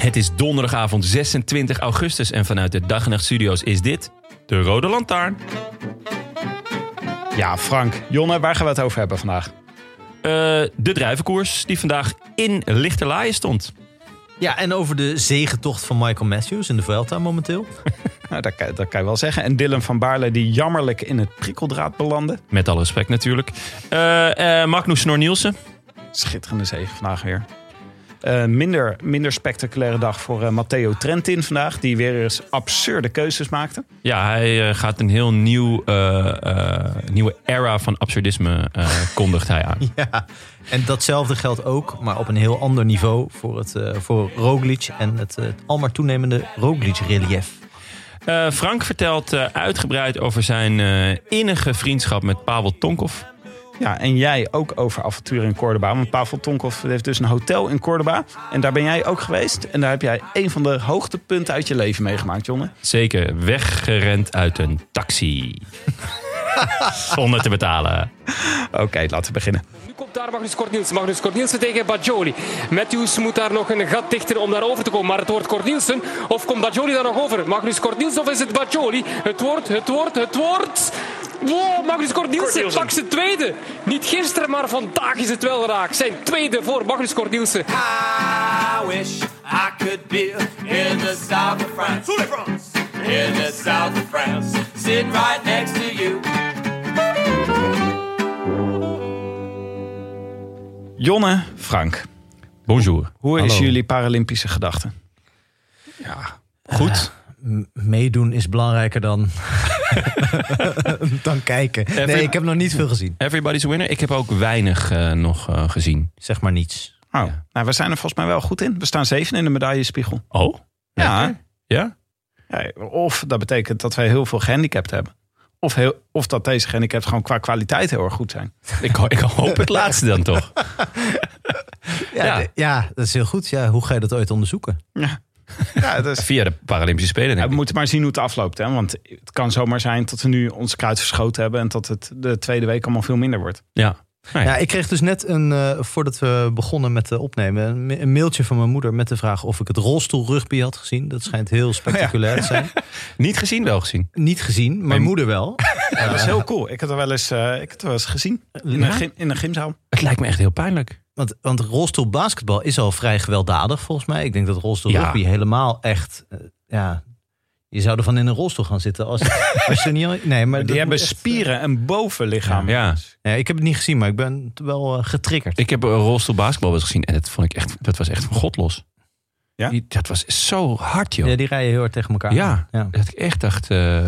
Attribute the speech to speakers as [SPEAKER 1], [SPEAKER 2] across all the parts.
[SPEAKER 1] Het is donderdagavond 26 augustus en vanuit de Dag en Nacht Studio's is dit de Rode Lantaarn.
[SPEAKER 2] Ja, Frank. Jonne, waar gaan we het over hebben vandaag?
[SPEAKER 1] Eh, de druivenkoers die vandaag in Lichterlaaien stond.
[SPEAKER 3] Ja, en over de zegentocht van Michael Matthews in de Vuelta momenteel.
[SPEAKER 2] Nou, dat, kan, dat kan je wel zeggen. En Dylan van Baarle die jammerlijk in het prikkeldraad belandde.
[SPEAKER 1] Met alle respect natuurlijk. Eh eh Magnus Snor Nielsen.
[SPEAKER 2] Schitterende zege vandaag weer. Eh, minder, minder spectaculaire dag voor eh, Matteo Trentin vandaag. Die weer eens absurde keuzes maakte.
[SPEAKER 1] Ja, hij eh, gaat een heel nieuw, eh, eh, nieuwe era van absurdisme eh, kondigt hij aan.
[SPEAKER 3] ja. En datzelfde geldt ook, maar op een heel ander niveau... voor, het, eh, voor Roglic en het eh, almaar toenemende Roglic-relief.
[SPEAKER 1] Eh, Frank vertelt eh, uitgebreid over zijn eh, innige vriendschap met Pavel Tonkov.
[SPEAKER 2] Ja, en jij ook over avonturen in Cordoba. Want Pavel Tonkov heeft dus een hotel in Cordoba. En daar ben jij ook geweest. En daar heb jij een van de hoogtepunten uit je leven meegemaakt, Jonne.
[SPEAKER 1] Zeker weggerend uit een taxi. Zonder te betalen.
[SPEAKER 2] Oké, laten we beginnen.
[SPEAKER 4] Nu komt daar Magnus Kortnielsen. Magnus Kortnielsen tegen Bajoli. Matthews moet daar nog een gat dichten om daar over te komen. Maar het wordt Kortnielsen. Of komt Bajoli daar nog over? Magnus Kortnielsen of is het Bajoli? Het wordt, het wordt, het wordt... Wow, Magnus Kortnielsen pakt zijn tweede. Niet gisteren, maar vandaag is het wel raak. Zijn tweede voor Magnus Kortnielsen.
[SPEAKER 5] I wish I could be in the south of France. In the south of France. Sitting right next to you.
[SPEAKER 2] Jonne, Frank.
[SPEAKER 1] Bonjour.
[SPEAKER 2] Hoe is
[SPEAKER 3] Hallo.
[SPEAKER 2] jullie Paralympische gedachte? Ja, goed.
[SPEAKER 3] Meedoen is belangrijker dan, dan kijken. Nee, ik heb nog niet veel gezien.
[SPEAKER 1] Everybody's a winner. Ik heb ook weinig eh, nog eh, gezien.
[SPEAKER 3] Zeg maar niets.
[SPEAKER 2] oh, nou, we zijn er volgens mij wel goed in. We staan zeven in de medaillespiegel.
[SPEAKER 1] Oh?
[SPEAKER 2] Ja.
[SPEAKER 1] Ja?
[SPEAKER 2] ja. Of dat betekent dat wij heel veel gehandicapt hebben. Of, heel, of dat deze gehandicapt gewoon qua kwaliteit heel erg goed zijn.
[SPEAKER 1] Ik, ho- ik hoop het laatste dan toch.
[SPEAKER 3] Ja,
[SPEAKER 1] Ja.
[SPEAKER 3] d- ja, dat is heel goed. Ja, hoe ga je dat ooit onderzoeken?
[SPEAKER 2] Ja, ja dat is-
[SPEAKER 1] Via de Paralympische Spelen.
[SPEAKER 2] Ja,
[SPEAKER 1] Denk
[SPEAKER 2] we
[SPEAKER 1] ik.
[SPEAKER 2] moeten maar zien hoe het afloopt. Hè? Want het kan zomaar zijn dat we nu ons kruid verschoten hebben. En dat het de tweede week allemaal veel minder wordt.
[SPEAKER 1] Ja. Nou ja.
[SPEAKER 3] Ja, ik kreeg dus net een, eh, voordat we begonnen met eh, opnemen, een ma- een mailtje van mijn moeder met de vraag of ik het rolstoelrugby had gezien. Dat schijnt heel spectaculair te zijn.
[SPEAKER 1] Niet gezien, wel gezien.
[SPEAKER 3] Niet gezien, mijn moeder wel.
[SPEAKER 2] Ja, dat is heel cool. Ik had er wel eens, eh, ik had er wel eens gezien. In,
[SPEAKER 1] Ja?
[SPEAKER 2] een gym, in een gymzaal.
[SPEAKER 1] Het lijkt me echt heel pijnlijk.
[SPEAKER 3] Want, want rolstoelbasketbal is al vrij gewelddadig volgens mij. Ik denk dat rolstoelrugby
[SPEAKER 1] Ja.
[SPEAKER 3] helemaal echt, eh, ja, je zou ervan in een rolstoel gaan zitten als, als je er niet... al- Nee, maar dat
[SPEAKER 2] Die hebben
[SPEAKER 3] moet echt- eh,
[SPEAKER 2] spieren en bovenlichaam.
[SPEAKER 1] Ja.
[SPEAKER 3] Nee, ik heb het niet gezien, maar ik ben wel eh, getriggerd.
[SPEAKER 1] Ik heb een rolstoel basketbal wel eens gezien. En dat vond ik echt, dat was echt van god los.
[SPEAKER 2] Ja?
[SPEAKER 1] Die- dat was zo hard, joh.
[SPEAKER 3] Ja, die rijden heel hard tegen elkaar.
[SPEAKER 1] Ja.
[SPEAKER 3] aan. ja.
[SPEAKER 1] Dat ik echt dacht, eh,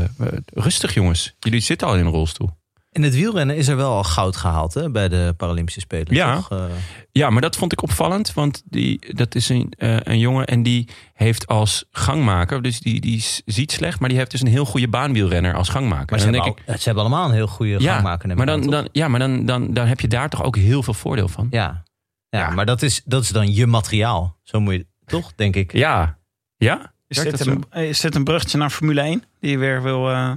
[SPEAKER 1] rustig jongens. Jullie zitten al in een rolstoel.
[SPEAKER 3] In het wielrennen is er wel al goud gehaald hè, bij de Paralympische Spelen.
[SPEAKER 1] Ja.
[SPEAKER 3] toch? Eh,
[SPEAKER 1] Ja, maar dat vond ik opvallend, want die, dat is een, eh, een jongen en die heeft als gangmaker, dus die, die s- ziet slecht, maar die heeft dus een heel goede baanwielrenner als gangmaker.
[SPEAKER 3] maar ze,
[SPEAKER 1] En
[SPEAKER 3] hebben,
[SPEAKER 1] ik,
[SPEAKER 3] al- ze hebben allemaal een heel goede
[SPEAKER 1] ja,
[SPEAKER 3] gangmaker. neem
[SPEAKER 1] maar,
[SPEAKER 3] ik aan,
[SPEAKER 1] dan,
[SPEAKER 3] toch?
[SPEAKER 1] dan, ja, maar dan, dan, dan heb je daar toch ook heel veel voordeel van.
[SPEAKER 3] ja. Ja, maar dat is, dat is dan je materiaal. Zo moet je toch, denk ik.
[SPEAKER 1] Ja, ja?
[SPEAKER 2] Is,
[SPEAKER 1] Werkt
[SPEAKER 2] dit
[SPEAKER 1] dat
[SPEAKER 2] een, is dit een bruggetje naar Formule 1? Die je weer wil... eh,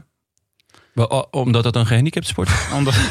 [SPEAKER 1] Wel, o- Omdat dat een gehandicapt sport is?
[SPEAKER 2] onder-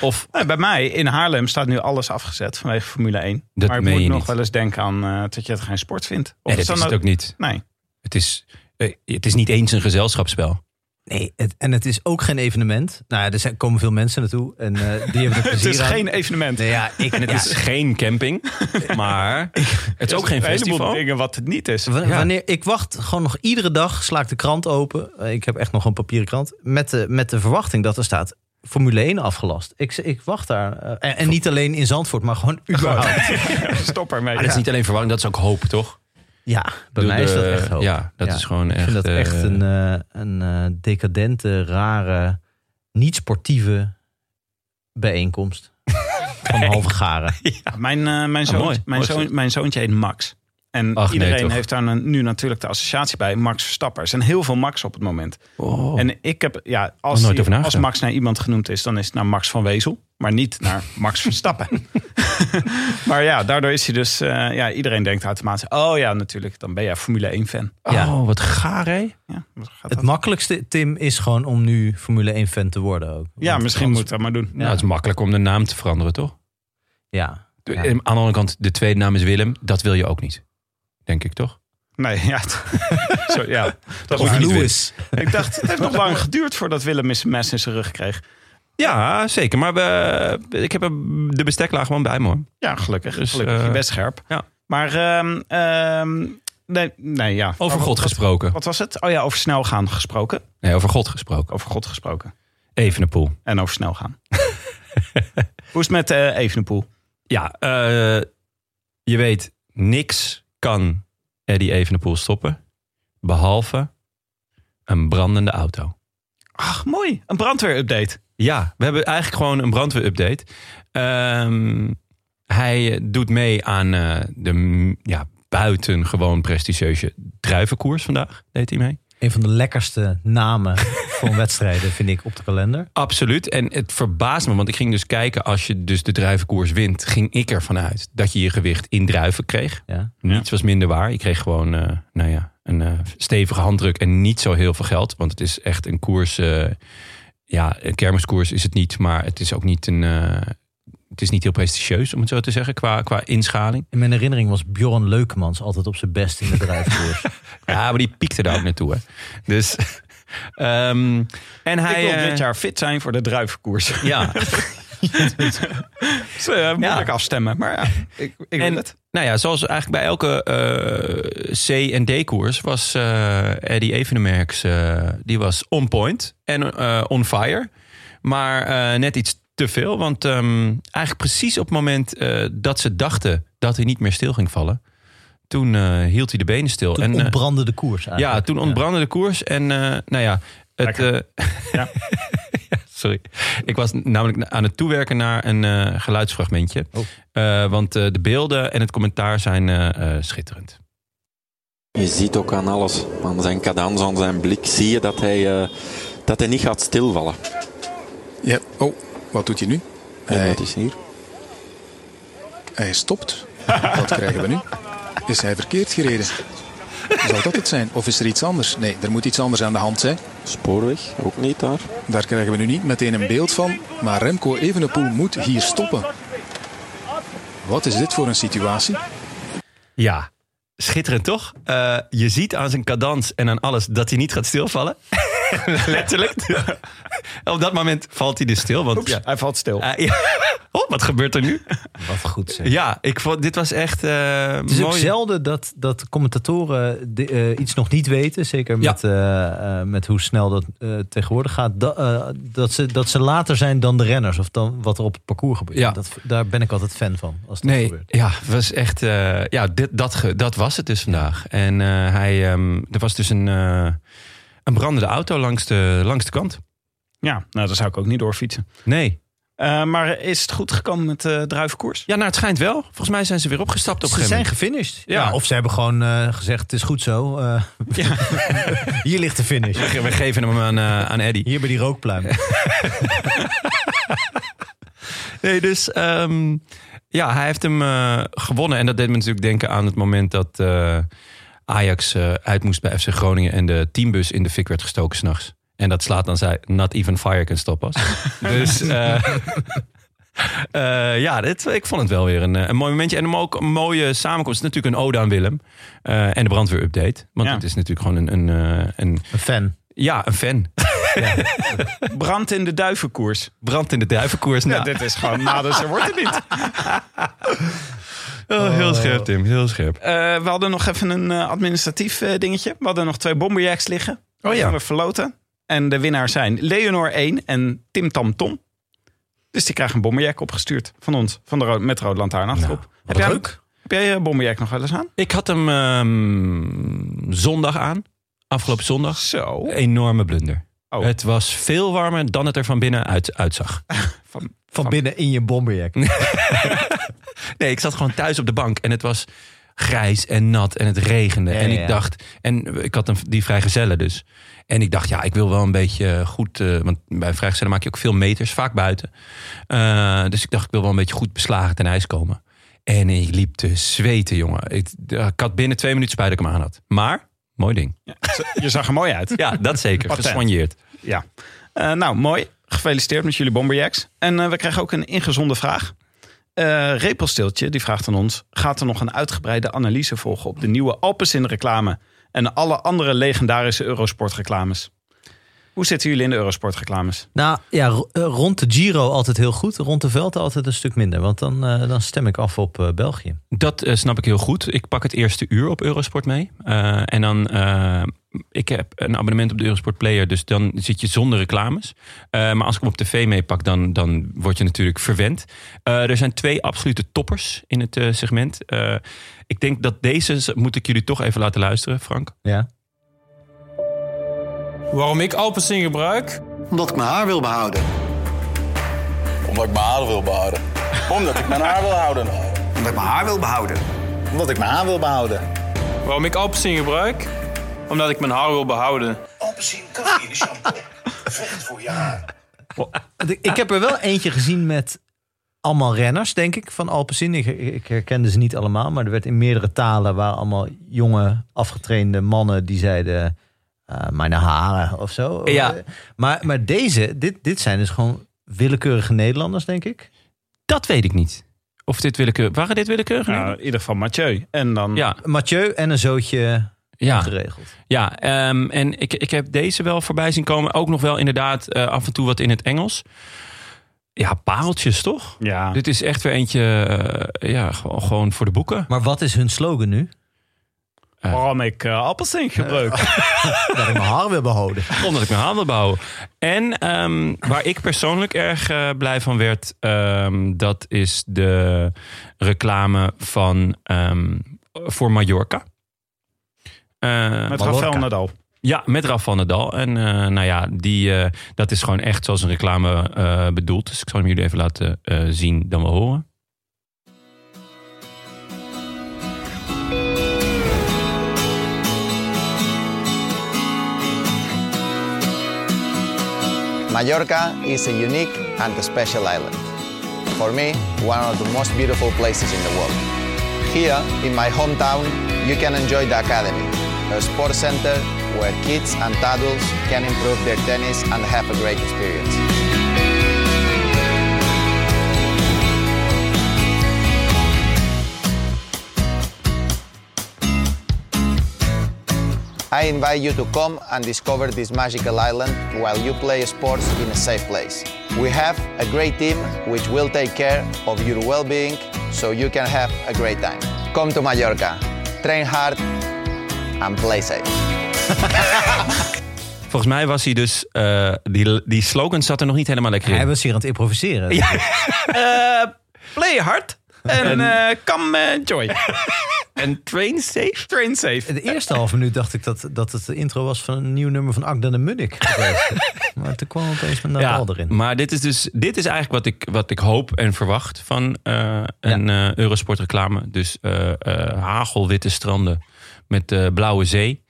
[SPEAKER 1] Of
[SPEAKER 2] Nee, bij mij in Haarlem staat nu alles afgezet vanwege Formule 1.
[SPEAKER 1] Dat
[SPEAKER 2] maar ik
[SPEAKER 1] meen
[SPEAKER 2] moet
[SPEAKER 1] je
[SPEAKER 2] nog
[SPEAKER 1] niet.
[SPEAKER 2] wel eens denken aan eh, dat je het geen sport vindt. Of
[SPEAKER 1] nee,
[SPEAKER 2] is
[SPEAKER 1] dat
[SPEAKER 2] dan
[SPEAKER 1] is het nou ook
[SPEAKER 2] ook-
[SPEAKER 1] niet.
[SPEAKER 2] Nee.
[SPEAKER 1] Het is, eh, het is niet eens een gezelschapsspel.
[SPEAKER 3] Nee, het, en het is ook geen evenement. Nou, ja, er zijn, komen veel mensen naartoe en eh, die hebben er
[SPEAKER 2] Het
[SPEAKER 3] plezier
[SPEAKER 2] is
[SPEAKER 3] aan.
[SPEAKER 2] geen evenement.
[SPEAKER 3] Nee, ja, ik,
[SPEAKER 1] En het
[SPEAKER 3] ja.
[SPEAKER 1] is geen camping, maar het is ook geen
[SPEAKER 2] een heleboel
[SPEAKER 1] festival.
[SPEAKER 2] dingen wat het niet is.
[SPEAKER 3] W-
[SPEAKER 1] Ja.
[SPEAKER 3] Wanneer, ik wacht gewoon nog iedere dag, sla ik de krant open. Eh, Ik heb echt nog een papieren krant. Met de, met de verwachting dat er staat Formule 1 afgelast. Ik, ik wacht daar. eh, en, en niet alleen in Zandvoort, maar gewoon überhaupt.
[SPEAKER 2] Stop ermee.
[SPEAKER 1] Maar Ah, dat is niet alleen verwarring, dat is ook hoop, toch?
[SPEAKER 3] Ja, bij
[SPEAKER 1] Doe
[SPEAKER 3] mij is
[SPEAKER 1] de-
[SPEAKER 3] dat echt hoop.
[SPEAKER 1] ja, dat is gewoon
[SPEAKER 3] Ik
[SPEAKER 1] echt,
[SPEAKER 3] vind dat
[SPEAKER 1] eh,
[SPEAKER 3] echt een, eh, een eh, decadente, rare, niet sportieve bijeenkomst. Van halve garen.
[SPEAKER 2] Mijn, eh, mijn, zoon,
[SPEAKER 1] Ah, mooi.
[SPEAKER 2] mijn,
[SPEAKER 1] Mooi
[SPEAKER 2] zoon,
[SPEAKER 1] gezegd.
[SPEAKER 2] mijn zoontje heet Max. En
[SPEAKER 1] Ach, nee,
[SPEAKER 2] iedereen
[SPEAKER 1] toch.
[SPEAKER 2] heeft daar een- nu natuurlijk de associatie bij. Max Verstappen. Er zijn heel veel Max op het moment. En ik heb, ja, als,
[SPEAKER 1] Oh. nooit
[SPEAKER 2] die-
[SPEAKER 1] over nagedacht.
[SPEAKER 2] als Max naar iemand genoemd is, dan is het naar Max van Wezel. Maar niet naar Max Verstappen. maar ja, daardoor is hij dus, eh, ja, iedereen denkt automatisch, oh ja, natuurlijk, dan ben jij Formule 1 fan.
[SPEAKER 3] Ja.
[SPEAKER 1] Oh, wat gaar, hè?
[SPEAKER 2] Ja, wat gaat
[SPEAKER 3] Het
[SPEAKER 2] dat?
[SPEAKER 3] makkelijkste, Tim, is gewoon om nu Formule 1 fan te worden ook.
[SPEAKER 2] ja
[SPEAKER 3] Want
[SPEAKER 2] misschien
[SPEAKER 3] anders-
[SPEAKER 2] moet dat maar doen.
[SPEAKER 1] Nou, het is makkelijk om de naam te veranderen, toch?
[SPEAKER 3] Ja.
[SPEAKER 1] De-
[SPEAKER 3] Ja.
[SPEAKER 1] Aan de andere kant, de tweede naam is Willem. Dat wil je ook niet, denk ik, toch?
[SPEAKER 2] Nee, ja. het- Zo, ja dat
[SPEAKER 3] Of
[SPEAKER 2] waar.
[SPEAKER 3] Lewis.
[SPEAKER 2] Ik dacht, het heeft nog lang geduurd voordat Willem een mes in zijn rug kreeg.
[SPEAKER 1] Ja, zeker. Maar we, ik heb er de besteklaag gewoon bij me, hoor.
[SPEAKER 2] Ja, gelukkig.
[SPEAKER 1] Dus,
[SPEAKER 2] gelukkig.
[SPEAKER 1] eh,
[SPEAKER 2] Best scherp.
[SPEAKER 1] ja.
[SPEAKER 2] Maar, ehm, ehm, nee, nee, ja.
[SPEAKER 1] Over
[SPEAKER 2] Wat-
[SPEAKER 1] God
[SPEAKER 2] wat-
[SPEAKER 1] gesproken.
[SPEAKER 2] Wat was het? Oh ja, over snel gaan gesproken.
[SPEAKER 1] Nee, over God gesproken.
[SPEAKER 2] Over God gesproken.
[SPEAKER 1] Evenepoel.
[SPEAKER 2] En over snel gaan. Hoe is het met eh Evenepoel?
[SPEAKER 1] Ja, eh, je weet, niks kan Eddie Evenepoel stoppen. Behalve een brandende auto.
[SPEAKER 2] Ach, mooi. Een brandweerupdate.
[SPEAKER 1] Ja, we hebben eigenlijk gewoon een brandweerupdate. Ehm, hij eh, doet mee aan eh, de mm, ja, buitengewoon prestigieuze druivenkoers vandaag. Deed hij mee.
[SPEAKER 3] Een van de lekkerste namen van wedstrijden vind ik op de kalender.
[SPEAKER 1] Absoluut. En het verbaast me, want ik ging dus kijken... als je dus de druivenkoers wint, ging ik ervan uit... dat je je gewicht in druiven kreeg.
[SPEAKER 3] Ja.
[SPEAKER 1] Niets was minder waar. Ik kreeg gewoon eh, nou ja, een eh, stevige handdruk en niet zo heel veel geld. Want het is echt een koers. eh, ja, een kermiskoers is het niet. Maar het is ook niet een. eh, het is niet heel prestigieus, om het zo te zeggen, qua, qua inschaling.
[SPEAKER 3] In mijn herinnering was Bjorn Leukemans altijd op zijn best in de drijfkoers.
[SPEAKER 1] Ja, maar die piekte daar ook naartoe. Hè. Dus. ehm, en hij.
[SPEAKER 2] ik wil
[SPEAKER 1] eh,
[SPEAKER 2] dit jaar fit zijn voor de druivenkoers.
[SPEAKER 1] Ja,
[SPEAKER 2] Dus, eh, moeilijk afstemmen, maar ja, ik, ik
[SPEAKER 1] En-
[SPEAKER 2] wil het.
[SPEAKER 1] nou ja, zoals eigenlijk bij elke eh, C- en D-koers was eh Eddie Evenemerks eh, die was on point en eh, on fire. Maar eh, net iets te veel, want ehm, eigenlijk precies op het moment eh, dat ze dachten dat hij niet meer stil ging vallen, toen eh, hield hij de benen stil.
[SPEAKER 3] Toen
[SPEAKER 1] en, eh,
[SPEAKER 3] ontbrandde de koers eigenlijk.
[SPEAKER 1] ja, toen ontbrandde de koers. En eh, nou ja, het. eh,
[SPEAKER 2] Ja.
[SPEAKER 1] Ja, Sorry. Ik was namelijk na- aan het toewerken naar een eh, geluidsfragmentje.
[SPEAKER 3] Oh.
[SPEAKER 1] Eh, want eh, de beelden en het commentaar zijn eh, eh, schitterend.
[SPEAKER 6] Je ziet ook aan alles, aan zijn cadans, aan zijn blik, zie je dat hij, eh, dat hij niet gaat stilvallen.
[SPEAKER 7] Ja, oh, wat doet hij nu?
[SPEAKER 6] En
[SPEAKER 7] Hij,
[SPEAKER 6] wat is hier?
[SPEAKER 7] hij stopt. Wat krijgen we nu? Is hij verkeerd gereden? Zou dat het zijn? Of is er iets anders? Nee, er moet iets anders aan de hand zijn.
[SPEAKER 6] Spoorweg, ook niet daar.
[SPEAKER 7] Daar krijgen we nu niet meteen een beeld van. Maar Remco Evenepoel moet hier stoppen. Wat is dit voor een situatie?
[SPEAKER 1] Ja. Schitterend toch? Eh, je ziet aan zijn cadans en aan alles dat hij niet gaat stilvallen. Letterlijk. Op dat moment valt hij dus stil. Want,
[SPEAKER 2] Oeps,
[SPEAKER 1] ja,
[SPEAKER 2] hij valt stil.
[SPEAKER 1] Eh, ja. Oh, wat gebeurt er nu?
[SPEAKER 3] Wat goed zeg.
[SPEAKER 1] Ja, ik vond, dit was echt eh
[SPEAKER 3] Het is ook
[SPEAKER 1] mooi.
[SPEAKER 3] zelden dat, dat commentatoren de- eh, iets nog niet weten. Zeker met, eh, eh, met hoe snel dat eh, tegenwoordig gaat. Da- eh, dat, ze, dat ze later zijn dan de renners. Of dan wat er op het parcours gebeurt.
[SPEAKER 1] Ja.
[SPEAKER 3] Dat, daar ben ik altijd fan van. Als dat
[SPEAKER 1] Nee,
[SPEAKER 3] gebeurt.
[SPEAKER 1] ja, het was echt. eh, ja, dit, dat, ge- dat was het dus vandaag. En eh, hij, ehm, er was dus een, eh, een brandende auto langs de, langs de kant.
[SPEAKER 2] Ja, nou, daar zou ik ook niet doorfietsen.
[SPEAKER 1] Nee.
[SPEAKER 2] Eh, maar is het goed gekomen met de druivenkoers?
[SPEAKER 1] Ja, nou, het schijnt wel. Volgens mij zijn ze weer opgestapt op een
[SPEAKER 3] Ze
[SPEAKER 1] gegeven
[SPEAKER 3] zijn
[SPEAKER 1] moment.
[SPEAKER 3] gefinished.
[SPEAKER 1] Ja.
[SPEAKER 3] Ja. of ze hebben gewoon eh, gezegd, het is goed zo. eh, Hier ligt de finish.
[SPEAKER 1] We geven hem aan, eh, aan Eddie.
[SPEAKER 3] Hier bij die rookpluim.
[SPEAKER 1] Nee, dus ehm, ja, hij heeft hem eh, gewonnen. En dat deed me natuurlijk denken aan het moment dat eh, Ajax eh, uit moest bij FC Groningen. En de teambus in de fik werd gestoken s'nachts. En dat slaat dan zij, not even fire can stop us. dus eh, eh, ja, dit, ik vond het wel weer een, eh, een mooi momentje. En hem ook een mooie samenkomst. Natuurlijk een ode aan Willem. eh, en de brandweerupdate. Want
[SPEAKER 2] Ja.
[SPEAKER 1] het is natuurlijk gewoon een, een, eh, een,
[SPEAKER 3] Een fan.
[SPEAKER 1] ja, een fan.
[SPEAKER 2] Brand in de duivenkoers.
[SPEAKER 1] Brand in de duivenkoers.
[SPEAKER 2] Ja,
[SPEAKER 1] Nou,
[SPEAKER 2] dit is gewoon, nou, dus er wordt het niet.
[SPEAKER 1] oh, heel scherp, Tim. Heel scherp.
[SPEAKER 2] Eh, we hadden nog even een eh, administratief eh, dingetje. We hadden nog twee bomberjacks liggen.
[SPEAKER 1] Oh ja.
[SPEAKER 2] Die we verloten. En de winnaars zijn Leonor 1 en Tim Tam Tom. Dus die krijgen een bomberjack opgestuurd van ons, van de, ro- met Rood Lantaarn achterop. heb, jij,
[SPEAKER 1] leuk.
[SPEAKER 2] heb jij een bomberjack nog wel eens aan?
[SPEAKER 1] Ik had hem ehm, zondag aan. Afgelopen zondag.
[SPEAKER 2] Zo.
[SPEAKER 1] Enorme blunder.
[SPEAKER 2] Oh.
[SPEAKER 1] Het was veel warmer dan het er van binnen uit, uitzag.
[SPEAKER 3] Van binnen in je bomberjack.
[SPEAKER 1] Nee, ik zat gewoon thuis op de bank en het was grijs en nat en het regende.
[SPEAKER 3] Ja,
[SPEAKER 1] en ik
[SPEAKER 3] ja.
[SPEAKER 1] dacht, en ik had een, die vrijgezellen dus. En ik dacht, ja, ik wil wel een beetje eh, goed, eh, want bij vrijgezellen maak je ook veel meters, vaak buiten. Eh, dus ik dacht, ik wil wel een beetje goed beslagen ten ijs komen. En ik liep te zweten, jongen. Ik, eh, ik had binnen twee minuten spijt dat ik hem aan had. Maar, mooi ding.
[SPEAKER 2] Je zag er mooi uit.
[SPEAKER 1] Ja, dat zeker.
[SPEAKER 2] Patent.
[SPEAKER 1] Gesoigneerd.
[SPEAKER 2] Ja. Eh, nou, mooi. Gefeliciteerd met jullie Bomberjacks. En eh, we krijgen ook een ingezonde vraag. Eh Repelsteeltje, die vraagt aan ons... gaat er nog een uitgebreide analyse volgen op de nieuwe Alpecin-reclame... en alle andere legendarische Eurosport-reclames? Hoe zitten jullie in de Eurosport-reclames?
[SPEAKER 3] Nou ja, ro- eh, rond de Giro altijd heel goed. Rond de Veld altijd een stuk minder. Want dan, eh, dan stem ik af op eh, België.
[SPEAKER 1] Dat eh, snap ik heel goed. Ik pak het eerste uur op Eurosport mee. Eh, en dan, eh, ik heb een abonnement op de Eurosport Player, dus dan zit je zonder reclames. Eh, maar als ik hem op tv meepak, dan, dan word je natuurlijk verwend. Eh, er zijn twee absolute toppers in het eh, segment. Eh, ik denk dat deze moet ik jullie toch even laten luisteren, Frank.
[SPEAKER 3] Ja.
[SPEAKER 8] Waarom ik Alpecin gebruik?
[SPEAKER 9] Omdat ik mijn haar wil behouden. Omdat ik mijn haar wil behouden. Omdat ik mijn haar wil houden. Omdat ik mijn haar wil behouden. Omdat ik mijn haar wil behouden.
[SPEAKER 8] Waarom ik Alpecin gebruik? Omdat ik mijn haar wil behouden.
[SPEAKER 9] Alpecin cafeïne shampoo. Vecht voor je haar.
[SPEAKER 3] Want Ah, Ik ik heb er wel eentje gezien met allemaal renners, denk ik, van Alpecin. Ik, ik herkende ze niet allemaal, maar er werd in meerdere talen... waar allemaal jonge, afgetrainde mannen die zeiden... eh, mijn haren of zo.
[SPEAKER 1] Ja.
[SPEAKER 3] Maar, maar deze, dit, dit zijn dus gewoon willekeurige Nederlanders, denk ik.
[SPEAKER 1] Dat weet ik niet. Of dit willekeurig... Waren dit willekeurig?
[SPEAKER 2] Nou, in ieder geval Mathieu. En dan...
[SPEAKER 1] ja,
[SPEAKER 3] Mathieu en een zootje
[SPEAKER 1] ja.
[SPEAKER 3] geregeld.
[SPEAKER 1] Ja, ehm, en ik, ik heb deze wel voorbij zien komen. Ook nog wel inderdaad eh, af en toe wat in het Engels. Ja, pareltjes toch?
[SPEAKER 2] Ja.
[SPEAKER 1] Dit is echt weer eentje, eh, ja, gewoon, gewoon voor de boeken.
[SPEAKER 3] Maar wat is hun slogan nu?
[SPEAKER 2] Waarom ik eh Alpecin gebruik?
[SPEAKER 3] Dat ik mijn haar wil behouden.
[SPEAKER 1] Eh, Omdat ik mijn handen bouw. En ehm, waar ik persoonlijk erg eh, blij van werd, ehm, dat is de reclame van ehm, voor Mallorca. Eh,
[SPEAKER 2] met
[SPEAKER 3] Mallorca.
[SPEAKER 2] Rafael Nadal.
[SPEAKER 1] Ja, met Raf van der Dal. En eh, nou ja, die, eh, dat is gewoon echt zoals een reclame eh, bedoeld. Dus ik zal hem jullie even laten eh, zien dan wel horen.
[SPEAKER 9] Mallorca is a unique and special island. For me, one of the most beautiful places in the world. Here, in my hometown, you can enjoy the academy, a sports center where kids and adults can improve their tennis and have a great experience. I invite you to come and discover this magical island while you play sports in a safe place. We have a great team which will take care of your well being so you can have a great time. Come to Mallorca, train hard, and play safe.
[SPEAKER 1] Volgens mij was hij dus, eh, die, die slogan zat er nog niet helemaal lekker in. Eh,
[SPEAKER 3] Hij was hier aan het improviseren.
[SPEAKER 2] Play hard. En eh come joy.
[SPEAKER 1] En train safe?
[SPEAKER 2] Train safe.
[SPEAKER 3] De eerste half minuut dacht ik dat, dat het de intro was van een nieuw nummer van Akda de Munnik. geweest. maar toen kwam opeens mijn Nadal erin.
[SPEAKER 1] maar dit is dus dit is eigenlijk wat ik, wat ik hoop en verwacht van eh, een eh Eurosport reclame. Dus eh, eh, hagelwitte stranden met eh, blauwe zee.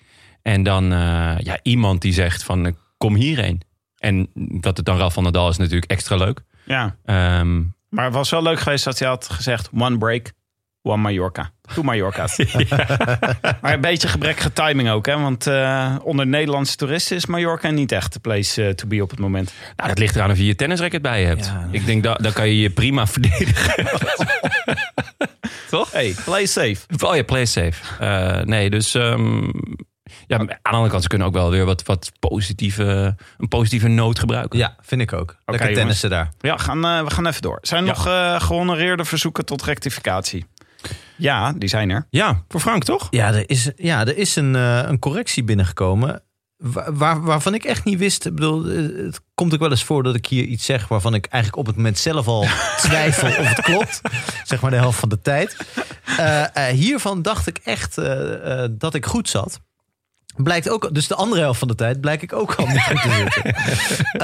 [SPEAKER 1] En dan eh, ja, iemand die zegt van eh, kom hierheen. En dat het dan Raf van der Dal is natuurlijk extra leuk.
[SPEAKER 2] Ja.
[SPEAKER 1] Ehm,
[SPEAKER 2] Maar het was wel leuk geweest dat hij had gezegd: one break, one Mallorca. Two Mallorca's. maar een beetje gebrekkige timing ook, hè? Want eh, onder Nederlandse toeristen is Mallorca niet echt de place eh, to be op het moment.
[SPEAKER 1] nou, dat ligt eraan of je je tennisracket bij je hebt.
[SPEAKER 3] Ja.
[SPEAKER 1] Ik denk, dat dan kan je je prima verdedigen.
[SPEAKER 2] Toch? Hey, play safe.
[SPEAKER 1] Oh ja, play safe. Eh, nee, dus... ehm, ja, aan de andere kant, ze kunnen ook wel weer wat, wat positieve, een positieve noot gebruiken.
[SPEAKER 3] Ja, vind ik ook. Lekker
[SPEAKER 2] jongens.
[SPEAKER 3] tennissen daar.
[SPEAKER 2] Ja, we gaan, eh, we gaan even door. Zijn er
[SPEAKER 1] Ja.
[SPEAKER 2] nog eh gehonoreerde verzoeken tot rectificatie? Ja, die zijn er.
[SPEAKER 1] Ja, voor Frank toch?
[SPEAKER 3] Ja, er is, ja, er is een, eh, een correctie binnengekomen wa- waar, waarvan ik echt niet wist. Ik bedoel, eh, het komt ook wel eens voor dat ik hier iets zeg waarvan ik eigenlijk op het moment zelf al twijfel of het klopt. Zeg maar de helft van de tijd. Eh, eh, hiervan dacht ik echt eh, eh, dat ik goed zat. Blijkt ook, dus de andere helft van de tijd blijk ik ook al niet goed te zitten.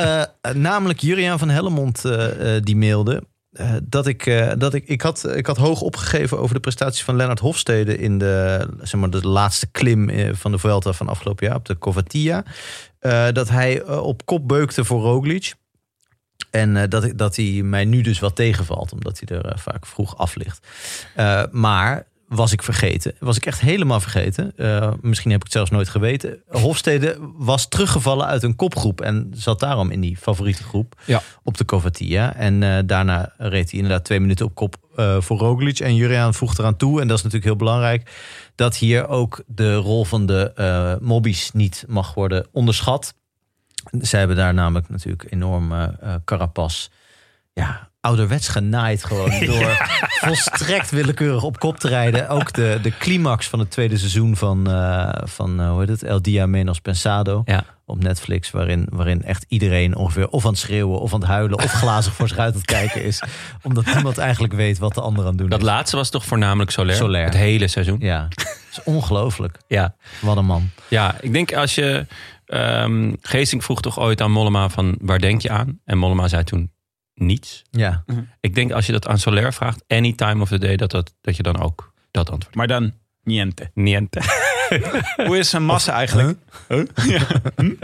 [SPEAKER 3] Eh, eh, namelijk Juriaan van Hellemond eh, eh, die mailde. eh, dat ik, eh, dat ik, ik, had, ik had hoog opgegeven over de prestatie van Lennart Hofstede in de, zeg maar, de laatste klim eh, van de Vuelta van afgelopen jaar op de Covatia. Eh, dat hij eh, op kop beukte voor Roglic. En eh, dat, ik- dat hij mij nu dus wat tegenvalt, omdat hij er eh, vaak vroeg af ligt. Eh, maar was ik vergeten, was ik echt helemaal vergeten. Eh, misschien heb ik het zelfs nooit geweten. Hofstede was teruggevallen uit een kopgroep en zat daarom in die favoriete groep
[SPEAKER 1] Ja.
[SPEAKER 3] op de Covatia. En eh, daarna reed hij inderdaad twee minuten op kop eh, voor Roglic. En Juriaan voegt eraan toe, en dat is natuurlijk heel belangrijk... dat hier ook de rol van de eh mobbies niet mag worden onderschat. Zij hebben daar namelijk natuurlijk enorm eh eh, carapas. Ja, ouderwets genaaid gewoon. Door volstrekt willekeurig op kop te rijden. Ook de, de climax van het tweede seizoen van, eh, van eh, hoe heet het? El Dia Menos Pensado.
[SPEAKER 1] Ja.
[SPEAKER 3] Op Netflix, waarin, waarin echt iedereen ongeveer of aan het schreeuwen, of aan het huilen, of glazig voor zich uit aan het kijken is. Omdat niemand eigenlijk weet wat de ander aan het doen
[SPEAKER 1] Dat
[SPEAKER 3] is.
[SPEAKER 1] laatste was toch voornamelijk Soler?
[SPEAKER 3] Soler.
[SPEAKER 1] Het hele seizoen.
[SPEAKER 3] Ja, het is ongelooflijk.
[SPEAKER 1] Ja.
[SPEAKER 3] Wat een man.
[SPEAKER 1] Ja, ik denk als je... ehm Geesink vroeg toch ooit aan Mollema van waar denk je aan? En Mollema zei toen niets.
[SPEAKER 3] Ja.
[SPEAKER 1] Ik denk als je dat aan Soler vraagt, any time of the day, dat, dat, dat je dan ook dat antwoord
[SPEAKER 2] Maar dan niente.
[SPEAKER 1] Niente.
[SPEAKER 2] Hoe is een massa eigenlijk? Huh? Ja. Hm?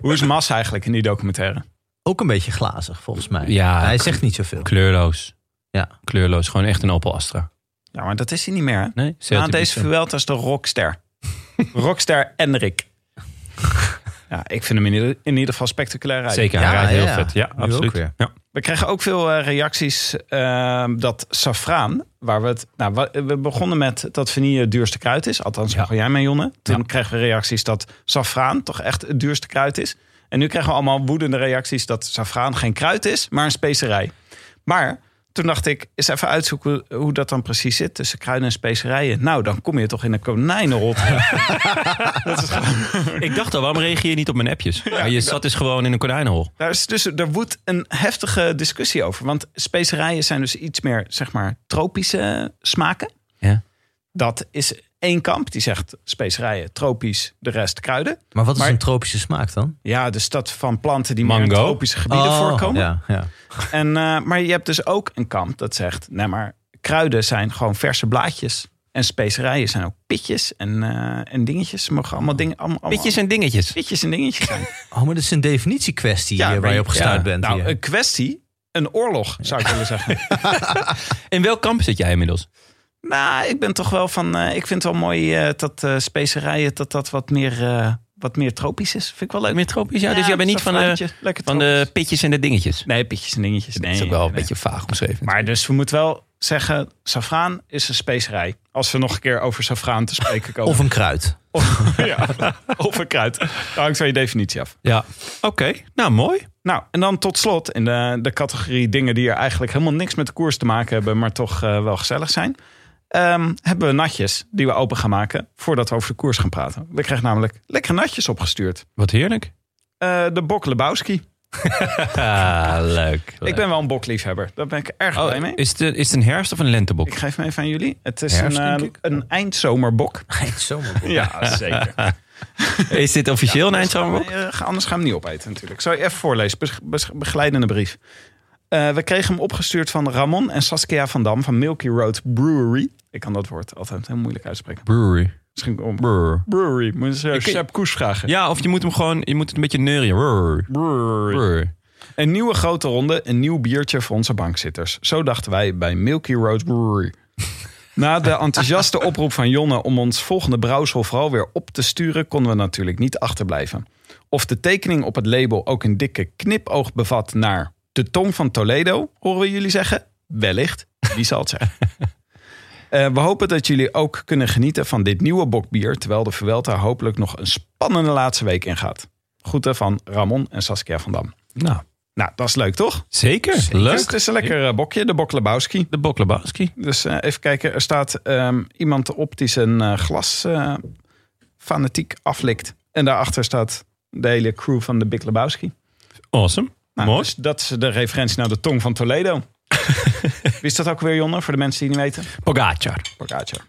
[SPEAKER 2] Hoe is massa eigenlijk in die documentaire?
[SPEAKER 3] Ook een beetje glazig volgens mij.
[SPEAKER 1] Ja,
[SPEAKER 3] Hij
[SPEAKER 1] ik-
[SPEAKER 3] zegt niet zoveel.
[SPEAKER 1] Kleurloos.
[SPEAKER 3] Ja.
[SPEAKER 1] Kleurloos. Gewoon echt een Opel Astra.
[SPEAKER 2] Ja, maar dat is hij niet meer. Hè?
[SPEAKER 1] Nee?
[SPEAKER 2] Na deze Vuelta is de rockster. rockster Enrik. Ja, ik vind hem in ieder, in ieder geval spectaculair uit.
[SPEAKER 1] Zeker, hij
[SPEAKER 3] Ja,
[SPEAKER 1] rijdt heel
[SPEAKER 3] ja.
[SPEAKER 1] vet. Ja,
[SPEAKER 3] Nu ook
[SPEAKER 1] absoluut.
[SPEAKER 3] weer.
[SPEAKER 1] Ja.
[SPEAKER 2] We kregen ook veel eh, reacties eh, dat safraan, waar we het. Nou, wa- we begonnen met dat vanille het duurste kruid is. Althans, begon jij mee, Jonne. Toen kregen we reacties dat safraan toch echt het duurste kruid is. En nu krijgen we allemaal woedende reacties dat safraan geen kruid is, maar een specerij. Maar toen dacht ik, eens even uitzoeken hoe dat dan precies zit tussen kruiden en specerijen. Nou, dan kom je toch in een konijnenrot.
[SPEAKER 1] Ik dacht al, waarom reageer je niet op mijn appjes? Maar je zat dus gewoon in een konijnenhol.
[SPEAKER 2] Daar is dus, er woedt een heftige discussie over. Want specerijen zijn dus iets meer, zeg maar, tropische smaken.
[SPEAKER 1] Ja.
[SPEAKER 2] Dat is één kamp, die zegt specerijen, tropisch, de rest kruiden.
[SPEAKER 3] Maar wat is
[SPEAKER 2] Maar-
[SPEAKER 3] een tropische smaak dan?
[SPEAKER 2] Ja, dus dat van planten die meer in
[SPEAKER 1] Mango.
[SPEAKER 2] tropische gebieden
[SPEAKER 3] Oh,
[SPEAKER 2] voorkomen.
[SPEAKER 3] Ja, ja.
[SPEAKER 2] En, eh, maar je hebt dus ook een kamp dat zegt, nee maar kruiden zijn gewoon verse blaadjes. En specerijen zijn ook pitjes en, eh, en dingetjes. Ze mogen allemaal dingen... Allemaal, allemaal-
[SPEAKER 1] Pitjes en dingetjes.
[SPEAKER 2] pitjes en dingetjes zijn.
[SPEAKER 3] Oh, maar dat is een definitiekwestie
[SPEAKER 2] Ja,
[SPEAKER 3] hier waar je op gestuurd
[SPEAKER 2] ja,
[SPEAKER 3] bent.
[SPEAKER 2] Nou,
[SPEAKER 3] hier.
[SPEAKER 2] een kwestie, een oorlog zou ik willen zeggen.
[SPEAKER 1] In welk kamp zit jij inmiddels?
[SPEAKER 2] Nou, ik ben toch wel van. eh, ik vind het wel mooi eh, dat eh, specerijen dat dat wat meer, eh, wat meer tropisch is. Vind ik wel leuk.
[SPEAKER 1] Meer tropisch, ja. Dus jij bent niet van de,
[SPEAKER 2] lekker
[SPEAKER 1] van de pitjes en de dingetjes.
[SPEAKER 2] Nee, pitjes en dingetjes. Nee,
[SPEAKER 1] dat is ook wel een
[SPEAKER 2] nee, nee.
[SPEAKER 1] beetje vaag omschreven.
[SPEAKER 2] Maar dus we moeten wel zeggen: safraan is een specerij. Als we nog een keer over safraan te spreken komen.
[SPEAKER 3] Of een kruid.
[SPEAKER 2] of, ja, of een kruid. Dat hangt van je definitie af.
[SPEAKER 1] ja. Oké, nou mooi.
[SPEAKER 2] Nou, en dan tot slot in de, de categorie dingen die er eigenlijk helemaal niks met de koers te maken hebben, maar toch eh, wel gezellig zijn. ehm, hebben we natjes die we open gaan maken voordat we over de koers gaan praten. We krijgen namelijk lekkere natjes opgestuurd.
[SPEAKER 1] Wat heerlijk.
[SPEAKER 2] Eh, de Bok Lebowski.
[SPEAKER 1] Ah, leuk. Oh,
[SPEAKER 2] Ik ben wel een bokliefhebber. Daar ben ik erg blij mee.
[SPEAKER 1] is, het, een- is het een herfst of een lentebok?
[SPEAKER 2] Ik geef hem even aan jullie. Het is
[SPEAKER 1] Herfst,
[SPEAKER 2] een, eh,
[SPEAKER 1] denk ik.
[SPEAKER 2] een eindzomerbok.
[SPEAKER 3] Zomerbok.
[SPEAKER 2] Ja, zeker.
[SPEAKER 1] Is dit officieel een eindzomerbok?
[SPEAKER 2] Nee, eh, ga- anders gaan we hem niet opeten natuurlijk. Zal je even voorlezen, bes- bes- begeleidende brief. Eh, we kregen hem opgestuurd van Ramon en Saskia van Dam van Milky Road Brewery. Ik kan dat woord altijd heel moeilijk uitspreken.
[SPEAKER 1] Brewery.
[SPEAKER 2] Misschien om
[SPEAKER 1] Brr.
[SPEAKER 2] brewery. Moet je
[SPEAKER 1] Ik-
[SPEAKER 2] Sepp Koes vragen.
[SPEAKER 1] Ja, of je moet hem gewoon, je moet het een beetje neurien. Brr.
[SPEAKER 2] Brewery.
[SPEAKER 1] Brr.
[SPEAKER 2] Een nieuwe grote ronde, een nieuw biertje voor onze bankzitters. Zo dachten wij bij Milky Road Brewery. Na de enthousiaste oproep van Jonne om ons volgende brouwsel vooral weer op te sturen, konden we natuurlijk niet achterblijven. Of de tekening op het label ook een dikke knipoog bevat naar de tong van Toledo, horen we jullie zeggen? Wellicht, wie zal het zeggen? Eh, we hopen dat jullie ook kunnen genieten van dit nieuwe bokbier, terwijl de Vuelta hopelijk nog een spannende laatste week ingaat. Groeten van Ramon en Saskia van Dam.
[SPEAKER 1] Nou,
[SPEAKER 2] Nou, dat is leuk, toch?
[SPEAKER 1] zeker.
[SPEAKER 2] Dus
[SPEAKER 1] Leuk.
[SPEAKER 2] het is een lekker eh, bokje, de bok Lebowski.
[SPEAKER 1] De Bok Lebowski.
[SPEAKER 2] Dus eh, even kijken, er staat ehm, iemand op die zijn eh, glas eh, fanatiek aflikt. En daarachter staat de hele crew van de Big Lebowski.
[SPEAKER 1] Awesome.
[SPEAKER 2] Nou,
[SPEAKER 1] Mooi.
[SPEAKER 2] dus dat is de referentie naar de tong van Toledo. Wist dat ook weer, Jonne? Voor de mensen die het niet weten.
[SPEAKER 1] Pogacar.
[SPEAKER 2] Pogacar.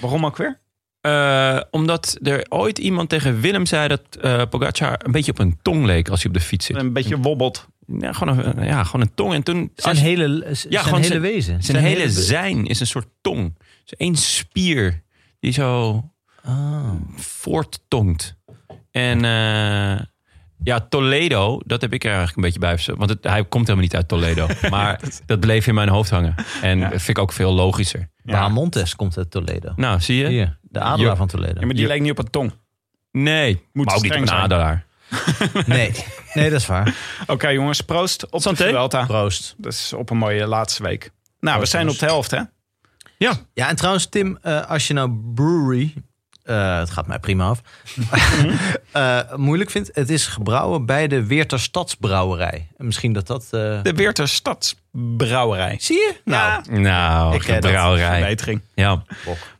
[SPEAKER 2] Waarom ook weer?
[SPEAKER 1] Eh, omdat er ooit iemand tegen Willem zei dat eh Pogacar een beetje op een tong leek als hij op de fiets zit.
[SPEAKER 2] Een beetje wobbelt.
[SPEAKER 1] Ja, gewoon een, ja, gewoon een tong. En toen,
[SPEAKER 3] Zijn
[SPEAKER 1] als-
[SPEAKER 3] hele, ja,
[SPEAKER 1] gewoon
[SPEAKER 3] zijn hele wezen.
[SPEAKER 1] zijn, hele, zijn is een soort tong. Dus één spier die zo Ah. voorttongt. En eh, ja, Toledo, dat heb ik er eigenlijk een beetje bij. verzonnen, Want het, hij komt helemaal niet uit Toledo. maar dat bleef in mijn hoofd hangen. En dat vind ik ook veel logischer.
[SPEAKER 3] Ja, Montes komt uit Toledo.
[SPEAKER 1] Nou, zie je?
[SPEAKER 3] Hier, de adelaar
[SPEAKER 1] Jo-
[SPEAKER 3] van Toledo.
[SPEAKER 2] Ja, maar die leek niet op een tong.
[SPEAKER 1] Nee, moet maar ook niet op
[SPEAKER 2] streng
[SPEAKER 1] een
[SPEAKER 2] zijn.
[SPEAKER 1] adelaar.
[SPEAKER 3] Nee. nee, dat is waar.
[SPEAKER 2] Oké jongens, proost op
[SPEAKER 1] Santé.
[SPEAKER 2] de Vuelta.
[SPEAKER 3] Proost.
[SPEAKER 2] Dat is op een mooie laatste week. Nou, we zijn op de helft hè.
[SPEAKER 3] Ja, en trouwens, Tim, eh, als je nou brewery. eh, het gaat mij prima af. eh, moeilijk vindt. Het is gebrouwen bij de Weerter Stadsbrouwerij. En misschien dat dat. eh,
[SPEAKER 2] De Weerter Stadsbrouwerij.
[SPEAKER 3] Zie je? Nou,
[SPEAKER 1] Nou,
[SPEAKER 3] Ik ken dat.
[SPEAKER 1] brouwerij.
[SPEAKER 2] Verbetering.
[SPEAKER 1] Ja.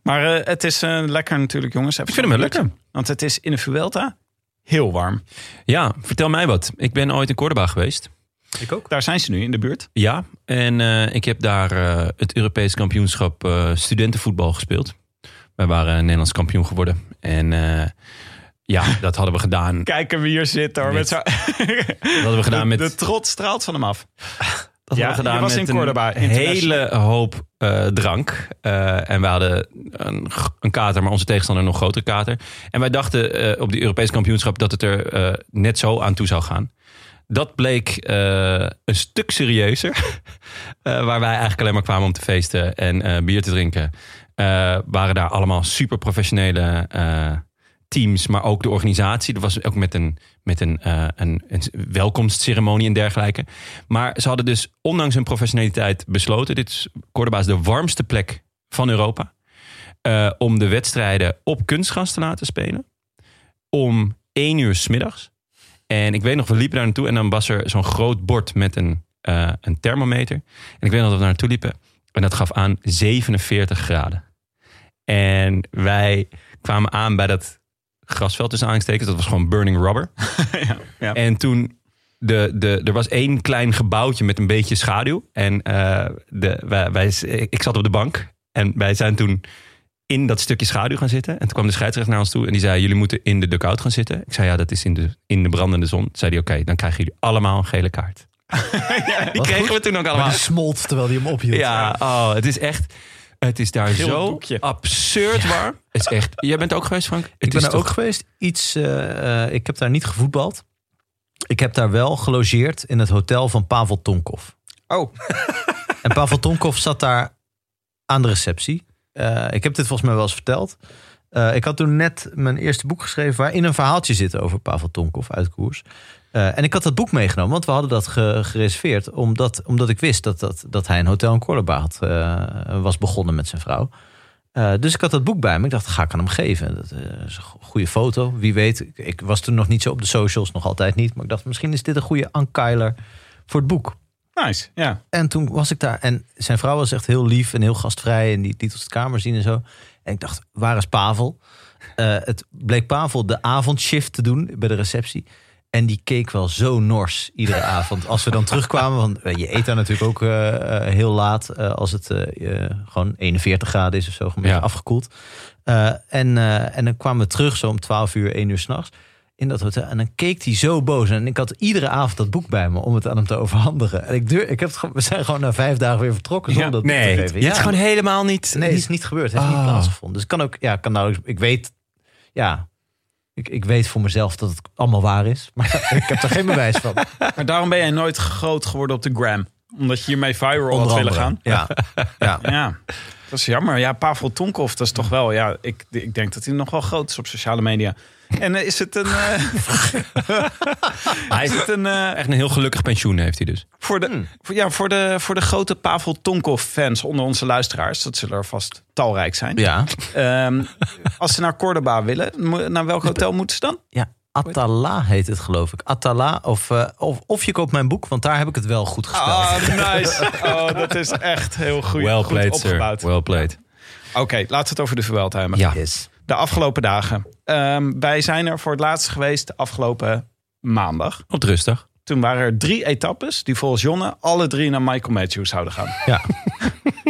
[SPEAKER 2] Maar eh, het is eh, lekker natuurlijk jongens. Ik
[SPEAKER 1] vind hem wel lekker.
[SPEAKER 2] Want het is in de Vuelta heel warm.
[SPEAKER 1] ja, vertel mij wat. Ik ben ooit in Cordoba geweest.
[SPEAKER 2] Ik ook. Daar zijn ze nu in de buurt.
[SPEAKER 1] Ja, en eh, ik heb daar eh, het Europees kampioenschap eh, studentenvoetbal gespeeld. Wij waren Nederlands kampioen geworden. En eh, ja, dat hadden we gedaan.
[SPEAKER 2] Kijken wie hier zit hoor. Met nou,
[SPEAKER 1] Dit.
[SPEAKER 2] zo...
[SPEAKER 1] Dat hadden we gedaan met,
[SPEAKER 2] De trots straalt van hem af.
[SPEAKER 1] dat
[SPEAKER 2] ja,
[SPEAKER 1] hadden we gedaan
[SPEAKER 2] je was
[SPEAKER 1] met
[SPEAKER 2] in Cordoba,
[SPEAKER 1] een hele
[SPEAKER 2] international.
[SPEAKER 1] hoop eh, drank. Eh, en we hadden een, g- een kater, maar onze tegenstander een nog grotere kater. En wij dachten eh, op die Europees kampioenschap dat het er eh, net zo aan toe zou gaan. Dat bleek eh, een stuk serieuzer. Eh, waar wij eigenlijk alleen maar kwamen om te feesten en eh, bier te drinken. Eh, waren daar allemaal super professionele eh, teams, maar ook de organisatie. Dat was ook met een, met een, eh, een, een welkomstceremonie en dergelijke. Maar ze hadden dus ondanks hun professionaliteit besloten... dit is Cordoba is de warmste plek van Europa... eh, om de wedstrijden op kunstgras te laten spelen. Om één uur smiddags. En ik weet nog, we liepen daar naartoe en dan was er zo'n groot bord met een, eh, een thermometer. En ik weet nog dat we daar naartoe liepen. En dat gaf aan 47 graden. En wij kwamen aan bij dat grasveld tussen aanstekens. Dat was gewoon burning rubber.
[SPEAKER 2] ja.
[SPEAKER 1] En toen, de, de, er was één klein gebouwtje met een beetje schaduw. En eh, de, wij, wij, ik zat op de bank. En wij zijn toen in dat stukje schaduw gaan zitten. En toen kwam de scheidsrechter naar ons toe en die zei... jullie moeten in de dugout gaan zitten. Ik zei, ja, dat is in de, in de brandende zon. Toen zei hij, oké, dan krijgen jullie allemaal een gele kaart. die
[SPEAKER 3] Wat
[SPEAKER 1] kregen
[SPEAKER 3] goed.
[SPEAKER 1] we toen ook allemaal.
[SPEAKER 3] maar die smolt terwijl die hem ophield.
[SPEAKER 1] Ja, oh, het is echt... Het is daar
[SPEAKER 2] Geel
[SPEAKER 1] zo
[SPEAKER 2] doekje.
[SPEAKER 1] absurd warm. Het is echt... Jij bent er ook geweest, Frank? Het
[SPEAKER 3] Ik ben
[SPEAKER 1] is
[SPEAKER 3] daar ook geweest. Iets, eh, eh, ik heb daar niet gevoetbald. Ik heb daar wel gelogeerd in het hotel van Pavel Tonkov.
[SPEAKER 2] Oh.
[SPEAKER 3] En Pavel Tonkov zat daar aan de receptie. Eh, ik heb dit volgens mij wel eens verteld. Eh, ik had toen net mijn eerste boek geschreven... waarin een verhaaltje zit over Pavel Tonkov uit koers. Eh, en ik had dat boek meegenomen, want we hadden dat ge- gereserveerd... omdat, omdat ik wist dat, dat, dat hij een hotel in Cordoba had, eh, was begonnen met zijn vrouw. Eh, dus ik had dat boek bij me. Ik dacht, ga ik aan hem geven. Dat eh, is een go- goede foto. Wie weet. Ik, ik was toen nog niet zo op de socials, nog altijd niet. Maar ik dacht, misschien is dit een goede ankeiler voor het boek.
[SPEAKER 2] Nice, ja.
[SPEAKER 3] En toen was ik daar. En zijn vrouw was echt heel lief en heel gastvrij. En die liet ons de kamer zien en zo. En ik dacht, waar is Pavel? Eh, het bleek Pavel de avondshift te doen bij de receptie. En die keek wel zo nors iedere avond. Als we dan terugkwamen, want eh, je eet daar natuurlijk ook eh, eh, heel laat. eh, als het eh, eh, gewoon 41 graden is of zo, gewoon een beetje
[SPEAKER 1] Ja.
[SPEAKER 3] afgekoeld. Eh, en, eh, en dan kwamen we terug zo om 12 uur, 1 uur s'nachts in dat hotel. En dan keek hij zo boos. En ik had iedere avond dat boek bij me om het aan hem te overhandigen. En ik duur, ik heb het, ge- we zijn gewoon na vijf dagen weer vertrokken zonder dat boek
[SPEAKER 1] Nee,
[SPEAKER 3] te geven.
[SPEAKER 1] het is gewoon helemaal niet...
[SPEAKER 3] Nee, het is niet gebeurd. Het heeft
[SPEAKER 1] Oh.
[SPEAKER 3] niet plaatsgevonden. Dus het kan ook, ja, kan nauwelijks. Ik weet, ja, ik, ik weet voor mezelf dat het allemaal waar is. Maar ik heb er geen bewijs van.
[SPEAKER 2] Maar daarom ben jij nooit groot geworden op de gram. Omdat je hiermee viral had willen gaan.
[SPEAKER 3] Ja, ja.
[SPEAKER 2] Ja, dat is jammer. Ja, Pavel Tonkov, dat is toch wel... Ja, ik, ik denk dat hij nog wel groot is op sociale media. En eh, is het een... eh, is het een eh,
[SPEAKER 1] Echt een heel gelukkig pensioen heeft hij dus.
[SPEAKER 2] voor, de, voor, ja, voor, de, voor de grote Pavel Tonkov-fans onder onze luisteraars... dat zullen er vast talrijk zijn.
[SPEAKER 3] ja.
[SPEAKER 2] Ehm, als ze naar Cordoba willen, mo- naar welk hotel moeten ze dan?
[SPEAKER 3] Ja, Atala heet het geloof ik. Atala of, eh, of, of je koopt mijn boek, want daar heb ik het wel goed gespeld.
[SPEAKER 1] Ah.
[SPEAKER 2] Oh, nice. Oh, dat is echt heel goed,
[SPEAKER 1] well played,
[SPEAKER 2] goed opgebouwd.
[SPEAKER 1] sir. Well played.
[SPEAKER 2] Oké, laten we het over de Vuelta hebben.
[SPEAKER 1] Ja.
[SPEAKER 3] Yes.
[SPEAKER 2] de afgelopen dagen. Ehm, wij zijn er voor het laatst geweest de afgelopen maandag.
[SPEAKER 1] Op de rustdag.
[SPEAKER 2] Toen waren er drie etappes die volgens Jonne alle drie naar Michael Matthews zouden gaan.
[SPEAKER 3] Ja.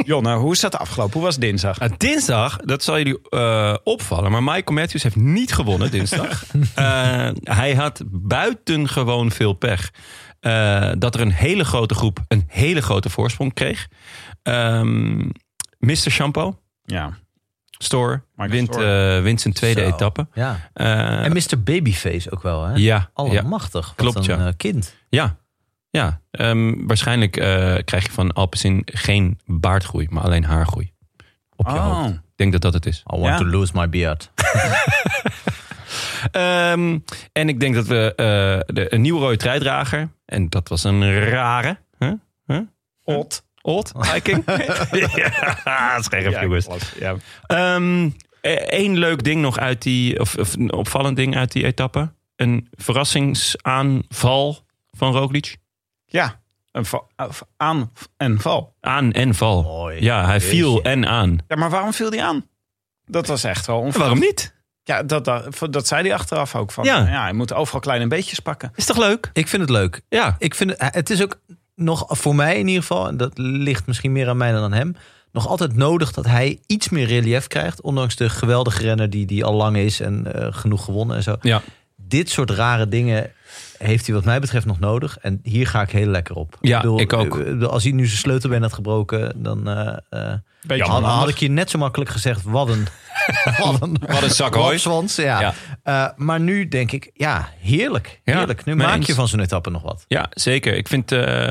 [SPEAKER 2] Jonne, hoe is dat afgelopen? Hoe was dinsdag?
[SPEAKER 1] Nou, dinsdag, dat zal jullie eh, opvallen, maar Michael Matthews heeft niet gewonnen dinsdag. Eh, hij had buitengewoon veel pech. eh, dat er een hele grote groep een hele grote voorsprong kreeg. Ehm Mr. Shampoo,
[SPEAKER 2] Ja.
[SPEAKER 1] Store,
[SPEAKER 2] Michael
[SPEAKER 1] wint,
[SPEAKER 2] Store.
[SPEAKER 1] eh, wint zijn tweede
[SPEAKER 3] Zo.
[SPEAKER 1] etappe.
[SPEAKER 3] Ja.
[SPEAKER 1] Eh,
[SPEAKER 3] En Mr. Babyface ook wel, hè?
[SPEAKER 1] ja, ja,
[SPEAKER 3] Allemachtig. Wat
[SPEAKER 1] Klopt,
[SPEAKER 3] een
[SPEAKER 1] ja.
[SPEAKER 3] eh, kind.
[SPEAKER 1] ja, ja. Ehm, waarschijnlijk eh, krijg je van Alpecin geen baardgroei, maar alleen haargroei. Op je
[SPEAKER 2] Oh.
[SPEAKER 1] hoofd. Ik denk dat dat het is.
[SPEAKER 3] I want
[SPEAKER 2] Ja.
[SPEAKER 3] to lose my beard.
[SPEAKER 1] Ehm, en ik denk dat we eh, de, een nieuwe rode truidrager. En dat was een rare. Huh? Huh? Old. Old Viking. ja, scherp,
[SPEAKER 2] Ja,
[SPEAKER 1] jongens.
[SPEAKER 2] klopt. Ja.
[SPEAKER 1] Eén leuk ding nog uit die. Of, of een opvallend ding uit die etappe. Een verrassingsaanval van Roglic.
[SPEAKER 2] Ja, een va- of aan en val.
[SPEAKER 1] Aan en val.
[SPEAKER 3] Mooi.
[SPEAKER 1] Ja, hij viel
[SPEAKER 3] Jeetje.
[SPEAKER 1] en aan.
[SPEAKER 2] Ja, maar waarom viel die aan? Dat was echt wel onver...
[SPEAKER 1] Waarom niet?
[SPEAKER 2] Ja, dat, dat, dat zei hij achteraf ook van.
[SPEAKER 1] Ja.
[SPEAKER 2] Ja. hij moet overal kleine beetjes pakken.
[SPEAKER 1] Is toch leuk?
[SPEAKER 3] Ik vind het leuk.
[SPEAKER 1] Ja.
[SPEAKER 3] Ik vind het, het is ook nog voor mij in ieder geval, en dat ligt misschien meer aan mij dan aan hem, nog altijd nodig dat hij iets meer relief krijgt. Ondanks de geweldige renner die, die al lang is en eh, genoeg gewonnen en zo.
[SPEAKER 1] Ja.
[SPEAKER 3] Dit soort rare dingen heeft hij wat mij betreft nog nodig. En hier ga ik heel lekker op.
[SPEAKER 1] Ja, ik ook.
[SPEAKER 3] eh, Als hij nu zijn sleutelbeen had gebroken, dan eh, eh,
[SPEAKER 2] Beetje
[SPEAKER 3] had, had
[SPEAKER 2] handig.
[SPEAKER 3] ik je net zo makkelijk gezegd, wat een... Wat een,
[SPEAKER 1] Wat een zak hooi.
[SPEAKER 3] lapswans, ja.
[SPEAKER 1] Ja.
[SPEAKER 3] Eh, maar nu denk ik, ja, heerlijk.
[SPEAKER 1] Ja,
[SPEAKER 3] Heerlijk. Nu
[SPEAKER 1] mee
[SPEAKER 3] maak
[SPEAKER 1] eens.
[SPEAKER 3] je van zo'n etappe nog wat.
[SPEAKER 1] Ja, zeker. Ik vind eh,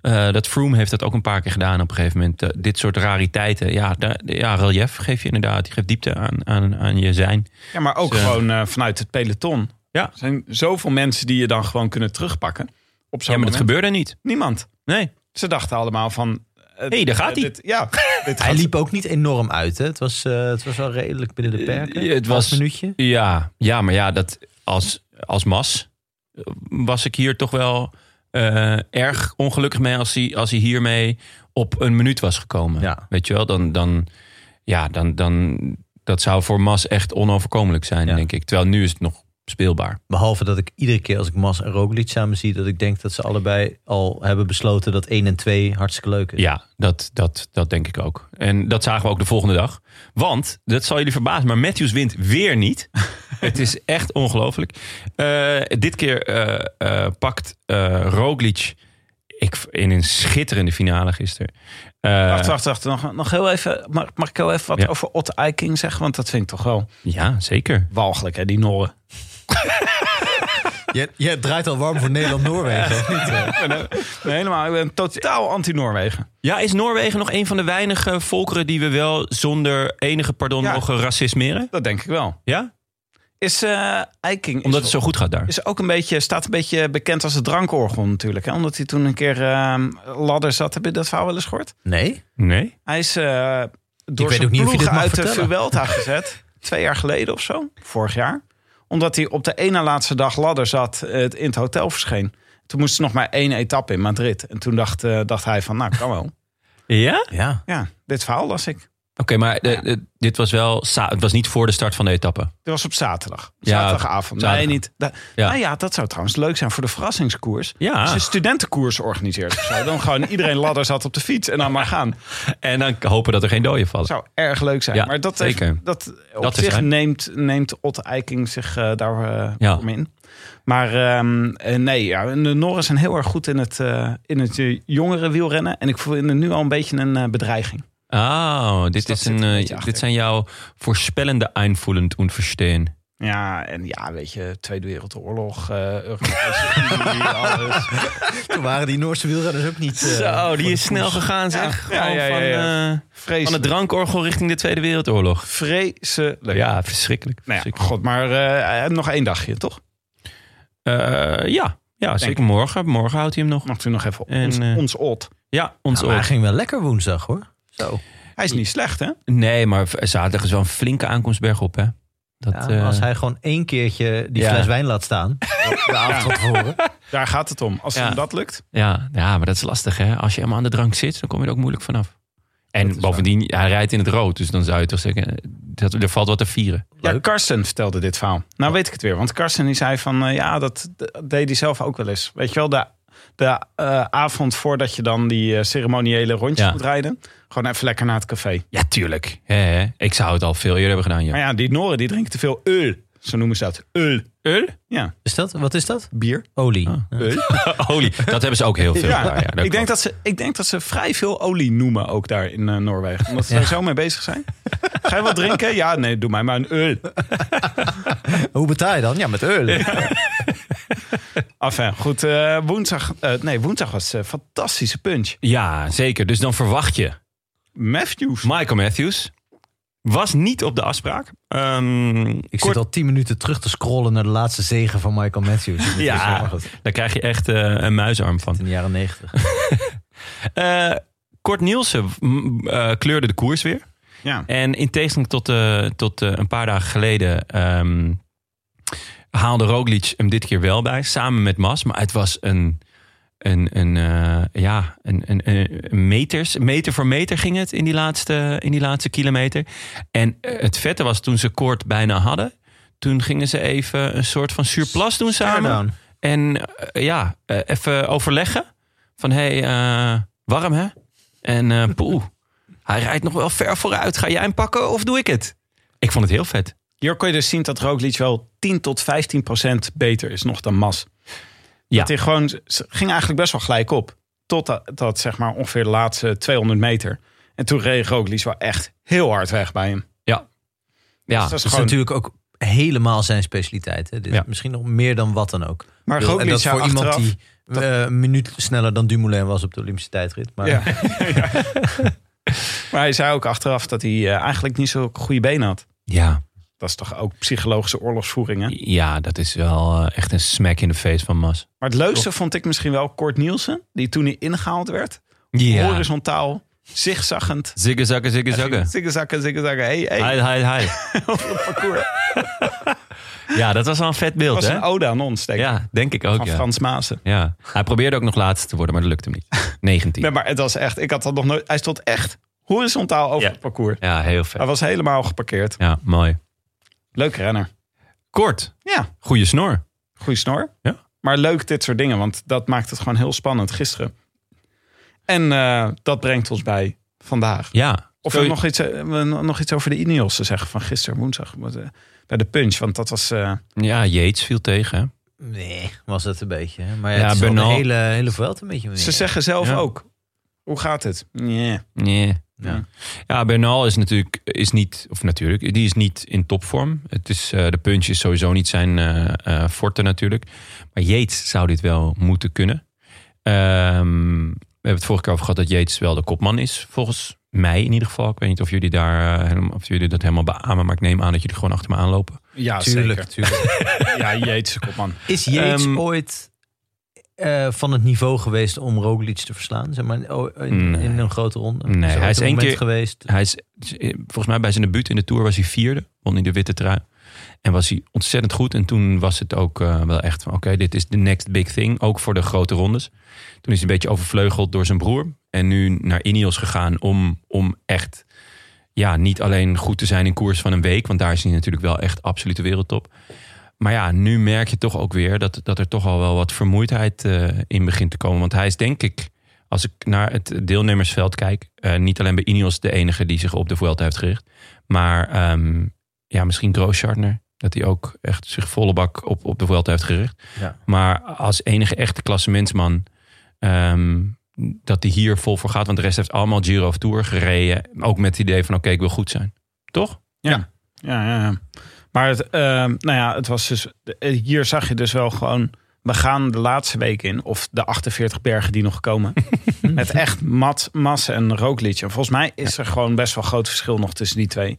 [SPEAKER 1] eh, dat Froome heeft dat ook een paar keer gedaan op een gegeven moment. Eh, dit soort rariteiten. Ja, da- ja, relief geef je inderdaad. Je geeft diepte aan, aan, aan je zijn.
[SPEAKER 2] Ja, maar ook
[SPEAKER 1] Zo.
[SPEAKER 2] gewoon eh, vanuit het peloton.
[SPEAKER 1] Ja.
[SPEAKER 2] Er zijn zoveel mensen die je dan gewoon kunnen terugpakken. Op
[SPEAKER 1] Ja,
[SPEAKER 2] zo'n
[SPEAKER 1] maar dat
[SPEAKER 2] moment.
[SPEAKER 1] gebeurde niet.
[SPEAKER 2] Niemand.
[SPEAKER 1] Nee.
[SPEAKER 2] Ze dachten allemaal van. Hé,
[SPEAKER 1] hey, daar gaat hij.
[SPEAKER 2] Eh, Dit, ja, dit
[SPEAKER 3] Hij
[SPEAKER 2] gaat-
[SPEAKER 3] liep ook niet enorm uit. Hè? Het, was, eh, het was wel redelijk binnen de perken.
[SPEAKER 1] Eh, het was-
[SPEAKER 3] Half minuutje.
[SPEAKER 1] Ja, ja, maar ja, dat als, als mas eh, was ik hier toch wel eh, erg ongelukkig mee als hij, als hij hiermee op een minuut was gekomen.
[SPEAKER 3] Ja.
[SPEAKER 1] Weet je wel, dan, dan, ja, dan, dan dat zou voor mas echt onoverkomelijk zijn,
[SPEAKER 3] Ja.
[SPEAKER 1] denk ik. Terwijl nu is het nog speelbaar.
[SPEAKER 3] Behalve dat ik iedere keer als ik Mas en Roglic samen zie... dat ik denk dat ze allebei al hebben besloten dat 1 en 2 hartstikke leuk is.
[SPEAKER 1] Ja, dat, dat, dat denk ik ook. En dat zagen we ook de volgende dag. Want, dat zal jullie verbazen, maar Matthews wint weer niet. Het is echt ongelooflijk. Eh, dit keer eh, eh, pakt eh, Roglic ik, in een schitterende finale gisteren. Eh,
[SPEAKER 2] Wacht, wacht, wacht. Nog, nog heel even. Mag, mag ik heel even wat
[SPEAKER 1] Ja.
[SPEAKER 2] over Ott Eiking zeggen? Want dat vind ik toch wel
[SPEAKER 1] Ja, zeker.
[SPEAKER 2] walgelijk, hè, die Norren.
[SPEAKER 3] Jij, jij draait al warm voor Nederland-Noorwegen, of niet? hè?
[SPEAKER 2] Nee, helemaal. Ik ben totaal anti-Noorwegen.
[SPEAKER 1] Ja, is Noorwegen nog een van de weinige volkeren die we wel zonder enige pardon
[SPEAKER 2] Ja.
[SPEAKER 1] mogen racismeren?
[SPEAKER 2] Dat denk ik wel.
[SPEAKER 1] Ja?
[SPEAKER 2] Is eh, Eiking. is
[SPEAKER 1] Omdat het zo goed gaat daar.
[SPEAKER 2] Is ook een beetje, staat een beetje bekend als het drankorgel natuurlijk. Hè? Omdat hij toen een keer ehm, ladder zat. Heb je dat verhaal wel eens gehoord?
[SPEAKER 3] Nee?
[SPEAKER 1] Nee?
[SPEAKER 2] Hij is eh door
[SPEAKER 3] weet
[SPEAKER 2] zijn
[SPEAKER 3] ook niet of je
[SPEAKER 2] ploeg
[SPEAKER 3] dit mag
[SPEAKER 2] uit de
[SPEAKER 3] vertellen.
[SPEAKER 2] Vuelta gezet. Twee jaar geleden of zo. Vorig jaar. Omdat hij op de ene laatste dag ladder zat eh, in het hotel verscheen. Toen moest er nog maar één etappe in Madrid. En toen dacht, eh, dacht hij van, nou kan wel.
[SPEAKER 1] Ja?
[SPEAKER 3] Ja.
[SPEAKER 2] Ja, dit verhaal las ik.
[SPEAKER 1] Oké, maar eh, eh, dit was wel... sa- Het was niet voor de start van de etappe.
[SPEAKER 2] Dit was op zaterdag.
[SPEAKER 1] Ja,
[SPEAKER 2] Zaterdagavond.
[SPEAKER 1] zaterdag.
[SPEAKER 2] Nee, niet. Da-
[SPEAKER 1] Ja.
[SPEAKER 2] Nou ja, dat zou trouwens leuk zijn voor de verrassingskoers.
[SPEAKER 1] Ja.
[SPEAKER 2] Als je studentenkoers organiseert of zo. Dan gewoon iedereen ladder zat op de fiets en dan maar gaan.
[SPEAKER 1] En dan hopen dat er geen doden vallen.
[SPEAKER 2] Dat zou erg leuk zijn.
[SPEAKER 1] Ja,
[SPEAKER 2] maar dat,
[SPEAKER 1] zeker.
[SPEAKER 2] heeft- dat op
[SPEAKER 1] Dat is
[SPEAKER 2] zich
[SPEAKER 1] hij.
[SPEAKER 2] neemt, neemt Ott Eiking zich eh, daar eh,
[SPEAKER 1] Ja.
[SPEAKER 2] om in. Maar ehm, eh, nee, ja, en de Norren zijn heel erg goed in het, eh, in het eh, jongere wielrennen. En ik voel in het nu al een beetje een eh, bedreiging.
[SPEAKER 1] Oh, dit,
[SPEAKER 2] dat
[SPEAKER 1] is een,
[SPEAKER 2] zit er een
[SPEAKER 1] eh,
[SPEAKER 2] beetje achter.
[SPEAKER 1] dit zijn jouw voorspellende einvoelend und verstehen.
[SPEAKER 2] Ja, en ja, weet je, Tweede Wereldoorlog, eh Europese Unie, alles.
[SPEAKER 3] Toen waren die Noorse wielrenners ook niet... eh,
[SPEAKER 1] Zo, die
[SPEAKER 3] voor
[SPEAKER 1] is
[SPEAKER 3] de
[SPEAKER 1] snel
[SPEAKER 3] koers.
[SPEAKER 1] gegaan zeg.
[SPEAKER 2] Ja,
[SPEAKER 1] Gewoon
[SPEAKER 2] ja, ja,
[SPEAKER 1] van,
[SPEAKER 2] ja.
[SPEAKER 1] eh, van het
[SPEAKER 2] Vreselijk. Nou
[SPEAKER 1] drankorgel richting de Tweede Wereldoorlog.
[SPEAKER 2] Vreselijk.
[SPEAKER 1] Ja, verschrikkelijk.
[SPEAKER 2] Nou ja,
[SPEAKER 1] verschrikkelijk.
[SPEAKER 2] god, maar eh, nog één dagje, toch?
[SPEAKER 1] Eh, ja, ja zeker morgen. Morgen houdt hij hem nog.
[SPEAKER 2] Mag u nog even
[SPEAKER 1] En,
[SPEAKER 2] ons,
[SPEAKER 1] eh,
[SPEAKER 2] ons odd.
[SPEAKER 1] Ja, ons
[SPEAKER 3] Ja, maar hij
[SPEAKER 1] oog.
[SPEAKER 3] ging wel lekker woensdag, hoor. Zo.
[SPEAKER 2] Hij is niet slecht, hè?
[SPEAKER 1] Nee, maar v- zaterdag is wel een flinke aankomst bergop, hè? Dat,
[SPEAKER 3] Ja,
[SPEAKER 1] eh,
[SPEAKER 3] als hij gewoon één keertje die
[SPEAKER 1] ja.
[SPEAKER 3] fles wijn laat staan... de avond van tevoren.
[SPEAKER 2] Daar gaat het om. Als
[SPEAKER 1] Ja.
[SPEAKER 2] hem dat lukt.
[SPEAKER 1] ja, ja, maar dat is lastig, hè? Als je helemaal aan de drank zit, dan kom je er ook moeilijk vanaf. En bovendien, hij rijdt in het rood. Dus dan zou je toch zeggen, dat, er valt wat te vieren.
[SPEAKER 2] Ja, Karsten vertelde dit verhaal. Nou weet ik het weer. Want Karsten die zei van, eh, ja, dat, dat deed hij zelf ook wel eens. Weet je wel, de, de eh, avond voordat je dan die eh, ceremoniële rondjes
[SPEAKER 1] Ja.
[SPEAKER 2] moet rijden. Gewoon even lekker naar het café.
[SPEAKER 1] Ja, tuurlijk. Hè, hè. Ik zou het al veel eerder hebben gedaan, ja.
[SPEAKER 2] Maar ja, die Noren die drinken te veel öl. Zo noemen ze dat. Öl.
[SPEAKER 1] Öl?
[SPEAKER 2] Ja,
[SPEAKER 3] Is dat, wat is dat?
[SPEAKER 2] bier.
[SPEAKER 3] Olie.
[SPEAKER 1] Ah.
[SPEAKER 2] Öl.
[SPEAKER 1] Olie, dat hebben ze ook heel veel.
[SPEAKER 2] Ah. Ja,
[SPEAKER 1] daar, ja, dat
[SPEAKER 2] ik,
[SPEAKER 1] klopt.
[SPEAKER 2] denk dat ze, ik denk dat ze vrij veel olie noemen ook daar in eh, Noorwegen. Omdat ze daar zo mee bezig zijn. Ga je wat drinken? Ja, nee, doe mij maar een öl.
[SPEAKER 3] Hoe betaal je dan? Ja, met öl.
[SPEAKER 2] Enfin, goed. eh, woensdag, eh, nee, woensdag was een fantastische punch.
[SPEAKER 1] Ja, zeker. Dus dan verwacht je.
[SPEAKER 2] Matthews.
[SPEAKER 1] Michael Matthews was niet op de afspraak. Ehm,
[SPEAKER 3] Ik
[SPEAKER 1] kort-
[SPEAKER 3] zit al tien minuten terug te scrollen naar de laatste zegen van Michael Matthews. Dat is wel
[SPEAKER 1] Ja,
[SPEAKER 3] goed.
[SPEAKER 1] daar krijg je echt eh, een muisarm van.
[SPEAKER 3] In de jaren negentig.
[SPEAKER 1] Eh, Kort Nielsen mm, eh, kleurde de koers weer.
[SPEAKER 2] Ja.
[SPEAKER 1] En in tegenstelling tot, eh, tot eh, een paar dagen geleden ehm, haalde Roglic hem dit keer wel bij, samen met Mas. Maar het was een, een, een, eh, ja, een, een, een- een meters, meter voor meter ging het in die laatste, in die laatste kilometer. En eh, het vette was toen ze kort bijna hadden. Toen gingen ze even een soort van surplus doen samen.
[SPEAKER 3] Down.
[SPEAKER 1] En eh, ja, eh, even overleggen. Van hé, hey, eh, warm hè? En eh poeh, hij rijdt nog wel ver vooruit. Ga jij hem pakken of doe ik het? Ik vond het heel vet.
[SPEAKER 2] Hier kon je dus zien dat Roglic wel 10 tot 15 procent beter is nog dan Mas.
[SPEAKER 1] Ja.
[SPEAKER 2] Dat hij gewoon, ze ging eigenlijk best wel gelijk op. Totdat dat, zeg maar ongeveer de laatste 200 meter. En toen reed Roglic wel echt heel hard weg bij hem.
[SPEAKER 1] Ja. Ja,
[SPEAKER 2] Dus dat is
[SPEAKER 3] Dat is
[SPEAKER 2] gewoon-
[SPEAKER 3] natuurlijk ook helemaal zijn specialiteit. Hè? Dit is
[SPEAKER 1] Ja.
[SPEAKER 3] Misschien nog meer dan wat dan ook.
[SPEAKER 2] Maar
[SPEAKER 3] Ik bedoel,
[SPEAKER 2] Roglic
[SPEAKER 3] en dat
[SPEAKER 2] zou
[SPEAKER 3] voor iemand
[SPEAKER 2] achteraf-
[SPEAKER 3] die eh, een minuut sneller dan Dumoulin was op de Olympische tijdrit. Maar
[SPEAKER 2] Ja. Maar hij zei ook achteraf dat hij eh, eigenlijk niet zo goede benen had.
[SPEAKER 1] ja.
[SPEAKER 2] Dat is toch ook psychologische oorlogsvoering, hè?
[SPEAKER 1] ja, dat is wel eh, echt een smack in de face van Mas.
[SPEAKER 2] Maar het leukste vond ik misschien wel Kort Nielsen. Die toen hij ingehaald werd.
[SPEAKER 1] Ja.
[SPEAKER 2] dus- Horizontaal, zigzaggend.
[SPEAKER 1] Ziggezakken, ziggezakken.
[SPEAKER 2] Zigzaggen, zigzaggen. Hey, hey.
[SPEAKER 1] Hi, hi, hi.
[SPEAKER 2] parcours.
[SPEAKER 1] Ja, dat was wel een vet beeld,
[SPEAKER 2] Dat was
[SPEAKER 1] hè?
[SPEAKER 2] een ode aan ons, denk ik.
[SPEAKER 1] Ja, denk ik ook,
[SPEAKER 2] van
[SPEAKER 1] ja.
[SPEAKER 2] Frans Maassen.
[SPEAKER 1] ja. Hij probeerde ook nog laatste te worden, maar dat lukte hem niet. 19.
[SPEAKER 2] Nee, maar het was echt... Ik had dat nog nooit... Hij stond echt horizontaal over
[SPEAKER 1] Ja.
[SPEAKER 2] het parcours.
[SPEAKER 1] Ja, heel
[SPEAKER 2] Hij
[SPEAKER 1] vet.
[SPEAKER 2] was helemaal geparkeerd.
[SPEAKER 1] Ja, mooi.
[SPEAKER 2] Leuke renner.
[SPEAKER 1] Kort,
[SPEAKER 2] Ja,
[SPEAKER 1] goede snor.
[SPEAKER 2] goede snor.
[SPEAKER 1] Ja.
[SPEAKER 2] Maar leuk dit soort dingen, want dat maakt het gewoon heel spannend gisteren. En eh, dat brengt ons bij vandaag.
[SPEAKER 1] Ja.
[SPEAKER 2] Of
[SPEAKER 1] Zo-
[SPEAKER 2] we nog, iets, eh, we nog iets over de Ineos te zeggen van gisteren woensdag. want, eh, Bij de punch, want dat was... eh,
[SPEAKER 1] Ja, Yates viel tegen, hè?
[SPEAKER 3] nee, was dat een beetje. hè? Maar ja,
[SPEAKER 1] Ja,
[SPEAKER 3] het is wel
[SPEAKER 1] Bernal-
[SPEAKER 3] de hele, hele veld een beetje. meer.
[SPEAKER 2] Ze zeggen zelf
[SPEAKER 1] Ja.
[SPEAKER 2] ook. Hoe gaat het? Nee.
[SPEAKER 1] Nee.
[SPEAKER 2] Ja.
[SPEAKER 1] Ja. ja, Bernal is natuurlijk is niet, of natuurlijk, die is niet in topvorm. Het is, eh, de punch is sowieso niet zijn eh, eh, forte natuurlijk. Maar Yates zou dit wel moeten kunnen. Ehm, we hebben het vorige keer over gehad dat Yates wel de kopman is. Volgens mij in ieder geval. Ik weet niet of jullie, daar, eh, helemaal- of jullie dat helemaal beamen. Maar ik neem aan dat jullie gewoon achter me aanlopen.
[SPEAKER 2] Ja,
[SPEAKER 3] Tuurlijk, tuurlijk.
[SPEAKER 2] zeker. Ja, jeetje, kopman.
[SPEAKER 3] Is Yates
[SPEAKER 1] Ehm,
[SPEAKER 3] ooit eh, van het niveau geweest om Roglic te verslaan? Zeg maar, oh, in, in
[SPEAKER 1] Nee.
[SPEAKER 3] een grote ronde.
[SPEAKER 1] Nee,
[SPEAKER 3] er
[SPEAKER 1] hij
[SPEAKER 3] ooit
[SPEAKER 1] is
[SPEAKER 3] een
[SPEAKER 1] één
[SPEAKER 3] moment
[SPEAKER 1] keer-
[SPEAKER 3] geweest.
[SPEAKER 1] Hij is, volgens mij bij zijn debuut in de Tour was hij vierde. Won in de witte trui. En was hij ontzettend goed. En toen was het ook eh, wel echt van... Oké, dit is de next big thing. Ook voor de grote rondes. Toen is hij een beetje overvleugeld door zijn broer. En nu naar Ineos gegaan om, om echt... Ja, niet alleen goed te zijn in koers van een week. Want daar is hij natuurlijk wel echt absolute wereldtop. Maar ja, nu merk je toch ook weer dat, dat er toch al wel wat vermoeidheid eh, in begint te komen. Want hij is denk ik als ik naar het deelnemersveld kijk, eh, niet alleen bij Ineos de enige die zich op de Vuelta heeft gericht, maar ehm, ja, misschien Grooschartner, dat hij ook echt zich volle bak op, op de Vuelta heeft gericht.
[SPEAKER 3] Ja.
[SPEAKER 1] Maar als enige echte klassementsman, ehm, dat hij hier vol voor gaat, want de rest heeft allemaal Giro of Tour gereden, ook met het idee van oké, ik wil goed zijn. Toch?
[SPEAKER 2] Ja. Ja, ja, ja. Maar het, eh, nou ja, het was dus, eh, hier zag je dus wel gewoon... We gaan de laatste week in, of de 48 bergen die nog komen. met echt mat, massa en rookliedje. En volgens mij is er gewoon best wel groot verschil nog tussen die twee.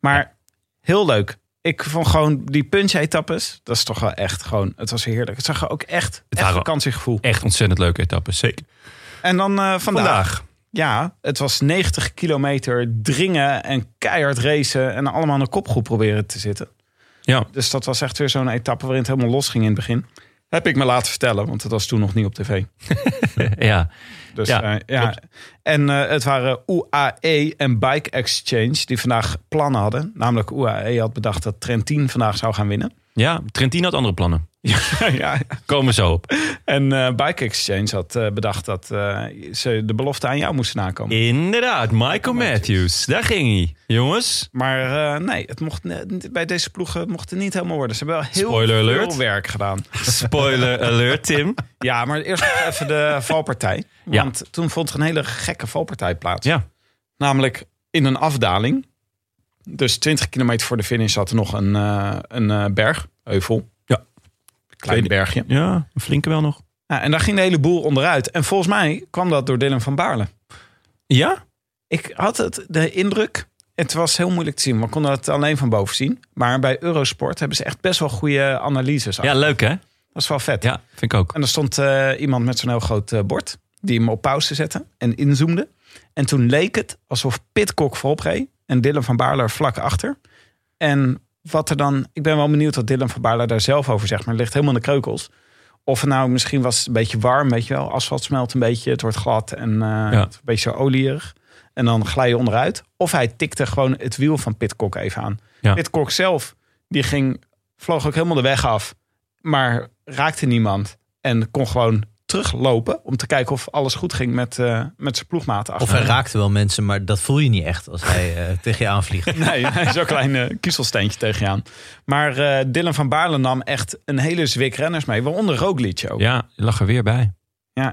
[SPEAKER 2] Maar heel leuk. Ik vond gewoon die punch-etappes, dat is toch wel echt gewoon... Het was heerlijk. Het zag er ook echt, echt
[SPEAKER 1] waren-
[SPEAKER 2] vakantiegevoel.
[SPEAKER 1] Echt ontzettend leuke etappe, zeker.
[SPEAKER 2] En dan eh, vandaag.
[SPEAKER 1] Vandaag.
[SPEAKER 2] Ja, het was 90 kilometer dringen en keihard racen en allemaal aan de kopgroep proberen te zitten.
[SPEAKER 1] Ja.
[SPEAKER 2] Dus dat was echt weer zo'n etappe waarin het helemaal los ging in het begin. Heb ik me laten vertellen, want dat was toen nog niet op tv.
[SPEAKER 1] Ja,
[SPEAKER 2] Dus,
[SPEAKER 1] Ja,
[SPEAKER 2] eh, ja. En eh, het waren UAE en Bike Exchange die vandaag plannen hadden. Namelijk UAE had bedacht dat Trentin vandaag zou gaan winnen.
[SPEAKER 1] Ja, Trentin had andere plannen.
[SPEAKER 2] ja.
[SPEAKER 1] Komen we zo op.
[SPEAKER 2] En eh, Bike Exchange had eh, bedacht dat eh, ze de belofte aan jou moesten nakomen.
[SPEAKER 1] Inderdaad, Michael Matthews. Daar ging hij. Jongens,
[SPEAKER 2] Maar eh, nee, het mocht, ne- bij deze ploegen mocht het niet helemaal worden. Ze hebben wel heel
[SPEAKER 1] Spoiler
[SPEAKER 2] veel
[SPEAKER 1] alert.
[SPEAKER 2] werk gedaan.
[SPEAKER 1] spoiler alert Tim.
[SPEAKER 2] Ja, maar eerst nog even de valpartij.
[SPEAKER 1] Ja.
[SPEAKER 2] Want toen vond er een hele gekke valpartij plaats.
[SPEAKER 1] Ja,
[SPEAKER 2] Namelijk in een afdaling. Dus 20 kilometer voor de finish zat er nog een, eh, een eh, berg, heuvel.
[SPEAKER 1] Ja.
[SPEAKER 2] Klein
[SPEAKER 1] Tweede-
[SPEAKER 2] bergje.
[SPEAKER 1] ja een flinke wel nog.
[SPEAKER 2] Ja, en daar ging de hele boel onderuit. En volgens mij kwam dat door Dylan van Baarle.
[SPEAKER 1] Ja?
[SPEAKER 2] Ik had het, de indruk, het was heel moeilijk te zien. We konden het alleen van boven zien. Maar bij Eurosport hebben ze echt best wel goede analyses.
[SPEAKER 1] Ja,
[SPEAKER 2] achter.
[SPEAKER 1] leuk hè?
[SPEAKER 2] Dat is wel vet.
[SPEAKER 1] Ja, vind ik ook.
[SPEAKER 2] En er stond eh, iemand met zo'n heel groot eh, bord. Die hem op pauze zette en inzoomde. En toen leek het alsof Pitcock voorop reed. En Dylan van Baarler vlak achter. En wat er dan... Ik ben wel benieuwd wat Dylan van Baarler daar zelf over zegt. Maar het ligt helemaal in de kreukels. Of het nou misschien was het een beetje warm. Weet je wel, asfalt smelt een beetje. Het wordt glad en eh, het is een beetje zo olierig. En dan glij je onderuit. Of hij tikte gewoon het wiel van Pitcock even aan.
[SPEAKER 1] Ja.
[SPEAKER 2] Pitcock zelf, die ging, vloog ook helemaal de weg af. Maar raakte niemand. En kon gewoon teruglopen om te kijken of alles goed ging met, eh, met zijn ploegmaten.
[SPEAKER 3] Of
[SPEAKER 2] achter
[SPEAKER 3] hij
[SPEAKER 2] hem.
[SPEAKER 3] raakte wel mensen, maar dat voel je niet echt als hij eh, tegen je aanvliegt.
[SPEAKER 2] Nee, hij is zo'n klein eh, kiezelsteentje tegen je aan. Maar eh, Dylan van Baarle nam echt een hele zwik renners mee. Waaronder Roglic ook. Ja.
[SPEAKER 1] Ja, lag er weer bij.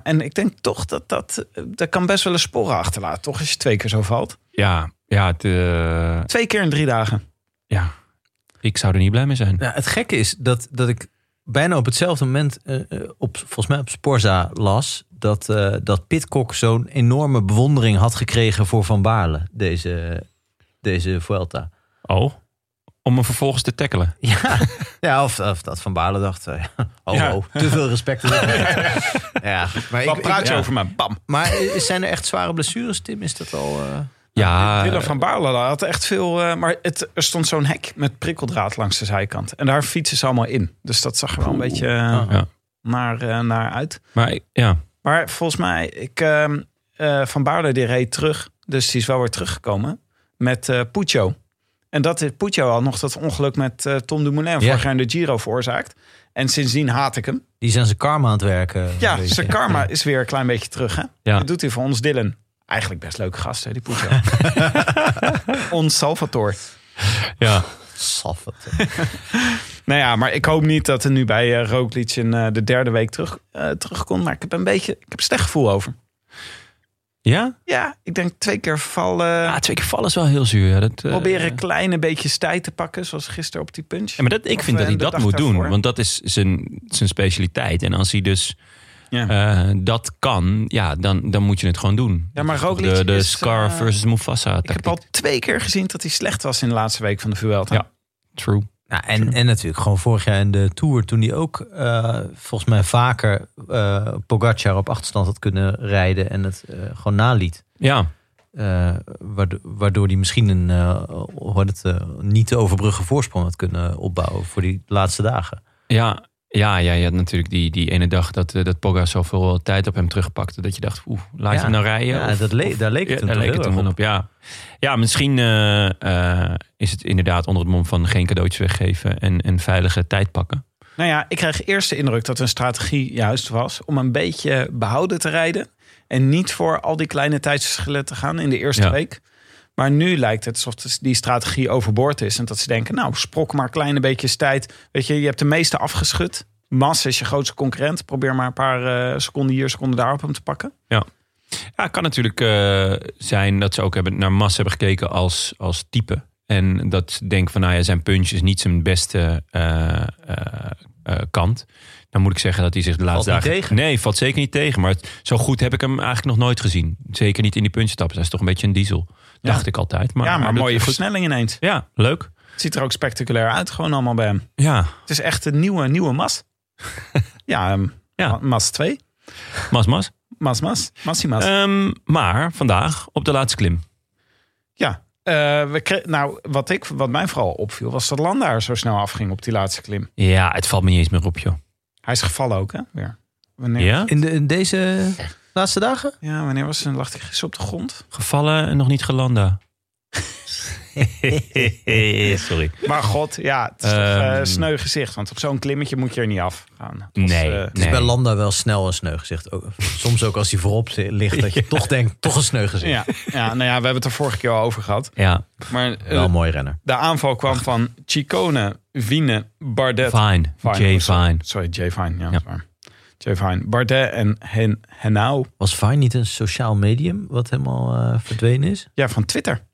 [SPEAKER 2] en ik denk toch dat dat... eh, Dat kan best wel een sporen achterlaten, toch? Als je twee keer zo valt.
[SPEAKER 1] Ja, ja, het, eh,
[SPEAKER 2] Twee keer in drie dagen.
[SPEAKER 1] ja. ik zou er niet blij mee zijn.
[SPEAKER 3] Nou, het gekke is dat, dat ik bijna op hetzelfde moment eh, eh, op, volgens mij op Sporza las dat, eh dat Pitcock zo'n enorme bewondering had gekregen voor Van Baarle deze, deze Vuelta.
[SPEAKER 1] Oh, om hem vervolgens te tackelen.
[SPEAKER 3] Ja, ja of, of dat Van Baarle dacht, eh, oh,
[SPEAKER 2] Ja.
[SPEAKER 3] oh, te veel respect. ja, goed, maar, ik,
[SPEAKER 2] Wat praat
[SPEAKER 3] ik-
[SPEAKER 2] je
[SPEAKER 3] ja.
[SPEAKER 2] over me? Bam.
[SPEAKER 3] maar eh, zijn er echt zware blessures, Tim? Is dat al... eh?
[SPEAKER 1] Ja,
[SPEAKER 2] Willem van Baarle had echt veel... eh, maar het, er stond zo'n hek met prikkeldraad langs de zijkant. En daar fietsen ze allemaal in. Dus dat zag er wel een beetje eh,
[SPEAKER 1] ja.
[SPEAKER 2] naar, eh, naar uit.
[SPEAKER 1] maar ik- ja.
[SPEAKER 2] Maar volgens mij, ik, ehm, eh, Van Baarle die reed terug. Dus die is wel weer teruggekomen met eh Puccio. En dat is Puccio al nog dat ongeluk met eh, Tom Dumoulin
[SPEAKER 3] Ja.
[SPEAKER 2] vorig jaar in de Giro veroorzaakt. En sindsdien haat ik hem.
[SPEAKER 3] Die zijn zijn karma aan het werken. een
[SPEAKER 2] Ja,
[SPEAKER 3] beetje.
[SPEAKER 2] zijn karma is weer een klein beetje terug. Hè?
[SPEAKER 1] Ja.
[SPEAKER 2] Dat doet hij voor ons Dylan. Eigenlijk best leuke gast, hè, die Puccio. ons Salvatore.
[SPEAKER 1] ja.
[SPEAKER 3] Saffet.
[SPEAKER 2] Nou ja, maar ik hoop niet dat er nu bij eh Roglic in eh, de derde week terug, eh, terugkomt. Maar ik heb een beetje, ik heb een slecht gevoel over.
[SPEAKER 1] Ja?
[SPEAKER 2] Ja, ik denk twee keer vallen.
[SPEAKER 1] Ah, twee keer vallen is wel heel zuur. Ja, dat, eh,
[SPEAKER 2] Proberen kleine beetjes tijd te pakken, zoals gisteren op die punch.
[SPEAKER 1] Ja, maar dat, ik
[SPEAKER 2] Of,
[SPEAKER 1] vind dat
[SPEAKER 2] eh,
[SPEAKER 1] hij
[SPEAKER 2] de
[SPEAKER 1] dat
[SPEAKER 2] dag
[SPEAKER 1] moet doen,
[SPEAKER 2] daarvoor.
[SPEAKER 1] want dat is zijn, zijn specialiteit. En als hij dus
[SPEAKER 2] Ja.
[SPEAKER 1] eh, dat kan, ja, dan, dan moet je het gewoon doen.
[SPEAKER 2] Ja, maar
[SPEAKER 1] Dat is toch
[SPEAKER 2] Roglic
[SPEAKER 1] De, de
[SPEAKER 2] is,
[SPEAKER 1] Scar
[SPEAKER 2] eh,
[SPEAKER 1] versus Mufasa.
[SPEAKER 2] ik heb
[SPEAKER 1] tactiek.
[SPEAKER 2] al twee keer gezien dat hij slecht was in de laatste week van de Vuelta.
[SPEAKER 1] Ja. True.
[SPEAKER 3] Ja, Nou, en, en natuurlijk gewoon vorig jaar in de Tour, toen hij ook eh, volgens mij vaker eh Pogacar op achterstand had kunnen rijden en het eh, gewoon naliet.
[SPEAKER 1] Ja,
[SPEAKER 3] Eh, waardoor, waardoor hij misschien een eh, hoe heet het, eh, niet te overbruggen voorsprong had kunnen opbouwen voor die laatste dagen.
[SPEAKER 1] ja, ja, ja, ja natuurlijk die, die ene dag dat, eh, dat Pogga zoveel tijd op hem terugpakte. Dat je dacht, oeh, laat je
[SPEAKER 3] Ja.
[SPEAKER 1] hem nou rijden?
[SPEAKER 3] Ja,
[SPEAKER 1] Of-
[SPEAKER 3] dat le- daar leek het
[SPEAKER 1] Ja,
[SPEAKER 3] toen
[SPEAKER 1] daar
[SPEAKER 3] toch
[SPEAKER 1] leek
[SPEAKER 3] heel
[SPEAKER 1] het toen
[SPEAKER 3] erg
[SPEAKER 1] wel op. Ja, ja misschien eh, eh, is het inderdaad onder het mom van geen cadeautjes weggeven en, en veilige tijd pakken.
[SPEAKER 2] Nou ja, ik kreeg eerst de indruk dat een strategie juist was om een beetje behouden te rijden. En niet voor al die kleine tijdsverschillen te gaan in de eerste
[SPEAKER 1] Ja.
[SPEAKER 2] week. Maar nu lijkt het alsof die strategie overboord is. En dat ze denken, nou, sprok maar kleine beetjes tijd. Weet je, je hebt de meeste afgeschud. Mas is je grootste concurrent. Probeer maar een paar eh, seconden hier, seconden daar op hem te pakken.
[SPEAKER 1] Ja, het kan natuurlijk eh, zijn dat ze ook hebben, naar Mas hebben gekeken als, als type. En dat ze denken van, nou ja, zijn punch is niet zijn beste eh, eh, eh, kant. Dan moet ik zeggen dat hij zich de laatste
[SPEAKER 3] Valt niet
[SPEAKER 1] dagen...
[SPEAKER 3] tegen.
[SPEAKER 1] Nee, valt zeker niet tegen. Maar het- zo goed heb ik hem eigenlijk nog nooit gezien. Zeker niet in die punchtappen. Hij is toch een beetje een diesel.
[SPEAKER 2] Ja.
[SPEAKER 1] Dacht ik altijd. Maar,
[SPEAKER 2] ja, maar
[SPEAKER 1] dat-
[SPEAKER 2] mooie
[SPEAKER 1] goed.
[SPEAKER 2] versnelling ineens.
[SPEAKER 1] Ja, leuk.
[SPEAKER 2] Het ziet er ook spectaculair uit, gewoon allemaal bij hem.
[SPEAKER 1] Ja,
[SPEAKER 2] Het is echt een nieuwe, nieuwe mas. ja, ehm,
[SPEAKER 1] Ja.
[SPEAKER 2] Ma- mas 2.
[SPEAKER 1] Mas, Mas.
[SPEAKER 2] Mas, mas. Massie, mas.
[SPEAKER 1] Ehm, maar vandaag op de laatste klim.
[SPEAKER 2] ja. Eh, we kre- nou, wat, ik, wat mij vooral opviel, was dat Landaar zo snel afging op die laatste klim.
[SPEAKER 1] Ja, het valt me niet eens meer op, joh.
[SPEAKER 2] Hij is gevallen ook, hè? Weer. Wanneer?
[SPEAKER 1] Ja?
[SPEAKER 3] In, de, in deze Laatste dagen?
[SPEAKER 2] Ja, wanneer was ze? Lag ik gisteren op de grond?
[SPEAKER 1] Gevallen en nog niet gelanda. Sorry.
[SPEAKER 2] Maar god, ja, het is toch,
[SPEAKER 1] Ehm.
[SPEAKER 2] eh, sneu gezicht. Want op zo'n klimmetje moet je er niet af gaan.
[SPEAKER 1] Nee,
[SPEAKER 2] eh,
[SPEAKER 3] Het is bij
[SPEAKER 1] nee.
[SPEAKER 3] Landa wel snel een sneu gezicht. Ook- Soms ook als hij voorop zi- ligt, dat je toch denkt, toch een sneu gezicht.
[SPEAKER 2] Ja, ja, nou ja, we hebben het er vorige keer al over gehad.
[SPEAKER 1] Ja,
[SPEAKER 2] Maar eh,
[SPEAKER 3] Wel een mooi renner.
[SPEAKER 2] de aanval kwam van Chicone, Wiene, Bardet.
[SPEAKER 1] fine. Jay
[SPEAKER 2] oh, sorry.
[SPEAKER 1] Fine.
[SPEAKER 2] Sorry, Jay Fine. Ja,
[SPEAKER 1] Ja.
[SPEAKER 2] dat is waar. Jay Fine. Bardet en Hen Henao.
[SPEAKER 3] Was Vine niet een sociaal medium wat helemaal eh, verdwenen is?
[SPEAKER 2] Ja, van Twitter.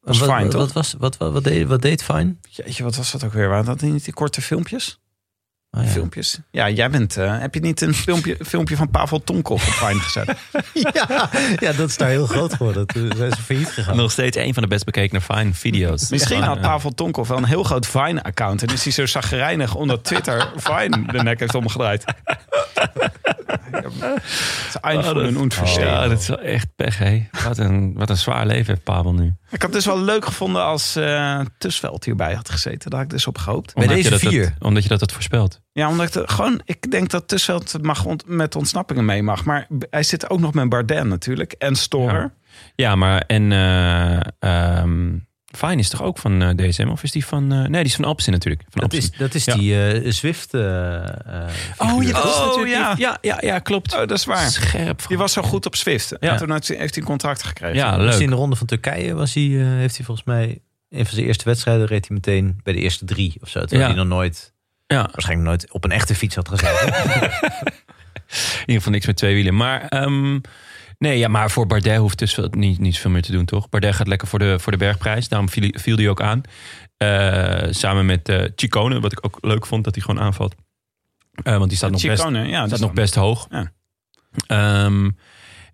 [SPEAKER 2] Was
[SPEAKER 3] wat,
[SPEAKER 2] Vine,
[SPEAKER 3] wat,
[SPEAKER 2] toch?
[SPEAKER 3] wat, was, wat, wat, wat deed, wat deed Vine?
[SPEAKER 2] Jeetje, wat was dat ook weer? Waren dat niet die korte filmpjes?
[SPEAKER 3] Ah, ja.
[SPEAKER 2] Filmpjes. Ja, jij bent... eh, heb je niet een filmpje, filmpje van Pavel Tonkov op Vine gezet?
[SPEAKER 3] Ja, ja, dat is daar heel groot geworden. Toen zijn ze failliet gegaan.
[SPEAKER 1] Nog steeds een van de best bekeken Fine video's.
[SPEAKER 2] Misschien
[SPEAKER 1] Ja.
[SPEAKER 2] had Pavel Tonkov wel een heel groot Vine-account. En is hij zo zagrijnig omdat Twitter Vine de nek heeft omgedraaid. Het is eind
[SPEAKER 1] Oh,
[SPEAKER 2] van een
[SPEAKER 1] dat,
[SPEAKER 2] onverschillen.
[SPEAKER 1] ja, dat is wel echt pech, hè. Wat een, wat een zwaar leven heeft Pavel nu.
[SPEAKER 2] Ik had het dus wel leuk gevonden als eh Tussveld hierbij had gezeten. Daar had ik dus op gehoopt.
[SPEAKER 3] Bij
[SPEAKER 1] je
[SPEAKER 3] deze
[SPEAKER 1] dat,
[SPEAKER 3] vier.
[SPEAKER 1] dat- omdat je dat, dat voorspelt.
[SPEAKER 2] Ja, omdat ik de- gewoon, ik denk dat Tussveld het mag ont- met ontsnappingen mee mag. Maar b- hij zit ook nog met Bardet natuurlijk. En Storer.
[SPEAKER 1] Ja. Ja, maar en eh ehm, Fine is toch ook van eh, DSM? Of is die van... eh, nee, die is van Alpsin natuurlijk. Van
[SPEAKER 3] Dat
[SPEAKER 1] Alpecin.
[SPEAKER 3] is, dat is
[SPEAKER 1] Ja.
[SPEAKER 3] die eh, Zwift. eh eh,
[SPEAKER 1] Oh, ja, dat is
[SPEAKER 2] Oh,
[SPEAKER 1] natuurlijk...
[SPEAKER 2] ja.
[SPEAKER 1] Ja. Ja, ja, klopt.
[SPEAKER 2] Oh, dat is waar.
[SPEAKER 1] Scherp.
[SPEAKER 2] Die was zo goed op Swift. En
[SPEAKER 1] Ja.
[SPEAKER 2] toen had- heeft hij een contract gekregen.
[SPEAKER 1] Ja,
[SPEAKER 3] was hij in
[SPEAKER 1] leuk.
[SPEAKER 3] de ronde van Turkije was hij, eh, heeft hij volgens mij. Een van zijn eerste wedstrijden reed hij meteen bij de eerste drie of zo. Terwijl
[SPEAKER 1] Ja.
[SPEAKER 3] hij nog nooit,
[SPEAKER 1] Ja,
[SPEAKER 3] waarschijnlijk nooit op een echte fiets had gezeten.
[SPEAKER 1] in ieder geval niks met twee wielen. Maar ehm, nee, ja, maar voor Bardet hoeft dus wel niet, niet veel meer te doen, toch? Bardet gaat lekker voor de, voor de bergprijs. Daarom viel, hij- viel die ook aan. Eh, samen met eh Chicone, wat ik ook leuk vond dat hij gewoon aanvalt. Eh, want die staat nog best,
[SPEAKER 2] Chicone, ja.
[SPEAKER 1] staat
[SPEAKER 2] dus
[SPEAKER 1] nog
[SPEAKER 2] dan-
[SPEAKER 1] best hoog.
[SPEAKER 2] Ja.
[SPEAKER 1] Ehm,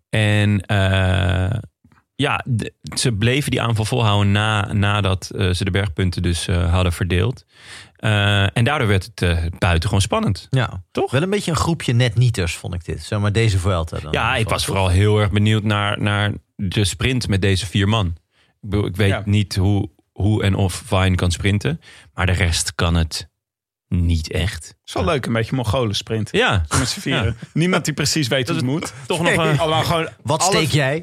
[SPEAKER 1] en eh, ja, de- ze bleven die aanval volhouden na, nadat eh, ze de bergpunten dus eh, hadden verdeeld. Eh, en daardoor werd het eh, buitengewoon spannend.
[SPEAKER 2] Nou,
[SPEAKER 3] ja,
[SPEAKER 1] Toch?
[SPEAKER 3] Wel een beetje een groepje net-nieters vond ik dit. Zeg maar deze Vuelta dan.
[SPEAKER 1] Ja, ik was vooral heel erg benieuwd naar, naar de sprint met deze vier man. Ik, bedoel, ik weet
[SPEAKER 2] Ja.
[SPEAKER 1] niet hoe, hoe en of Vine kan sprinten. Maar de rest kan het niet echt.
[SPEAKER 2] is wel leuk, een beetje Mongolen sprint.
[SPEAKER 1] Ja,
[SPEAKER 2] Met z'n vieren.
[SPEAKER 1] Ja.
[SPEAKER 2] Niemand die precies weet hoe het moet.
[SPEAKER 1] toch nog, eh,
[SPEAKER 2] Allemaal gewoon
[SPEAKER 3] Wat
[SPEAKER 2] alle-
[SPEAKER 3] steek jij?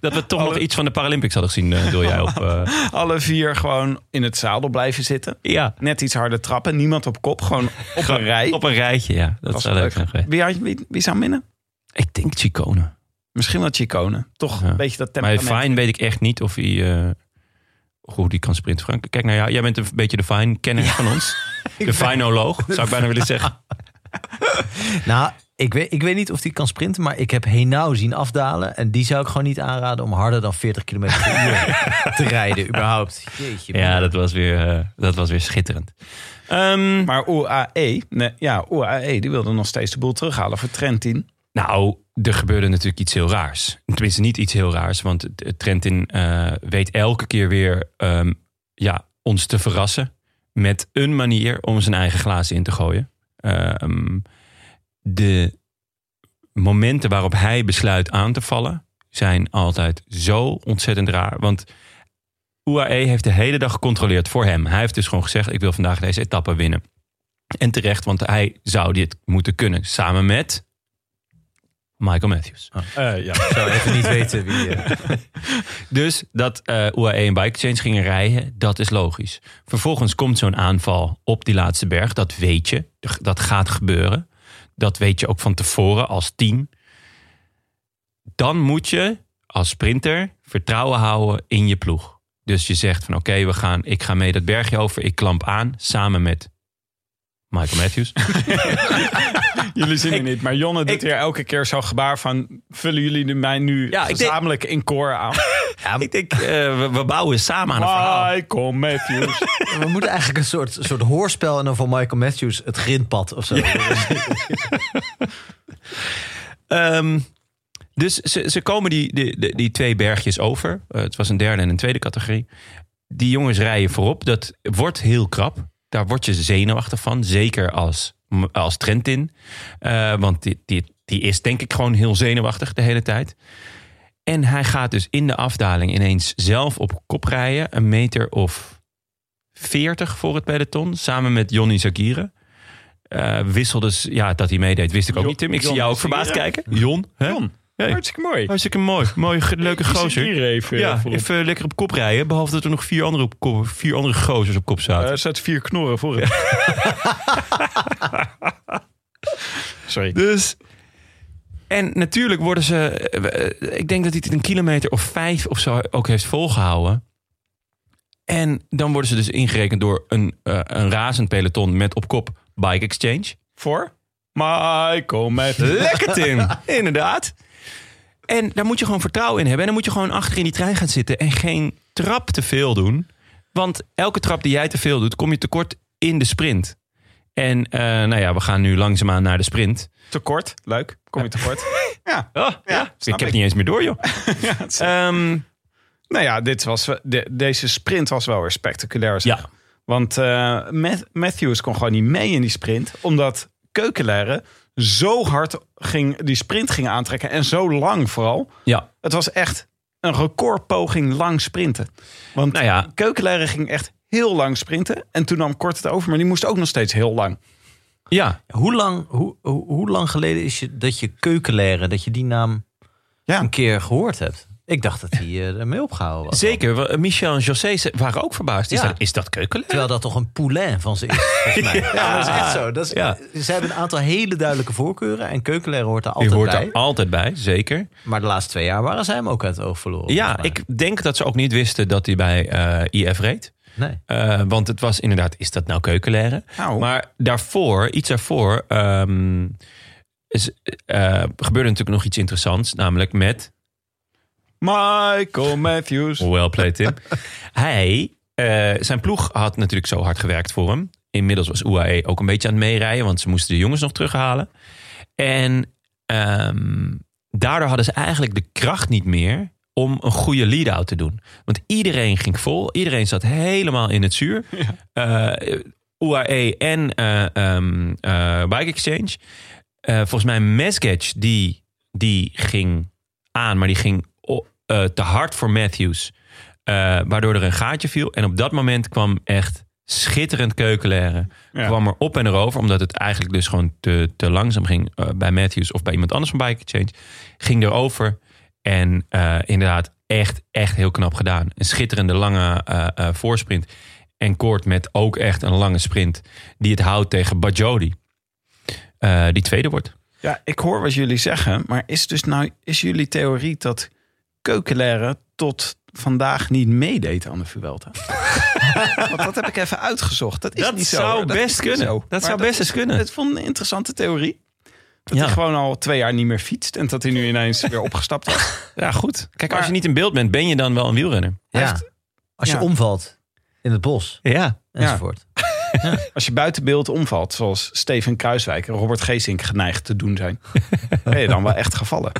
[SPEAKER 1] dat we toch nog iets van de Paralympics hadden gezien, eh, wil jij op. eh,
[SPEAKER 2] alle vier gewoon in het zadel blijven zitten.
[SPEAKER 1] ja,
[SPEAKER 2] Net iets harder trappen. Niemand op kop. Gewoon op een rij.
[SPEAKER 1] op een rijtje, ja. Dat
[SPEAKER 2] was
[SPEAKER 1] zou
[SPEAKER 2] wel
[SPEAKER 1] leuk zijn geweest.
[SPEAKER 2] Wie, had- wie, wie zou minnen?
[SPEAKER 1] Ik denk Chicone.
[SPEAKER 2] Misschien wel Chicone. Toch
[SPEAKER 1] Ja.
[SPEAKER 2] een beetje dat
[SPEAKER 1] Maar
[SPEAKER 2] temperament.
[SPEAKER 1] Vine weet ik echt niet of hij. eh, hoe die kan sprinten, Frank. Kijk naar jou. Jij bent een beetje de Vine-kenner van ons. De Vinoloog, zou ik bijna willen zeggen.
[SPEAKER 3] Nou, ik weet, ik weet niet of die kan sprinten, maar ik heb Henao zien afdalen. En die zou ik gewoon niet aanraden om harder dan 40 km per uur te rijden, überhaupt. Jeetje.
[SPEAKER 1] Ja, dat was weer, eh, dat was weer schitterend. Ehm,
[SPEAKER 2] Maar UAE, nee, ja, UAE, die wilde nog steeds de boel terughalen voor Trentin.
[SPEAKER 1] nou, er gebeurde natuurlijk iets heel raars. Tenminste, niet iets heel raars. Want het- het Trentin eh, weet elke keer weer ehm, ja, ons te verrassen. Met een manier om zijn eigen glazen in te gooien. Ehm, de momenten waarop hij besluit aan te vallen... zijn altijd zo ontzettend raar. Want UAE heeft de hele dag gecontroleerd voor hem. Hij heeft dus gewoon gezegd... ik wil vandaag deze etappe winnen. En terecht, want hij zou dit moeten kunnen. Samen met Michael Matthews. Eh,
[SPEAKER 3] ja. Ah. Ik zou even niet weten wie... eh,
[SPEAKER 1] Dus dat eh, UAE en Bikechains gingen rijden, dat is logisch. Vervolgens komt zo'n aanval op die laatste berg. Dat weet je. Dat gaat gebeuren. Dat weet je ook van tevoren als team. Dan moet je als sprinter vertrouwen houden in je ploeg. Dus je zegt van oké, we gaan, ik ga mee dat bergje over. Ik klamp aan samen met Michael Matthews.
[SPEAKER 2] Jullie zien het niet, maar Jonne doet
[SPEAKER 1] ik-
[SPEAKER 2] hier elke keer zo'n gebaar van... vullen jullie de- mij nu
[SPEAKER 1] Ja, ik denk-
[SPEAKER 2] gezamenlijk in koor aan.
[SPEAKER 1] ik denk, eh, we, we bouwen samen aan een verhaal.
[SPEAKER 2] Michael Matthews.
[SPEAKER 3] We moeten eigenlijk een soort, soort hoorspel en dan voor Michael Matthews het grindpad of zo.
[SPEAKER 1] Ehm, dus ze, ze komen die, die, die- die twee bergjes over. Eh, het was een derde en een tweede categorie. Die jongens rijden voorop. Dat wordt heel krap. Daar word je zenuwachtig van. Zeker als, als Trentin. Eh, want die, die, die is denk ik gewoon heel zenuwachtig de hele tijd. En hij gaat dus in de afdaling ineens zelf op kop rijden. Een meter of 40 voor het peloton. Samen met Johnny Zagire. eh, wissel dus, ja, dat hij meedeed, wist ik ook
[SPEAKER 2] Jo-
[SPEAKER 1] niet, Tim. Ik zie
[SPEAKER 2] Jon
[SPEAKER 1] jou ook
[SPEAKER 2] is hier,
[SPEAKER 1] verbaasd
[SPEAKER 2] hè?
[SPEAKER 1] kijken. Jon, hè?
[SPEAKER 2] Jon,
[SPEAKER 1] Hey. Oh,
[SPEAKER 2] hartstikke mooi.
[SPEAKER 1] Hartstikke mooi. Mooi, ge- leuke
[SPEAKER 2] Die zit
[SPEAKER 1] gozer.
[SPEAKER 2] hier even,
[SPEAKER 1] ja,
[SPEAKER 2] eh, voorop.
[SPEAKER 1] even lekker op kop rijden. Behalve dat er nog vier andere, op kop- vier andere gozers op kop zaten.
[SPEAKER 2] Eh, Er zaten vier knorren voor hem. Sorry.
[SPEAKER 1] Dus. En natuurlijk worden ze. eh, eh, Ik denk dat hij het een kilometer of vijf of zo ook heeft volgehouden. En dan worden ze dus ingerekend door een, eh, een razend peloton met op kop Bike Exchange.
[SPEAKER 2] Voor? Michael met...
[SPEAKER 1] Lekker Tim, inderdaad. En daar moet je gewoon vertrouwen in hebben. En dan moet je gewoon achter in die trein gaan zitten en geen trap te veel doen. Want elke trap die jij te veel doet, kom je tekort in de sprint. En eh, nou ja, we gaan nu langzaamaan naar de sprint.
[SPEAKER 2] Tekort. Leuk. Kom je tekort. Ah, ja.
[SPEAKER 1] Oh, ja, ik heb
[SPEAKER 2] snap
[SPEAKER 1] het
[SPEAKER 2] ik.
[SPEAKER 1] niet eens meer door, joh.
[SPEAKER 2] ja het is-
[SPEAKER 1] Ehm,
[SPEAKER 2] Nou ja, dit was, we- de- deze sprint was wel weer spectaculair. Zeg.
[SPEAKER 1] Ja.
[SPEAKER 2] Want eh, Math- Matthews kon gewoon niet mee in die sprint. Omdat Keukenleren zo hard ging, die sprint ging aantrekken. En zo lang vooral.
[SPEAKER 1] ja.
[SPEAKER 2] Het was echt een recordpoging lang sprinten. Want
[SPEAKER 1] Nou ja.
[SPEAKER 2] Keukenleren ging echt heel lang sprinten. En toen nam Kort het over. Maar die moest ook nog steeds heel lang.
[SPEAKER 1] ja.
[SPEAKER 3] Hoe lang, hoe, hoe, hoe lang geleden is je, dat je keukenleren, dat je die naam
[SPEAKER 2] Ja.
[SPEAKER 3] een keer gehoord hebt? Ik dacht dat hij eh, ermee opgehouden was.
[SPEAKER 1] Zeker. wa- Michel en José ze- waren ook verbaasd. Is
[SPEAKER 3] Ja.
[SPEAKER 1] dat, is dat keukenlijk?
[SPEAKER 3] Terwijl dat toch een poulain van ze is, volgens mij. Ja, dat is echt zo. Dat is,
[SPEAKER 1] Ja.
[SPEAKER 3] Ze hebben een aantal hele duidelijke voorkeuren. En Keukenleren hoort daar
[SPEAKER 1] Je
[SPEAKER 3] altijd
[SPEAKER 1] hoort
[SPEAKER 3] bij.
[SPEAKER 1] er altijd bij, zeker.
[SPEAKER 3] Maar de laatste twee jaar waren zij hem ook uit het oog verloren.
[SPEAKER 1] Ja,
[SPEAKER 3] volgens mij.
[SPEAKER 1] ik denk dat ze ook niet wisten dat hij bij eh, IF reed.
[SPEAKER 3] Nee.
[SPEAKER 1] Eh, want het was inderdaad, is dat nou keukenleren?
[SPEAKER 2] Nou.
[SPEAKER 1] Maar daarvoor, iets daarvoor, ehm, is, eh, gebeurde natuurlijk nog iets interessants. Namelijk met,
[SPEAKER 2] Michael Matthews.
[SPEAKER 1] well played Tim. hij, eh, zijn ploeg had natuurlijk zo hard gewerkt voor hem. Inmiddels was UAE ook een beetje aan het meerijden. Want ze moesten de jongens nog terughalen. En ehm, daardoor hadden ze eigenlijk de kracht niet meer om een goede lead-out te doen. Want iedereen ging vol. Iedereen zat helemaal in het zuur. Eh, UAE en eh, ehm, eh, Bike Exchange. Eh, volgens mij Mesgage, die, die ging aan, maar die ging o- eh, te hard voor Matthews. Eh, waardoor er een gaatje viel. En op dat moment kwam echt schitterend keukenleren.
[SPEAKER 2] Ja.
[SPEAKER 1] Kwam er op en erover. Omdat het eigenlijk dus gewoon te, te langzaam ging eh, bij Matthews of bij iemand anders van Bike Exchange. Ging erover. En eh, inderdaad, echt, echt heel knap gedaan. Een schitterende lange eh, eh, voorsprint. En Koort met ook echt een lange sprint. Die het houdt tegen Bajodi. Eh, die tweede wordt.
[SPEAKER 2] Ja, ik hoor wat jullie zeggen, maar is dus nou is jullie theorie dat Keukenleren tot vandaag niet meedeed aan de Vuelta? Want dat heb ik even uitgezocht. Dat is
[SPEAKER 1] Dat
[SPEAKER 2] niet zo.
[SPEAKER 1] zou
[SPEAKER 2] hoor.
[SPEAKER 1] best
[SPEAKER 2] is niet
[SPEAKER 1] kunnen.
[SPEAKER 2] zo.
[SPEAKER 1] Dat
[SPEAKER 2] Maar
[SPEAKER 1] zou best eens kunnen.
[SPEAKER 2] Het vond een interessante theorie. Dat
[SPEAKER 1] Ja.
[SPEAKER 2] hij gewoon al twee jaar niet meer fietst en dat hij nu ineens weer opgestapt was.
[SPEAKER 1] Ja, goed. Kijk, als
[SPEAKER 2] Maar-
[SPEAKER 1] je niet in beeld bent, ben je dan wel een wielrenner.
[SPEAKER 3] Ja. Als je
[SPEAKER 2] Ja.
[SPEAKER 3] omvalt in het bos
[SPEAKER 1] Ja.
[SPEAKER 3] enzovoort.
[SPEAKER 2] Als je buiten beeld omvalt, zoals Steven Kruiswijk en Robert Geesink geneigd te doen zijn, ben je dan wel echt gevallen.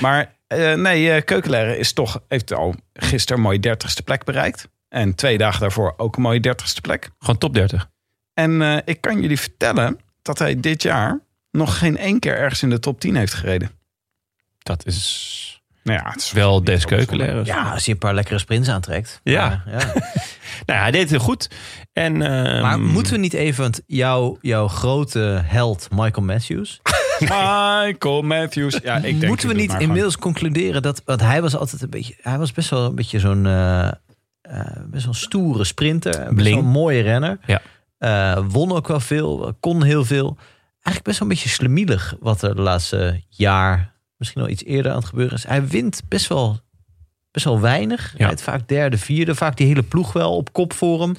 [SPEAKER 2] Maar eh, nee, eh Keukenleren is toch, heeft al gisteren een mooie dertigste plek bereikt. En twee dagen daarvoor ook een mooie dertigste plek.
[SPEAKER 1] Gewoon top 30.
[SPEAKER 2] En eh, ik kan jullie vertellen dat hij dit jaar nog geen één keer ergens in de top 10 heeft gereden.
[SPEAKER 1] Dat is
[SPEAKER 2] Nou ja, het is
[SPEAKER 1] wel des keukenleren.
[SPEAKER 3] Ja, als je een paar lekkere sprints aantrekt.
[SPEAKER 1] Ja.
[SPEAKER 3] Maar, ja.
[SPEAKER 1] Nou, hij deed het heel goed. En, ehm,
[SPEAKER 3] maar moeten we niet even, want jouw, jouw grote held Michael Matthews...
[SPEAKER 2] Michael Matthews. Ja, ik denk
[SPEAKER 3] Moeten
[SPEAKER 2] doe
[SPEAKER 3] we
[SPEAKER 2] het
[SPEAKER 3] niet
[SPEAKER 2] maar
[SPEAKER 3] inmiddels concluderen dat. Want hij was altijd een beetje. Hij was best wel een beetje zo'n. eh, eh, best wel een stoere sprinter. Best
[SPEAKER 1] Bling.
[SPEAKER 3] wel een mooie renner.
[SPEAKER 1] Ja.
[SPEAKER 3] Eh, won ook wel veel. Kon heel veel. Eigenlijk best wel een beetje slemielig. Wat er de laatste jaar. Misschien al iets eerder aan het gebeuren is. Hij wint best wel. Best wel weinig.
[SPEAKER 1] Ja.
[SPEAKER 3] Rijdt vaak derde, vierde. Vaak die hele ploeg wel op kop voor hem.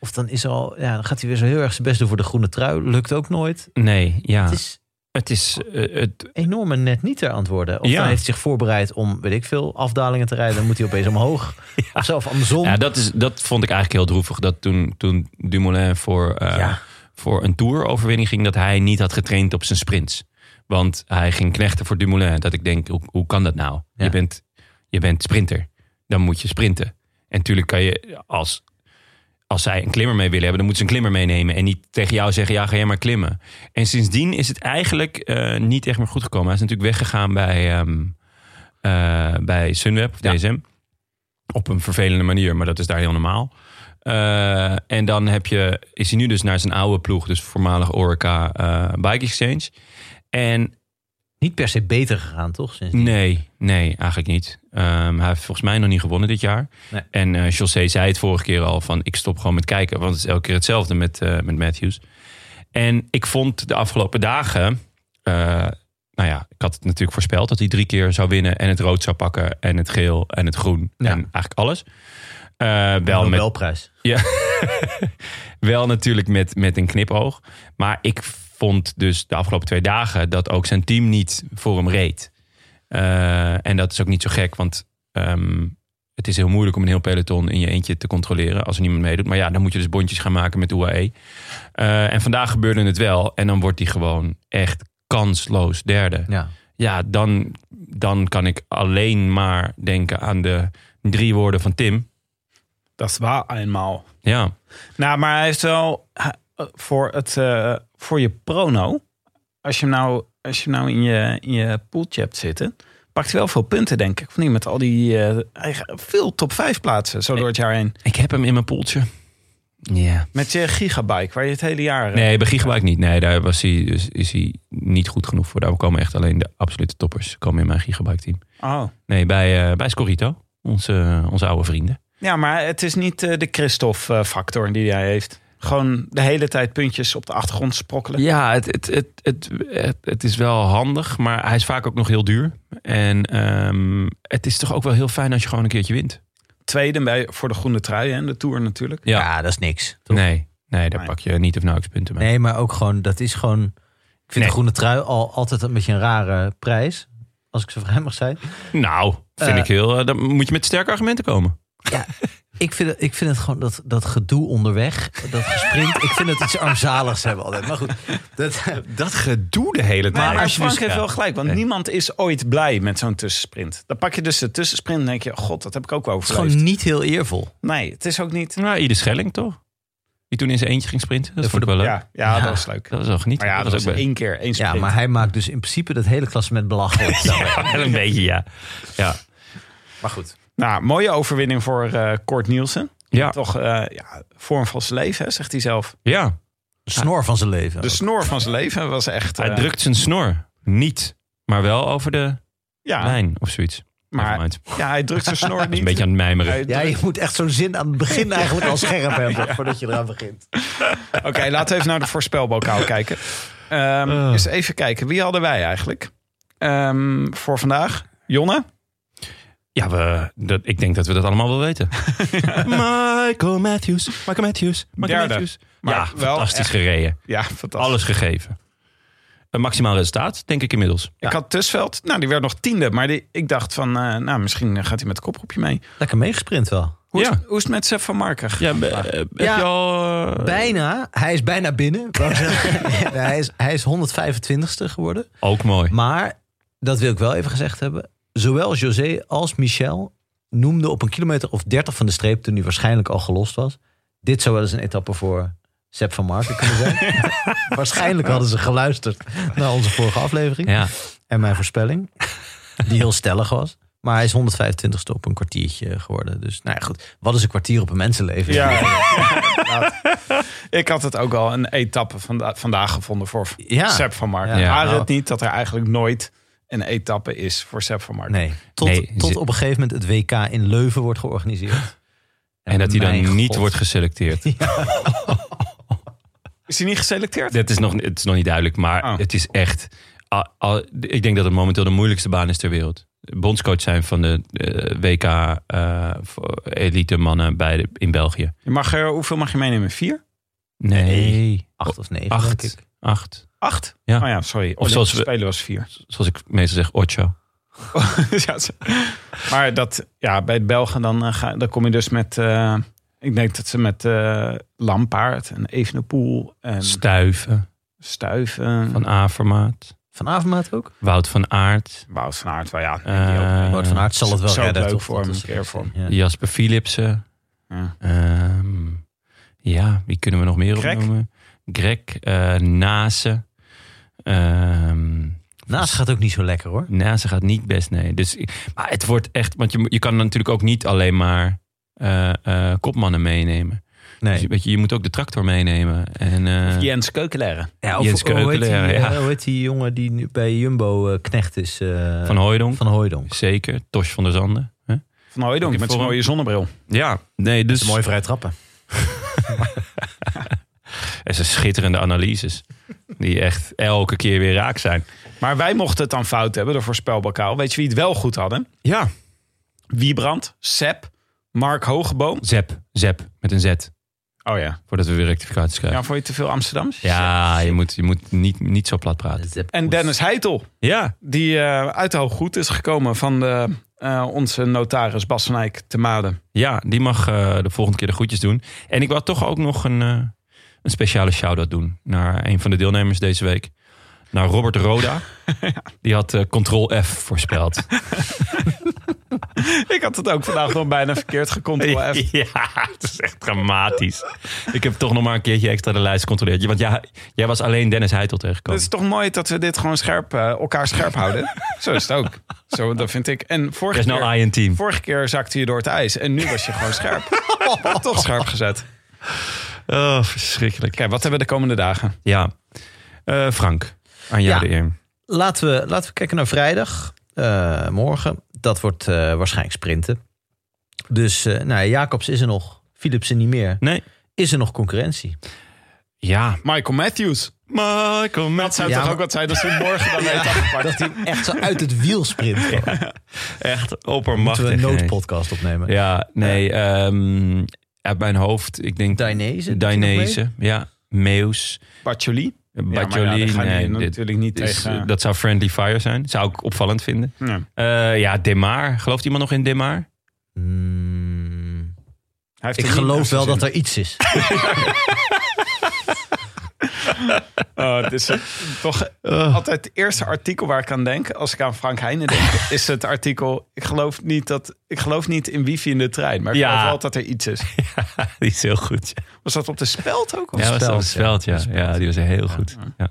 [SPEAKER 3] Of dan, is er al, ja, dan gaat hij weer zo heel erg zijn best doen voor de groene trui. Lukt ook nooit.
[SPEAKER 1] Nee, ja.
[SPEAKER 3] Het is
[SPEAKER 1] Het is, eh, het,
[SPEAKER 3] enorme net niet ter antwoorden. Of
[SPEAKER 1] Ja.
[SPEAKER 3] hij heeft zich voorbereid om, weet ik veel, afdalingen te rijden. Dan moet hij opeens omhoog. Of zelf andersom.
[SPEAKER 1] ja dat, is, dat vond ik eigenlijk heel droevig. Dat toen, toen Dumoulin voor, eh,
[SPEAKER 3] Ja.
[SPEAKER 1] voor een tour-overwinning ging, dat hij niet had getraind op zijn sprints. Want hij ging knechten voor Dumoulin. Dat ik denk, hoe, hoe kan dat nou?
[SPEAKER 3] Ja.
[SPEAKER 1] Je, bent, je bent sprinter. Dan moet je sprinten. En natuurlijk kan je, als, als zij een klimmer mee willen hebben, dan moeten ze een klimmer meenemen. En niet tegen jou zeggen, ja, ga jij maar klimmen. En sindsdien is het eigenlijk eh, niet echt meer goed gekomen. Hij is natuurlijk weggegaan bij, ehm, eh, bij Sunweb, of DSM. Op een vervelende manier, maar dat is daar heel normaal. Eh, en dan heb je, is hij nu dus naar zijn oude ploeg, dus voormalig Orica eh, Bike Exchange. En
[SPEAKER 3] Niet per se beter gegaan, toch? Sinds
[SPEAKER 1] Nee, nee, eigenlijk niet. Ehm, hij heeft volgens mij nog niet gewonnen dit jaar.
[SPEAKER 3] Nee.
[SPEAKER 1] En eh José zei het vorige keer al van ik stop gewoon met kijken. Want het is elke keer hetzelfde met, eh, met Matthews. En ik vond de afgelopen dagen... eh, nou ja, ik had het natuurlijk voorspeld dat hij drie keer zou winnen. En het rood zou pakken. En het geel en het groen.
[SPEAKER 3] Ja.
[SPEAKER 1] En eigenlijk alles. Eh, wel met
[SPEAKER 3] Nobelprijs.
[SPEAKER 1] ja, wel natuurlijk met, met een knipoog. Maar ik vond dus de afgelopen twee dagen dat ook zijn team niet voor hem reed. Eh, en dat is ook niet zo gek, want ehm, het is heel moeilijk om een heel peloton in je eentje te controleren als er niemand meedoet. Maar ja, dan moet je dus bondjes gaan maken met UAE. Eh, en vandaag gebeurde het wel. En dan wordt hij gewoon echt kansloos derde
[SPEAKER 3] Ja.
[SPEAKER 1] ja, dan, dan kan ik alleen maar denken aan de drie woorden van Tim.
[SPEAKER 2] Dat was eenmaal.
[SPEAKER 1] Ja,
[SPEAKER 2] Nou, maar hij heeft wel hij- eh, voor, het, eh, voor je prono. Als je hem nou, als je hem nou in, je, in je pooltje hebt zitten. Pakt hij wel veel punten, denk ik. Of niet? Met al die. eh, eigen- veel top 5 plaatsen zo door het jaar heen.
[SPEAKER 1] ik heb hem in mijn poeltje. Ja.
[SPEAKER 2] Met je gigabike, waar je het hele jaar. eh,
[SPEAKER 1] Nee, bij Gigabyte niet. Nee, daar was hij, is, is hij niet goed genoeg voor. Daar komen echt alleen de absolute toppers komen in mijn Gigabyte team.
[SPEAKER 2] Oh.
[SPEAKER 1] Nee, bij, eh, bij Scorito, onze, eh, onze oude vrienden.
[SPEAKER 2] Ja, maar het is niet eh, de Christophe-factor eh, die hij heeft. Gewoon de hele tijd puntjes op de achtergrond sprokkelen.
[SPEAKER 1] Ja, het, het, het, het, het, het is wel handig, maar hij is vaak ook nog heel duur. En ehm, het is toch ook wel heel fijn als je gewoon een keertje wint.
[SPEAKER 2] Tweede bij, voor de groene trui en de Tour natuurlijk.
[SPEAKER 3] Ja. dat is niks. toch?
[SPEAKER 1] Nee, nee, daar
[SPEAKER 2] Nee.
[SPEAKER 1] pak je niet of nauwelijks punten mee.
[SPEAKER 3] Nee, maar ook gewoon, dat is gewoon... Ik vind
[SPEAKER 1] Nee.
[SPEAKER 3] de groene trui al altijd een beetje een rare prijs. Als ik zo vrij mag zijn.
[SPEAKER 1] Nou, vind
[SPEAKER 3] Eh,
[SPEAKER 1] ik heel. eh, dan moet je met sterke argumenten komen.
[SPEAKER 3] Ik vind, het- ik vind het gewoon dat, dat gedoe onderweg, dat gesprint. ik vind het iets armzaligs hebben altijd. Maar goed, dat,
[SPEAKER 1] Dat gedoe de hele
[SPEAKER 2] Maar, als je Frank heeft wel gelijk, want niemand is ooit blij met zo'n tussensprint. Dan pak je dus de tussensprint en denk je, god, dat heb ik ook wel
[SPEAKER 3] is gewoon
[SPEAKER 2] overleefd.
[SPEAKER 3] niet heel eervol.
[SPEAKER 2] Nee, het is ook niet...
[SPEAKER 1] Nou, Ieder Schelling toch? Die toen in zijn eentje ging sprinten. Dat vond ik wel leuk.
[SPEAKER 2] Ja, ja, dat was leuk.
[SPEAKER 1] Dat was wel genieten.
[SPEAKER 2] Maar ja, dat was
[SPEAKER 1] ook
[SPEAKER 2] één keer, één
[SPEAKER 3] Ja,
[SPEAKER 2] sprint.
[SPEAKER 3] maar hij maakt dus in principe dat hele klassement belachelijk.
[SPEAKER 1] wel- wel een beetje, ja. Ja,
[SPEAKER 3] Maar goed.
[SPEAKER 2] Nou, mooie overwinning voor eh Kort Nielsen.
[SPEAKER 1] ja.
[SPEAKER 2] Toch, eh, ja, vorm van zijn leven, hè, zegt hij zelf.
[SPEAKER 1] ja.
[SPEAKER 3] De snor van zijn leven.
[SPEAKER 2] De snor van zijn leven was echt...
[SPEAKER 1] hij
[SPEAKER 2] eh,
[SPEAKER 1] drukt zijn snor. Niet, maar wel over de
[SPEAKER 2] Ja,
[SPEAKER 1] lijn of zoiets.
[SPEAKER 2] maar
[SPEAKER 1] Nevermind. Het
[SPEAKER 2] ja, hij drukt zijn snor
[SPEAKER 1] is
[SPEAKER 2] niet.
[SPEAKER 1] een beetje aan het mijmeren.
[SPEAKER 2] Hij
[SPEAKER 3] ja, je moet echt zo'n zin aan het begin eigenlijk al scherp hebben voordat je eraan begint.
[SPEAKER 2] Oké, laten we even naar de voorspelbokaal kijken. Ehm
[SPEAKER 1] Oh.
[SPEAKER 2] Eens even kijken, wie hadden wij eigenlijk Ehm, voor vandaag? Jonne?
[SPEAKER 1] Ja, we, dat, ik denk dat we dat allemaal wel weten. Michael Matthews, Michael Matthews, Michael
[SPEAKER 2] Derde.
[SPEAKER 1] Matthews.
[SPEAKER 2] Maar
[SPEAKER 1] ja,
[SPEAKER 2] wel
[SPEAKER 1] fantastisch
[SPEAKER 2] echt-
[SPEAKER 1] gereden.
[SPEAKER 2] Ja, fantastisch.
[SPEAKER 1] Alles gegeven. Een maximaal resultaat, denk ik inmiddels.
[SPEAKER 2] Ik had Tusveld, nou die werd nog tiende, maar die, ik dacht van, eh, nou misschien gaat hij met het koproepje mee.
[SPEAKER 3] Lekker meegesprint wel.
[SPEAKER 2] Hoe, is,
[SPEAKER 1] Ja.
[SPEAKER 2] hoe is het met Sef van Marken?
[SPEAKER 1] Ja, be- eh, heb
[SPEAKER 3] Ja.
[SPEAKER 1] je al... eh,
[SPEAKER 3] Bijna. Hij is bijna binnen. Ik wou zeggen, hij, is, hij is 125ste geworden.
[SPEAKER 1] Ook mooi.
[SPEAKER 3] Maar, dat wil ik wel even gezegd hebben. Zowel José als Michel noemden op een kilometer of 30 van de streep... toen hij waarschijnlijk al gelost was. Dit zou wel eens een etappe voor Sepp van Marken kunnen zijn. waarschijnlijk hadden ze geluisterd naar onze vorige aflevering.
[SPEAKER 1] Ja.
[SPEAKER 3] En mijn voorspelling, die heel stellig was. Maar hij is 125ste op een kwartiertje geworden. Dus nou ja, goed. Wat is een kwartier op een mensenleven?
[SPEAKER 2] ik had het ook al een etappe vanda- vandaag gevonden voor
[SPEAKER 3] Ja.
[SPEAKER 2] Sef van Marken.
[SPEAKER 3] Ja.
[SPEAKER 2] Maar
[SPEAKER 3] Nou.
[SPEAKER 2] het niet dat er eigenlijk nooit een etappe is voor Sef van Marken.
[SPEAKER 3] Nee. Tot,
[SPEAKER 1] Nee,
[SPEAKER 3] tot
[SPEAKER 1] ze-
[SPEAKER 3] op een gegeven moment het WK in Leuven wordt georganiseerd.
[SPEAKER 1] En dat hij dan
[SPEAKER 3] mijn
[SPEAKER 1] niet
[SPEAKER 3] God.
[SPEAKER 1] wordt geselecteerd.
[SPEAKER 2] Is hij niet geselecteerd?
[SPEAKER 1] Dat is nog, het is nog niet duidelijk, maar
[SPEAKER 2] Oh.
[SPEAKER 1] het is echt... a- a- ik denk dat het momenteel de moeilijkste baan is ter wereld. Bondscoach zijn van de eh, WK eh, voor elite mannen bij de- in België.
[SPEAKER 2] Je mag er, hoeveel mag je meenemen? Vier?
[SPEAKER 1] Nee.
[SPEAKER 3] Acht of negen,
[SPEAKER 1] Acht.
[SPEAKER 3] denk ik.
[SPEAKER 1] Acht.
[SPEAKER 2] Acht?
[SPEAKER 1] Ja.
[SPEAKER 2] Oh ja, sorry. Of
[SPEAKER 1] zoals
[SPEAKER 2] zoals
[SPEAKER 1] we-
[SPEAKER 2] spelen was vier.
[SPEAKER 1] Zoals ik meestal zeg, ocho.
[SPEAKER 2] ja, zo. maar dat, ja, bij de Belgen dan, eh, ga, dan kom je dus met... eh, ik denk dat ze met eh, Lampaard en Evenepoel en
[SPEAKER 1] Stuiven
[SPEAKER 2] Stuiven...
[SPEAKER 1] van Avermaat.
[SPEAKER 3] Van Avermaat ook?
[SPEAKER 1] Wout van Aert.
[SPEAKER 2] Wout van Aert, wel ja. die ook.
[SPEAKER 1] eh,
[SPEAKER 3] Wout van Aert zal het wel
[SPEAKER 2] zou het
[SPEAKER 3] redden.
[SPEAKER 2] leuk
[SPEAKER 3] toch?
[SPEAKER 2] voor hem,
[SPEAKER 3] Dat is-
[SPEAKER 2] een keer voor hem.
[SPEAKER 3] Ja.
[SPEAKER 1] Jasper Philipsen.
[SPEAKER 2] Ja.
[SPEAKER 1] Ehm, ja, wie kunnen we nog meer
[SPEAKER 2] Greg?
[SPEAKER 1] opnoemen? Greg, eh Nase. Ehm
[SPEAKER 3] Naast Nou, gaat ook niet zo lekker hoor.
[SPEAKER 1] Nase Nou, gaat niet best, nee. Dus, ik- maar het wordt echt, want je, mo- je kan natuurlijk ook niet alleen maar eh, eh, kopmannen meenemen. Nee. Dus, weet je, je moet ook de tractor meenemen. En, eh,
[SPEAKER 2] Jens Keukenleren.
[SPEAKER 1] Ja, of- Jens
[SPEAKER 3] hoe, heet die,
[SPEAKER 1] Keukenleren, ja.
[SPEAKER 3] eh, hoe heet die jongen die nu bij Jumbo eh, knecht is? eh,
[SPEAKER 1] Van Hooijdonk.
[SPEAKER 3] Van Hooijdonk.
[SPEAKER 1] Zeker. Tosh van der Zanden. hè?
[SPEAKER 2] Van Hooijdonk
[SPEAKER 1] Ook
[SPEAKER 2] met zijn
[SPEAKER 1] voor-
[SPEAKER 2] mooie zonnebril.
[SPEAKER 1] Ja, nee, dus...
[SPEAKER 3] Mooi vrij trappen.
[SPEAKER 1] En zijn schitterende analyses. Die echt elke keer weer raak zijn.
[SPEAKER 2] Maar wij mochten het dan fout hebben, de voorspelbokaal. Weet je wie het wel goed hadden?
[SPEAKER 1] Ja.
[SPEAKER 2] Wiebrand, Sepp, Mark Hogeboom.
[SPEAKER 1] Zep. Zep. Met een Z.
[SPEAKER 2] Oh ja.
[SPEAKER 1] Voordat we weer rectificaties
[SPEAKER 2] Ja,
[SPEAKER 1] krijgen.
[SPEAKER 2] vond je te veel Amsterdams?
[SPEAKER 1] Ja, je moet, je moet niet, niet zo plat praten.
[SPEAKER 2] En Dennis Heitel,
[SPEAKER 1] Ja.
[SPEAKER 2] die eh, uit de Hooggoed is gekomen van de, eh, onze notaris Bas van Eyck te Maden.
[SPEAKER 1] Ja, die mag eh, de volgende keer de groetjes doen. En ik wil toch ook nog een, eh, een speciale shout-out doen naar een van de deelnemers deze week. Naar Robert Roda. Die had eh, Ctrl F voorspeld.
[SPEAKER 2] Ik had het ook vandaag nog bijna verkeerd gecontroleerd.
[SPEAKER 1] Ja, het is echt dramatisch. Ik heb toch nog maar een keertje extra de lijst gecontroleerd. Want ja, jij was alleen Dennis Heitel
[SPEAKER 2] Het
[SPEAKER 1] tegengekomen.
[SPEAKER 2] is toch mooi dat we dit gewoon scherp, eh, elkaar scherp houden. Zo is het ook. Zo, dat vind ik. En
[SPEAKER 1] Er
[SPEAKER 2] vorige
[SPEAKER 1] is nou I
[SPEAKER 2] keer,
[SPEAKER 1] in team.
[SPEAKER 2] vorige keer zakte je door het ijs. En nu was je gewoon scherp. toch scherp gezet.
[SPEAKER 1] Oh, verschrikkelijk.
[SPEAKER 2] Kijk, wat hebben we de komende dagen?
[SPEAKER 1] Ja. Eh, Frank, aan jou
[SPEAKER 3] Ja.
[SPEAKER 1] de eer.
[SPEAKER 3] Laten we, laten we kijken naar vrijdag. eh, morgen. Dat wordt eh, waarschijnlijk sprinten. Dus eh, nou, ja, Jacobs is er nog. Philipsen niet meer.
[SPEAKER 1] Nee.
[SPEAKER 3] Is er nog concurrentie?
[SPEAKER 1] Ja.
[SPEAKER 2] Michael Matthews.
[SPEAKER 1] Michael
[SPEAKER 2] Dat zou
[SPEAKER 3] Ja,
[SPEAKER 2] toch
[SPEAKER 3] maar-
[SPEAKER 2] ook wat zijn als we morgen dan weten afgepakt.
[SPEAKER 3] Dat hij echt zo uit het wiel sprint. gewoon.
[SPEAKER 1] Echt
[SPEAKER 3] Moeten we
[SPEAKER 1] oppermachtig.
[SPEAKER 3] een
[SPEAKER 1] hè.
[SPEAKER 3] noodpodcast opnemen?
[SPEAKER 1] Ja, nee. ehm, uit mijn hoofd, ik denk...
[SPEAKER 3] Dainese, doet hij nog
[SPEAKER 1] Dainese, ja. Meus.
[SPEAKER 2] Baccioli.
[SPEAKER 1] Bajoli.
[SPEAKER 2] dat ga je
[SPEAKER 1] nee, dit
[SPEAKER 2] natuurlijk niet
[SPEAKER 1] is- eh,
[SPEAKER 2] tegen.
[SPEAKER 1] Dat zou friendly fire zijn. Zou ik opvallend vinden.
[SPEAKER 2] Ja.
[SPEAKER 1] Eh, ja, Demar. Gelooft iemand nog in Demar?
[SPEAKER 3] Hmm,
[SPEAKER 2] Hij heeft
[SPEAKER 3] ik
[SPEAKER 2] er niet naar
[SPEAKER 3] geloof
[SPEAKER 2] zijn
[SPEAKER 3] wel dat
[SPEAKER 2] zin.
[SPEAKER 3] er iets is.
[SPEAKER 2] Oh, het is eh, toch
[SPEAKER 3] Oh.
[SPEAKER 2] altijd het eerste artikel waar ik aan denk, als ik aan Frank Heijnen denk, is het artikel: ik geloof niet dat ik geloof niet in wifi in de trein, maar ik
[SPEAKER 1] Ja.
[SPEAKER 2] geloof wel dat er iets is.
[SPEAKER 1] Die is heel goed. ja.
[SPEAKER 2] Was dat op de speld ook? Of?
[SPEAKER 1] Ja, was
[SPEAKER 3] Speld,
[SPEAKER 1] dat Speld, ja.
[SPEAKER 3] Speld.
[SPEAKER 1] Ja, die was heel goed. Ja.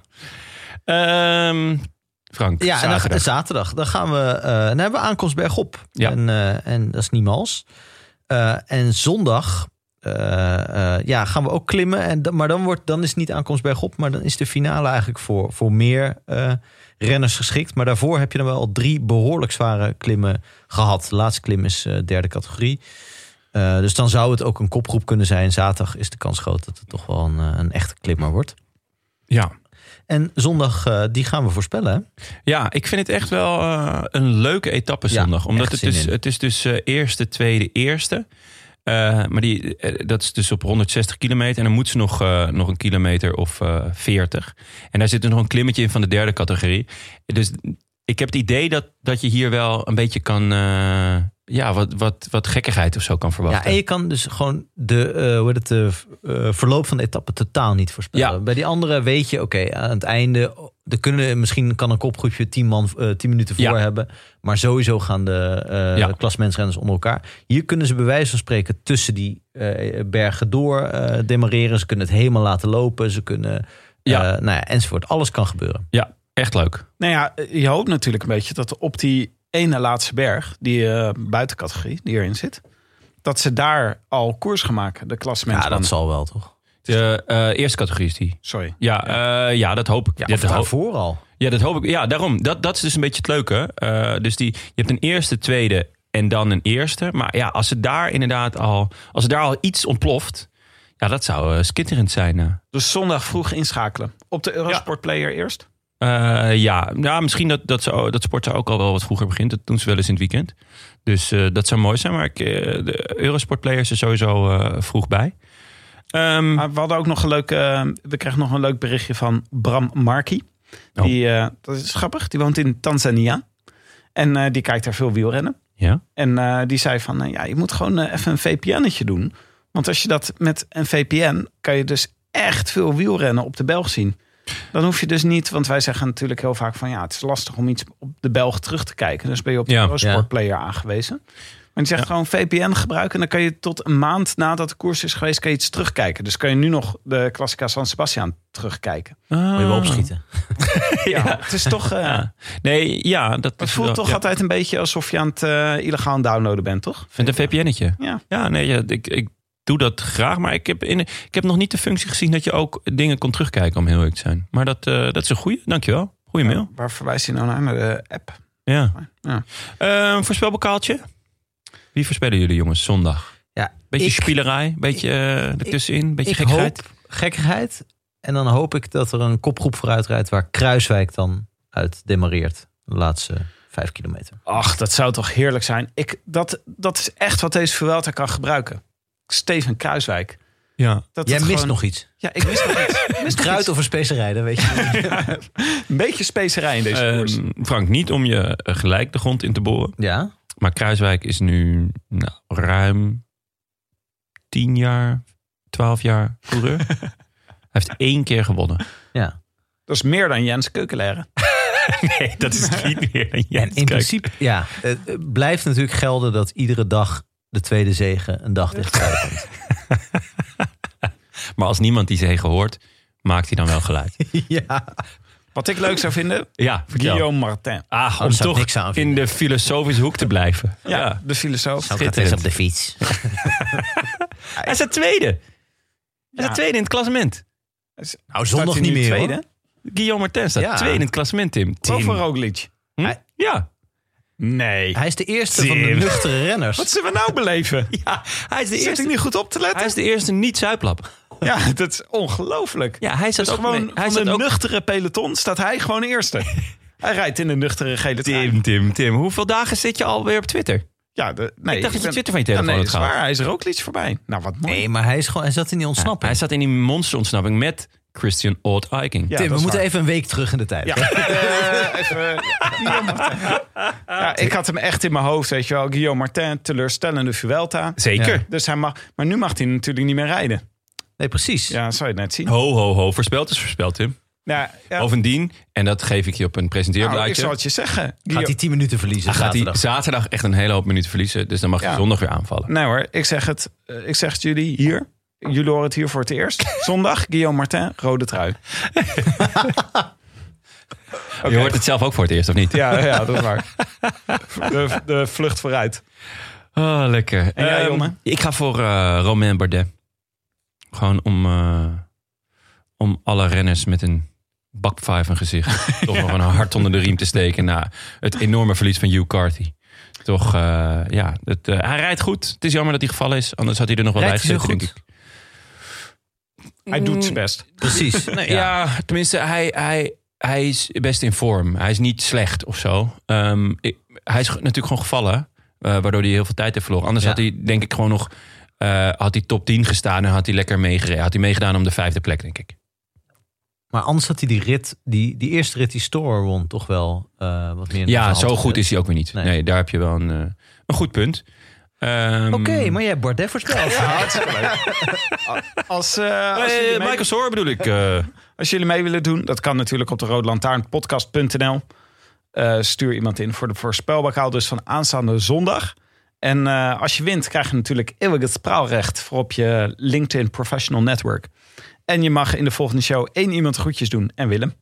[SPEAKER 1] Ehm, Frank,
[SPEAKER 3] Ja, en dan,
[SPEAKER 1] zaterdag.
[SPEAKER 3] zaterdag. Dan gaan we, eh, dan hebben we aankomst bergop.
[SPEAKER 1] Ja.
[SPEAKER 3] En, eh, en dat is niemals. Eh, en zondag eh, eh, ja, gaan we ook klimmen. En, dan- maar dan, wordt, dan is het niet aankomst bergop. Maar dan is de finale eigenlijk voor, voor meer eh, renners geschikt. Maar daarvoor heb je dan wel al drie behoorlijk zware klimmen gehad. De laatste klim is eh, derde categorie. Eh, dus dan zou het ook een kopgroep kunnen zijn. Zaterdag is de kans groot dat het toch wel een, eh, een echte klimmer wordt.
[SPEAKER 1] Ja.
[SPEAKER 3] En zondag, eh, die gaan we voorspellen. hè?
[SPEAKER 1] Ja, ik vind het echt wel eh, een leuke etappe
[SPEAKER 3] Ja,
[SPEAKER 1] zondag. Omdat
[SPEAKER 3] echt
[SPEAKER 1] het
[SPEAKER 3] zin
[SPEAKER 1] dus,
[SPEAKER 3] in.
[SPEAKER 1] het is dus eh, eerste, tweede, eerste. Eh, maar die, eh, dat is dus op 160 kilometer. En dan moet ze nog, eh, nog een kilometer of eh 40. En daar zit dus nog een klimmetje in van de derde categorie. Dus ik heb het idee dat, dat je hier wel een beetje kan... eh, ja, wat, wat, wat gekkigheid of zo kan
[SPEAKER 3] Ja,
[SPEAKER 1] verwachten.
[SPEAKER 3] en je kan dus gewoon de, eh, hoe heet het, de eh, verloop van de etappe totaal niet voorspellen.
[SPEAKER 1] Ja.
[SPEAKER 3] Bij die andere weet je, oké, aan het einde, er kunnen, misschien kan een kopgroepje tien, man, eh, tien minuten voor
[SPEAKER 1] Ja.
[SPEAKER 3] hebben. Maar sowieso gaan de eh
[SPEAKER 1] Ja.
[SPEAKER 3] klasmensrenners onder elkaar. Hier kunnen ze bij wijze van spreken tussen die eh, bergen door eh demareren. Ze kunnen het helemaal laten lopen. Ze kunnen,
[SPEAKER 1] Ja.
[SPEAKER 3] ja. nou ja, enzovoort. Alles kan gebeuren.
[SPEAKER 1] ja, echt leuk.
[SPEAKER 2] Nou ja, je hoopt natuurlijk een beetje dat op die ene laatste berg, die eh, buitencategorie die erin zit, dat ze daar al koers gaan maken, de klasmens.
[SPEAKER 3] Ja, dat zal wel, toch?
[SPEAKER 1] De eh, eerste categorie is die.
[SPEAKER 2] Sorry.
[SPEAKER 1] Ja, eh, ja dat hoop ik.
[SPEAKER 3] Ja,
[SPEAKER 1] Ja,
[SPEAKER 3] of
[SPEAKER 1] dat hoop-
[SPEAKER 3] daarvoor al.
[SPEAKER 1] Ja, dat hoop ik. Ja, daarom. Dat, dat is dus een beetje het leuke. Eh, dus die, je hebt een eerste, tweede en dan een eerste. Maar ja, als het daar inderdaad al, als het daar al iets ontploft. Ja, dat zou eh, skitterend zijn. eh.
[SPEAKER 2] Dus zondag vroeg inschakelen. Op de Eurosport Player eerst.
[SPEAKER 1] Eh, ja, nou, misschien dat, dat, ze, dat sporten ook al wel wat vroeger begint. Dat doen ze wel eens in het weekend. Dus eh, dat zou mooi zijn. Maar ik, eh, de Eurosportplayers er sowieso eh, vroeg bij. Ehm,
[SPEAKER 2] Maar we hadden ook nog een leuk, eh, we kregen nog een leuk berichtje van Bram Marki.
[SPEAKER 1] Oh.
[SPEAKER 2] Die, eh, dat is grappig, die woont in Tanzania. En eh, die kijkt daar veel wielrennen.
[SPEAKER 1] ja.
[SPEAKER 2] En eh, die zei van, eh, ja, je moet gewoon eh, even een VPN'tje doen. Want als je dat met een VPN, kan je dus echt veel wielrennen op de Belg zien. Dan hoef je dus niet, want wij zeggen natuurlijk heel vaak van... ja, het is lastig om iets op de Belg terug te kijken. Dus ben je op de
[SPEAKER 1] Ja,
[SPEAKER 2] Eurosport
[SPEAKER 3] ja.
[SPEAKER 2] Player aangewezen. Maar die zegt gewoon VPN gebruiken... en dan kan je tot een maand nadat de koers is geweest... kan je iets terugkijken. Dus kan je nu nog de Classica San Sebastian terugkijken.
[SPEAKER 3] Moet je wel
[SPEAKER 1] Ah.
[SPEAKER 3] opschieten.
[SPEAKER 2] Ja, het is toch... eh,
[SPEAKER 1] Ja. Nee, ja, dat
[SPEAKER 2] Het
[SPEAKER 1] is
[SPEAKER 2] voelt
[SPEAKER 1] wel-
[SPEAKER 2] toch
[SPEAKER 1] ja.
[SPEAKER 2] altijd een beetje alsof je aan het eh, illegaal downloaden bent, toch?
[SPEAKER 1] Met een VPN'tje.
[SPEAKER 2] Ja.
[SPEAKER 1] Ja, nee, ja, ik, ik doe dat graag. Maar ik heb, in, ik heb nog niet de functie gezien dat je ook dingen kon terugkijken, om heel eerlijk te zijn. Maar dat, eh, dat is een goede. Dankjewel. Goeie mail.
[SPEAKER 2] Waar verwijst hij nou naar? Naar de app?
[SPEAKER 1] Ja.
[SPEAKER 2] Ja.
[SPEAKER 1] Eh, voorspelbokaaltje. Wie voorspellen jullie, jongens, zondag?
[SPEAKER 3] Ja,
[SPEAKER 1] Beetje
[SPEAKER 3] ik-
[SPEAKER 1] spielerij, beetje eh ertussenin, beetje
[SPEAKER 3] ik
[SPEAKER 1] gekheid.
[SPEAKER 3] hoop gekkigheid. En dan hoop ik dat er een kopgroep vooruit rijdt waar Kruiswijk dan uit demareert. De laatste vijf kilometer.
[SPEAKER 2] Ach, dat zou toch heerlijk zijn. Ik, dat, dat is echt wat deze Vuelta kan gebruiken. Steven Kruiswijk.
[SPEAKER 1] Ja.
[SPEAKER 2] Dat
[SPEAKER 3] Jij
[SPEAKER 2] het
[SPEAKER 3] mist
[SPEAKER 2] gewoon-
[SPEAKER 3] nog iets.
[SPEAKER 2] Ja, ik mis nog iets. Ik mis nog
[SPEAKER 3] Kruid
[SPEAKER 2] iets.
[SPEAKER 3] of een specerij, dat weet je. niet.
[SPEAKER 2] Een beetje specerij in deze koers.
[SPEAKER 1] Ehm, Frank, niet om je eh, gelijk de grond in te boren.
[SPEAKER 3] Ja,
[SPEAKER 1] Maar Kruiswijk is nu nou, ruim 10 jaar, 12 jaar coureur. Hij heeft één keer gewonnen.
[SPEAKER 3] ja.
[SPEAKER 2] Dat is meer dan Jens Keukelaire.
[SPEAKER 1] Nee, dat is niet meer dan
[SPEAKER 3] En in principe ja, het eh, blijft natuurlijk gelden dat iedere dag de tweede zegen een dag dichterbij komt.
[SPEAKER 1] Maar als niemand die zegen hoort, maakt hij dan wel geluid.
[SPEAKER 3] ja.
[SPEAKER 2] Wat ik leuk zou vinden,
[SPEAKER 1] Ja, vertel.
[SPEAKER 2] Guillaume Martin.
[SPEAKER 1] Ah, om
[SPEAKER 3] daar zou ik
[SPEAKER 1] toch
[SPEAKER 3] niks aan
[SPEAKER 1] in
[SPEAKER 3] vinden.
[SPEAKER 1] de filosofische hoek te blijven.
[SPEAKER 2] Ja, de filosoof.
[SPEAKER 3] Dan gaat eens op de fiets.
[SPEAKER 1] Hij is de tweede. Hij is
[SPEAKER 2] Ja.
[SPEAKER 1] de tweede in het klassement.
[SPEAKER 3] Nou,
[SPEAKER 2] Staat
[SPEAKER 3] zondag
[SPEAKER 2] hij
[SPEAKER 3] niet
[SPEAKER 2] nu
[SPEAKER 3] meer
[SPEAKER 2] tweede?
[SPEAKER 3] hoor.
[SPEAKER 1] Guillaume Martens staat
[SPEAKER 3] Ja.
[SPEAKER 1] tweede in het klassement, Tim. Tim.
[SPEAKER 2] Boven Roglic.
[SPEAKER 1] Hm?
[SPEAKER 3] Hij-
[SPEAKER 1] Ja.
[SPEAKER 2] Nee.
[SPEAKER 3] Hij is de eerste van de
[SPEAKER 1] Tim.
[SPEAKER 3] nuchtere renners.
[SPEAKER 2] Wat zullen we nou beleven?
[SPEAKER 1] ja. Hij is de
[SPEAKER 2] Zit ik
[SPEAKER 1] eerste,
[SPEAKER 2] niet goed op te letten?
[SPEAKER 1] hij is de eerste niet-zuiplap.
[SPEAKER 2] Ja, dat is ongelooflijk.
[SPEAKER 1] Ja, hij staat
[SPEAKER 2] Dus
[SPEAKER 1] ook
[SPEAKER 2] gewoon
[SPEAKER 1] mee- hij
[SPEAKER 2] van
[SPEAKER 1] staat
[SPEAKER 2] de
[SPEAKER 1] ook
[SPEAKER 2] nuchtere peloton staat hij gewoon eerste. hij rijdt in de nuchtere gele trui.
[SPEAKER 1] Tim, Tim, Tim. Hoeveel dagen zit je alweer op Twitter?
[SPEAKER 2] Ja, de, nee,
[SPEAKER 1] Ik dacht dat je
[SPEAKER 2] ben-
[SPEAKER 1] Twitter van je telefoon
[SPEAKER 2] ja, nee,
[SPEAKER 1] had
[SPEAKER 2] dat is
[SPEAKER 1] gehaald.
[SPEAKER 2] waar. Hij is er ook iets voorbij. Nou, wat mooi.
[SPEAKER 3] Nee, maar hij, is gewoon, hij zat in die ontsnapping.
[SPEAKER 1] Hij zat in die monsterontsnapping met Christian Old Eiking.
[SPEAKER 2] Ja,
[SPEAKER 3] Tim, we
[SPEAKER 2] dat is
[SPEAKER 3] moeten
[SPEAKER 2] waar.
[SPEAKER 3] even een week terug in de tijd.
[SPEAKER 2] Ja, eh, even, Guillaume Martin. ja, ik had hem echt in mijn hoofd, weet je wel. Guillaume Martin, teleurstellende Vuelta.
[SPEAKER 1] Zeker.
[SPEAKER 2] Ja. Dus hij mag, maar nu mag hij natuurlijk niet meer rijden.
[SPEAKER 3] Nee, precies.
[SPEAKER 2] Ja, dat zou je net zien.
[SPEAKER 1] Ho, ho, ho. Voorspeld is voorspeld, Tim.
[SPEAKER 2] Ja, ja.
[SPEAKER 1] Bovendien, en dat geef ik je op een
[SPEAKER 2] Nou, ik
[SPEAKER 1] presenteerblaadje.
[SPEAKER 2] zal het je zeggen.
[SPEAKER 3] Gaat hij
[SPEAKER 2] Guillaume-
[SPEAKER 3] 10 minuten verliezen
[SPEAKER 1] dan gaat hij
[SPEAKER 3] zaterdag?
[SPEAKER 1] zaterdag echt een hele hoop minuten verliezen. Dus dan mag je
[SPEAKER 2] Ja.
[SPEAKER 1] zondag weer aanvallen.
[SPEAKER 2] Nee hoor, ik zeg het, eh, ik zeg het jullie hier. Jullie horen het hier voor het eerst. Zondag, Guillaume Martin, rode trui.
[SPEAKER 1] Je hoort het zelf ook voor het eerst, of niet?
[SPEAKER 2] Ja, ja dat is waar. De, de vlucht vooruit.
[SPEAKER 1] Oh, lekker.
[SPEAKER 2] En jij,
[SPEAKER 1] Ehm,
[SPEAKER 2] Jonne?
[SPEAKER 1] Ik ga voor eh, Romain Bardet. Gewoon om, eh, om alle renners met een bakvijf en gezicht... toch nog een hart onder de riem te steken... na het enorme verlies van Hugh Carthy. Toch, eh, ja. Het, eh, hij rijdt goed. Het is jammer dat hij gevallen is. Anders had hij er nog wel bij
[SPEAKER 3] Rijdt hij zo
[SPEAKER 1] gezeten, denk
[SPEAKER 3] goed?
[SPEAKER 1] ik.
[SPEAKER 2] Hij doet zijn best.
[SPEAKER 3] Precies.
[SPEAKER 1] Nee,
[SPEAKER 3] ja.
[SPEAKER 1] ja. tenminste, hij, hij, hij is best in vorm. Hij is niet slecht of zo. Ehm, ik- hij is ge- natuurlijk gewoon gevallen, eh, waardoor hij heel veel tijd heeft verloren. Anders
[SPEAKER 3] Ja.
[SPEAKER 1] had hij, denk ik, gewoon nog. eh, had hij top 10 gestaan en had hij lekker meegereden. Had hij meegedaan om de vijfde plek, denk ik.
[SPEAKER 3] Maar anders had hij die rit, die, die eerste rit die Store won, toch wel eh, wat meer.
[SPEAKER 1] Ja, zo goed is hij ook weer niet. Nee,
[SPEAKER 3] Nee.
[SPEAKER 1] daar heb je wel een, eh, een goed punt. Ehm,
[SPEAKER 3] Oké, maar jij hebt Bardet voorspeld.
[SPEAKER 2] Als, eh, als,
[SPEAKER 1] eh,
[SPEAKER 2] jullie mee,
[SPEAKER 1] Michael Soor bedoel ik. eh,
[SPEAKER 2] als jullie mee willen doen, dat kan natuurlijk op de roodlantaarnpodcast.nl. Eh, stuur iemand in voor de voorspelbokaal dus van aanstaande zondag. En eh, als je wint, krijg je natuurlijk eeuwig het spraalrecht voor op je LinkedIn Professional Network. En je mag in de volgende show één iemand groetjes doen en Willem.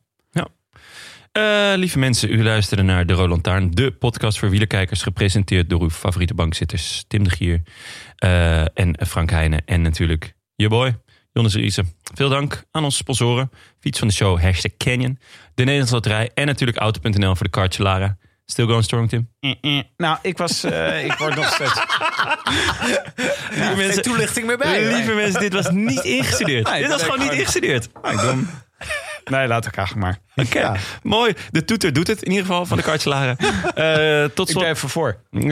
[SPEAKER 1] Eh, lieve mensen, u luisterde naar De Roland Taarn, de podcast voor wielerkijkers, gepresenteerd door uw favoriete bankzitters Tim de Gier eh, en Frank Heijnen en natuurlijk je boy, Jonas Riese. Veel dank aan onze sponsoren, fiets van de show, hashtag Canyon, de Nederlandse Loterij en natuurlijk Auto.nl voor de kaartje Lara. Still going strong, Tim.
[SPEAKER 2] Nou, ik was, eh, ik word nog steeds.
[SPEAKER 1] lieve mensen,
[SPEAKER 3] toelichting meer
[SPEAKER 1] lieve mensen, dit was niet ingestudeerd. dit was
[SPEAKER 2] leuk,
[SPEAKER 1] gewoon niet
[SPEAKER 2] gewoon.
[SPEAKER 1] ingestudeerd.
[SPEAKER 2] Nou, ik doe hem. Nee, laat ik eigenlijk maar.
[SPEAKER 1] Oké, mooi. De toeter doet het in ieder geval van de kaartje Lara. Eh, tot
[SPEAKER 2] Ik
[SPEAKER 1] slot.
[SPEAKER 2] ben even voor.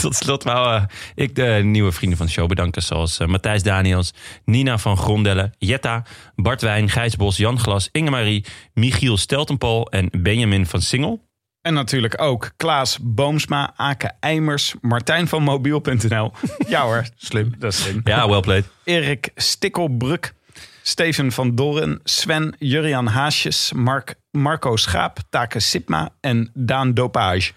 [SPEAKER 1] Tot slot wou eh, ik de nieuwe vrienden van de show bedanken. Zoals eh, Matthijs Daniels, Nina van Grondelle, Jetta, Bart Wijn, Gijs Bos, Jan Glas, Inge-Marie, Michiel Steltenpol en Benjamin van Singel.
[SPEAKER 2] En natuurlijk ook Klaas Boomsma, Ake Eimers, Martijn van Mobiel.nl. Ja hoor, slim. Dat is slim.
[SPEAKER 1] Ja, well played.
[SPEAKER 2] Erik Stikkelbruk, Steven van Dorren, Sven, Jurian Haasjes, Mark, Marco Schaap, Take Sipma en Daan Dopage.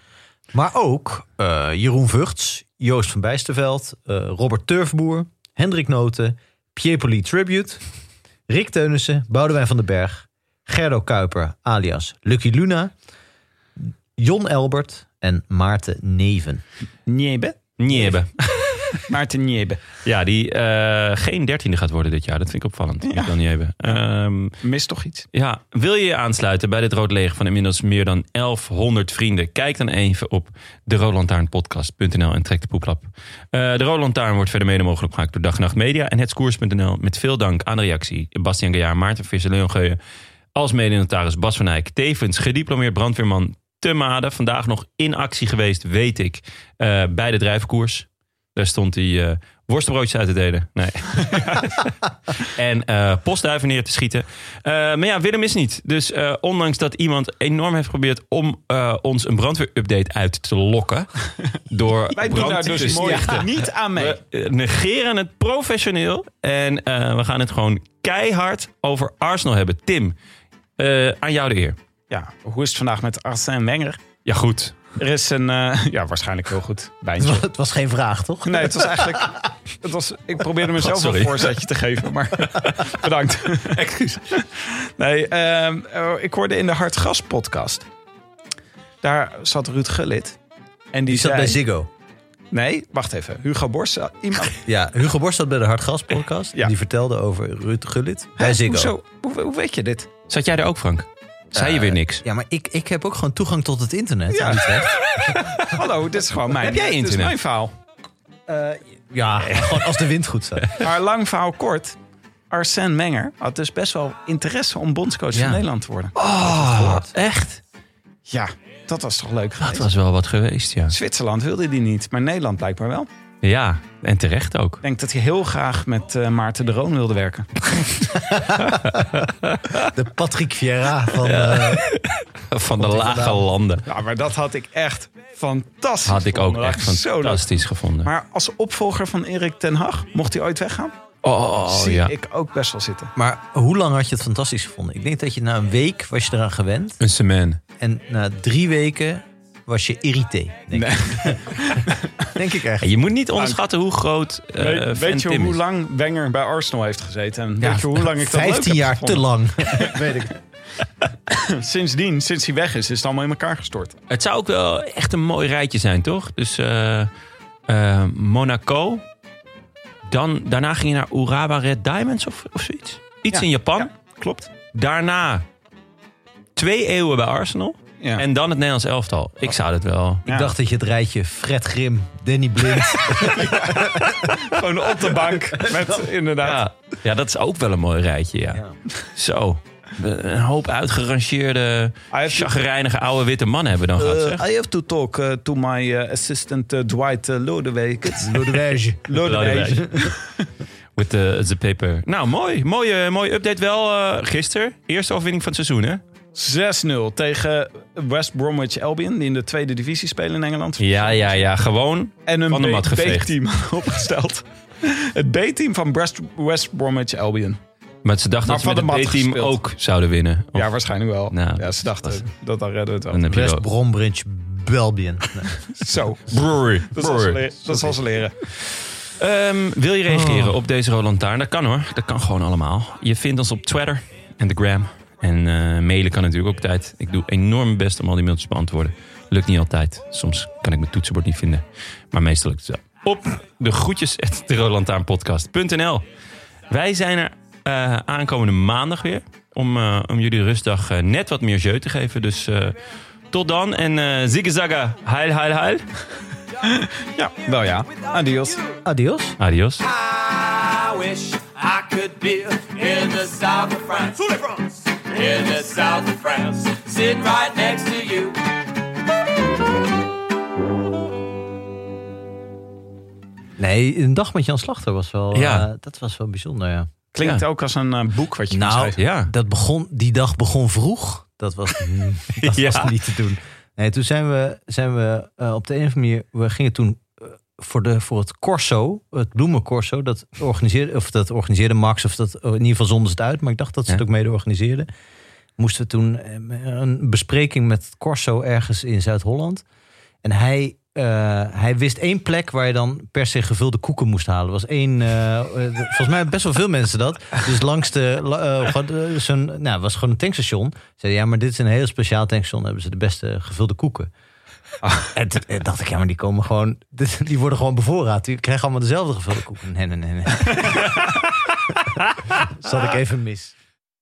[SPEAKER 3] Maar ook eh, Jeroen Vugts, Joost van Bijsterveld, eh, Robert Turfboer, Hendrik Noten, Piepoli Tribute, Rick Teunissen, Boudewijn van den Berg, Gerdo Kuiper alias Lucky Luna, Jon Elbert en Maarten Neven.
[SPEAKER 2] Niebe.
[SPEAKER 1] Niebe.
[SPEAKER 2] Maarten Niebe.
[SPEAKER 1] Ja, die eh, geen dertiende gaat worden dit jaar. Dat vind ik opvallend. Ja. Dan Niebe. Ehm,
[SPEAKER 2] Mist toch iets?
[SPEAKER 1] ja, wil je je aansluiten bij dit Rood Leger van inmiddels meer dan 1100 vrienden? Kijk dan even op de roodlantaarnpodcast.nl en trek de poeplap. Eh, de Rood Lantaarn wordt verder mede mogelijk gemaakt door Dag en Nacht Media en hetskoers.nl. Met veel dank aan de reactie Bastian Gaillard, Maarten Visser, Leon Geuyen, als medenotaris Bas van Eyck. Tevens gediplomeerd brandweerman te Made. Vandaag nog in actie geweest, weet ik, eh, bij de drijfkoers. Daar stond hij eh, worstenbroodjes uit te delen. Nee. en eh postduiven neer te schieten. Eh, maar ja, Willem is niet. Dus eh, ondanks dat iemand enorm heeft geprobeerd om eh, ons een brandweerupdate uit te lokken. door
[SPEAKER 2] Wij doen daar
[SPEAKER 1] brand te
[SPEAKER 2] dus mooi
[SPEAKER 1] stichten.
[SPEAKER 2] niet aan mee.
[SPEAKER 1] We eh, negeren het professioneel. En eh, we gaan het gewoon keihard over Arsenal hebben. Tim, eh, aan jou de eer.
[SPEAKER 2] Ja, hoe is het vandaag met Arsène Wenger?
[SPEAKER 1] Ja, goed.
[SPEAKER 2] Er is een... eh, ja, waarschijnlijk heel goed. Bijna.
[SPEAKER 3] Het was geen vraag, toch?
[SPEAKER 2] Nee, het was eigenlijk... Het was, ik probeerde mezelf
[SPEAKER 1] sorry.
[SPEAKER 2] een voorzetje te geven, maar bedankt. Excuus. Nee, ehm, eh, ik hoorde in de Hartgas podcast. Daar zat Ruud Gullit. En die,
[SPEAKER 3] Die zat
[SPEAKER 2] zei-
[SPEAKER 3] bij Ziggo.
[SPEAKER 2] Nee, wacht even. Hugo Borst. zat- Iemand,
[SPEAKER 3] Ja, Hugo Borst zat bij de Hartgas podcast.
[SPEAKER 2] Ja.
[SPEAKER 3] Die vertelde over Ruud Gullit bij
[SPEAKER 2] Hè?
[SPEAKER 3] Ziggo.
[SPEAKER 2] Hoezo? Hoe, hoe weet je dit?
[SPEAKER 1] Zat jij er ook, Frank? Zei
[SPEAKER 2] Eh,
[SPEAKER 1] je weer niks?
[SPEAKER 3] Ja, maar ik, ik heb ook gewoon toegang tot het internet.
[SPEAKER 2] Ja.
[SPEAKER 3] in Utrecht.
[SPEAKER 2] Hallo, dit is gewoon mijn.
[SPEAKER 1] Heb jij
[SPEAKER 2] dit is
[SPEAKER 1] internet?
[SPEAKER 2] mijn verhaal.
[SPEAKER 3] Eh, ja gewoon als de wind goed staat.
[SPEAKER 2] Maar lang verhaal kort. Arsène Menger had dus best wel interesse om bondscoach
[SPEAKER 3] Ja.
[SPEAKER 2] van Nederland te worden.
[SPEAKER 1] Oh, echt?
[SPEAKER 2] Ja, dat was toch leuk
[SPEAKER 1] Dat
[SPEAKER 2] geweest?
[SPEAKER 1] was wel wat geweest, ja.
[SPEAKER 2] Zwitserland wilde die niet, maar Nederland blijkbaar wel.
[SPEAKER 1] Ja, en terecht ook.
[SPEAKER 2] Ik denk dat hij heel graag met eh, Maarten de Roon wilde werken.
[SPEAKER 3] De Patrick Vieira van... eh,
[SPEAKER 1] Van de lage landen
[SPEAKER 2] Ja, maar dat had ik echt fantastisch.
[SPEAKER 1] had ik ook
[SPEAKER 2] gevonden.
[SPEAKER 1] echt
[SPEAKER 2] Dat was zo leuk.
[SPEAKER 1] fantastisch gevonden.
[SPEAKER 2] Maar als opvolger van Erik ten Hag, mocht hij ooit weggaan,
[SPEAKER 1] Oh,
[SPEAKER 2] zie
[SPEAKER 1] ja. Eh,
[SPEAKER 2] ik ook best wel zitten.
[SPEAKER 3] maar hoe lang had je het fantastisch gevonden? Ik denk dat je na een week was je eraan gewend.
[SPEAKER 1] Een cement.
[SPEAKER 3] En na drie weken was je irrité. Denk, ik. denk ik echt.
[SPEAKER 1] Je moet niet onderschatten hoe groot eh fan
[SPEAKER 2] weet weet je
[SPEAKER 1] Tim
[SPEAKER 2] hoe
[SPEAKER 1] is.
[SPEAKER 2] lang Wenger bij Arsenal heeft gezeten? En weet je hoe lang ik dat leuk
[SPEAKER 3] 15
[SPEAKER 2] heb
[SPEAKER 3] jaar te
[SPEAKER 2] gevonden?
[SPEAKER 3] lang. Weet ik.
[SPEAKER 2] Sindsdien, sinds hij weg is, is het allemaal in elkaar gestort.
[SPEAKER 1] Het zou ook wel echt een mooi rijtje zijn, toch? Dus eh, eh, Monaco. Dan, daarna ging je naar Urawa Red Diamonds of, of zoiets. Iets
[SPEAKER 2] Ja,
[SPEAKER 1] in Japan.
[SPEAKER 2] ja, klopt.
[SPEAKER 1] Daarna twee eeuwen bij Arsenal.
[SPEAKER 2] Ja. Eh,
[SPEAKER 1] En dan het Nederlands elftal. Ik zou dat wel.
[SPEAKER 3] Ik dacht dat je het rijtje Fred Grim, Danny Blind.
[SPEAKER 2] gewoon op de bank. Met, inderdaad.
[SPEAKER 1] Ja, ja, dat is ook wel een mooi rijtje, ja. Zo. Een hoop uitgerangeerde,
[SPEAKER 2] Hij heeft-
[SPEAKER 1] chagrijnige oude witte mannen hebben we dan gehad, zeg.
[SPEAKER 2] I have to talk eh, to my eh, assistant eh, Dwight uh, Lodewijk.
[SPEAKER 3] Lodewijk.
[SPEAKER 2] Lodewijk.
[SPEAKER 1] Oh, With the, the paper. Nou, mooi. Mooie, mooie update wel eh gisteren. Eerste overwinning van het seizoen, hè?
[SPEAKER 2] 6-0 tegen West Bromwich Albion, die in de tweede divisie spelen in Engeland.
[SPEAKER 1] Ja, ja, ja. Gewoon.
[SPEAKER 2] En
[SPEAKER 1] Van de
[SPEAKER 2] een
[SPEAKER 1] mat
[SPEAKER 2] B-
[SPEAKER 1] geveegd.
[SPEAKER 2] B-team opgesteld. Het B-team van West, West Bromwich Albion.
[SPEAKER 1] Maar ze dachten
[SPEAKER 2] Maar
[SPEAKER 1] dat ze
[SPEAKER 2] van
[SPEAKER 1] met
[SPEAKER 2] de
[SPEAKER 1] het
[SPEAKER 2] mat
[SPEAKER 1] B-team
[SPEAKER 2] gespeeld.
[SPEAKER 1] ook zouden winnen. Of-
[SPEAKER 2] Ja, waarschijnlijk wel.
[SPEAKER 1] Nou,
[SPEAKER 2] ja,
[SPEAKER 1] dat
[SPEAKER 2] ze dachten,
[SPEAKER 1] was-
[SPEAKER 2] dat dan redden we het
[SPEAKER 1] dan
[SPEAKER 2] wel.
[SPEAKER 1] heb je
[SPEAKER 3] West
[SPEAKER 1] wel-
[SPEAKER 3] Bromwich, Belbion. Nee.
[SPEAKER 2] Zo,
[SPEAKER 1] Brewery.
[SPEAKER 2] dat zal ze
[SPEAKER 1] Brewery.
[SPEAKER 2] leren. Dat zal ze leren.
[SPEAKER 1] Ehm, wil je reageren op deze Roland Lantaarn? Dat kan hoor. Dat kan gewoon allemaal. Je vindt ons op Twitter en de Gram. En eh, mailen kan natuurlijk ook tijd. Ik doe enorm mijn best om al die mailtjes te beantwoorden. Lukt niet altijd. Soms kan ik mijn toetsenbord niet vinden. Maar meestal lukt het wel. Op de groetjes at de roodlantaarnpodcast.nl. Wij zijn er eh, aankomende maandag weer. Om, eh, om jullie rustdag eh, net wat meer jeu te geven. Dus eh, tot dan. En eh zigge zagga. Heil, heil, heil.
[SPEAKER 2] Ja, wel ja. Adios.
[SPEAKER 3] Adios.
[SPEAKER 1] Adios.
[SPEAKER 5] I wish I could be in the south of France. In the south of France, sitting right next to you.
[SPEAKER 3] Nee, een dag met Jan Slachter was wel,
[SPEAKER 1] Ja.
[SPEAKER 3] eh, dat was wel bijzonder, ja.
[SPEAKER 2] Klinkt
[SPEAKER 1] Ja.
[SPEAKER 2] ook als een eh, boek wat je moet
[SPEAKER 3] Nou,
[SPEAKER 2] schrijven.
[SPEAKER 1] Ja.
[SPEAKER 3] dat begon, die dag begon vroeg. Dat was, dat
[SPEAKER 1] Ja.
[SPEAKER 3] was niet te doen. Nee, toen zijn we, zijn we eh, op de een of andere manier... We gingen toen eh, voor, de, voor het corso, het bloemencorso... Dat organiseerde, of dat organiseerde Max, of dat oh, in ieder geval zonden ze het uit. Maar ik dacht dat ze het
[SPEAKER 1] Ja.
[SPEAKER 3] ook mede organiseerden. Moesten we toen eh, een bespreking met het corso ergens in Zuid-Holland. En hij, eh, hij wist één plek waar je dan per se gevulde koeken moest halen. Er was één, eh, eh, volgens mij hebben best wel veel mensen dat. Dus langs de, la- eh, gewoon, eh, zo'n, nou, het was gewoon een tankstation. Zeiden ja, maar dit is een heel speciaal tankstation. Dan hebben ze de beste gevulde koeken. En toen eh, dacht ik, ja, maar die komen gewoon... Die worden gewoon bevoorraad. Die krijgen allemaal dezelfde gevulde koek. Nee, nee, nee. nee. Zat ik even mis.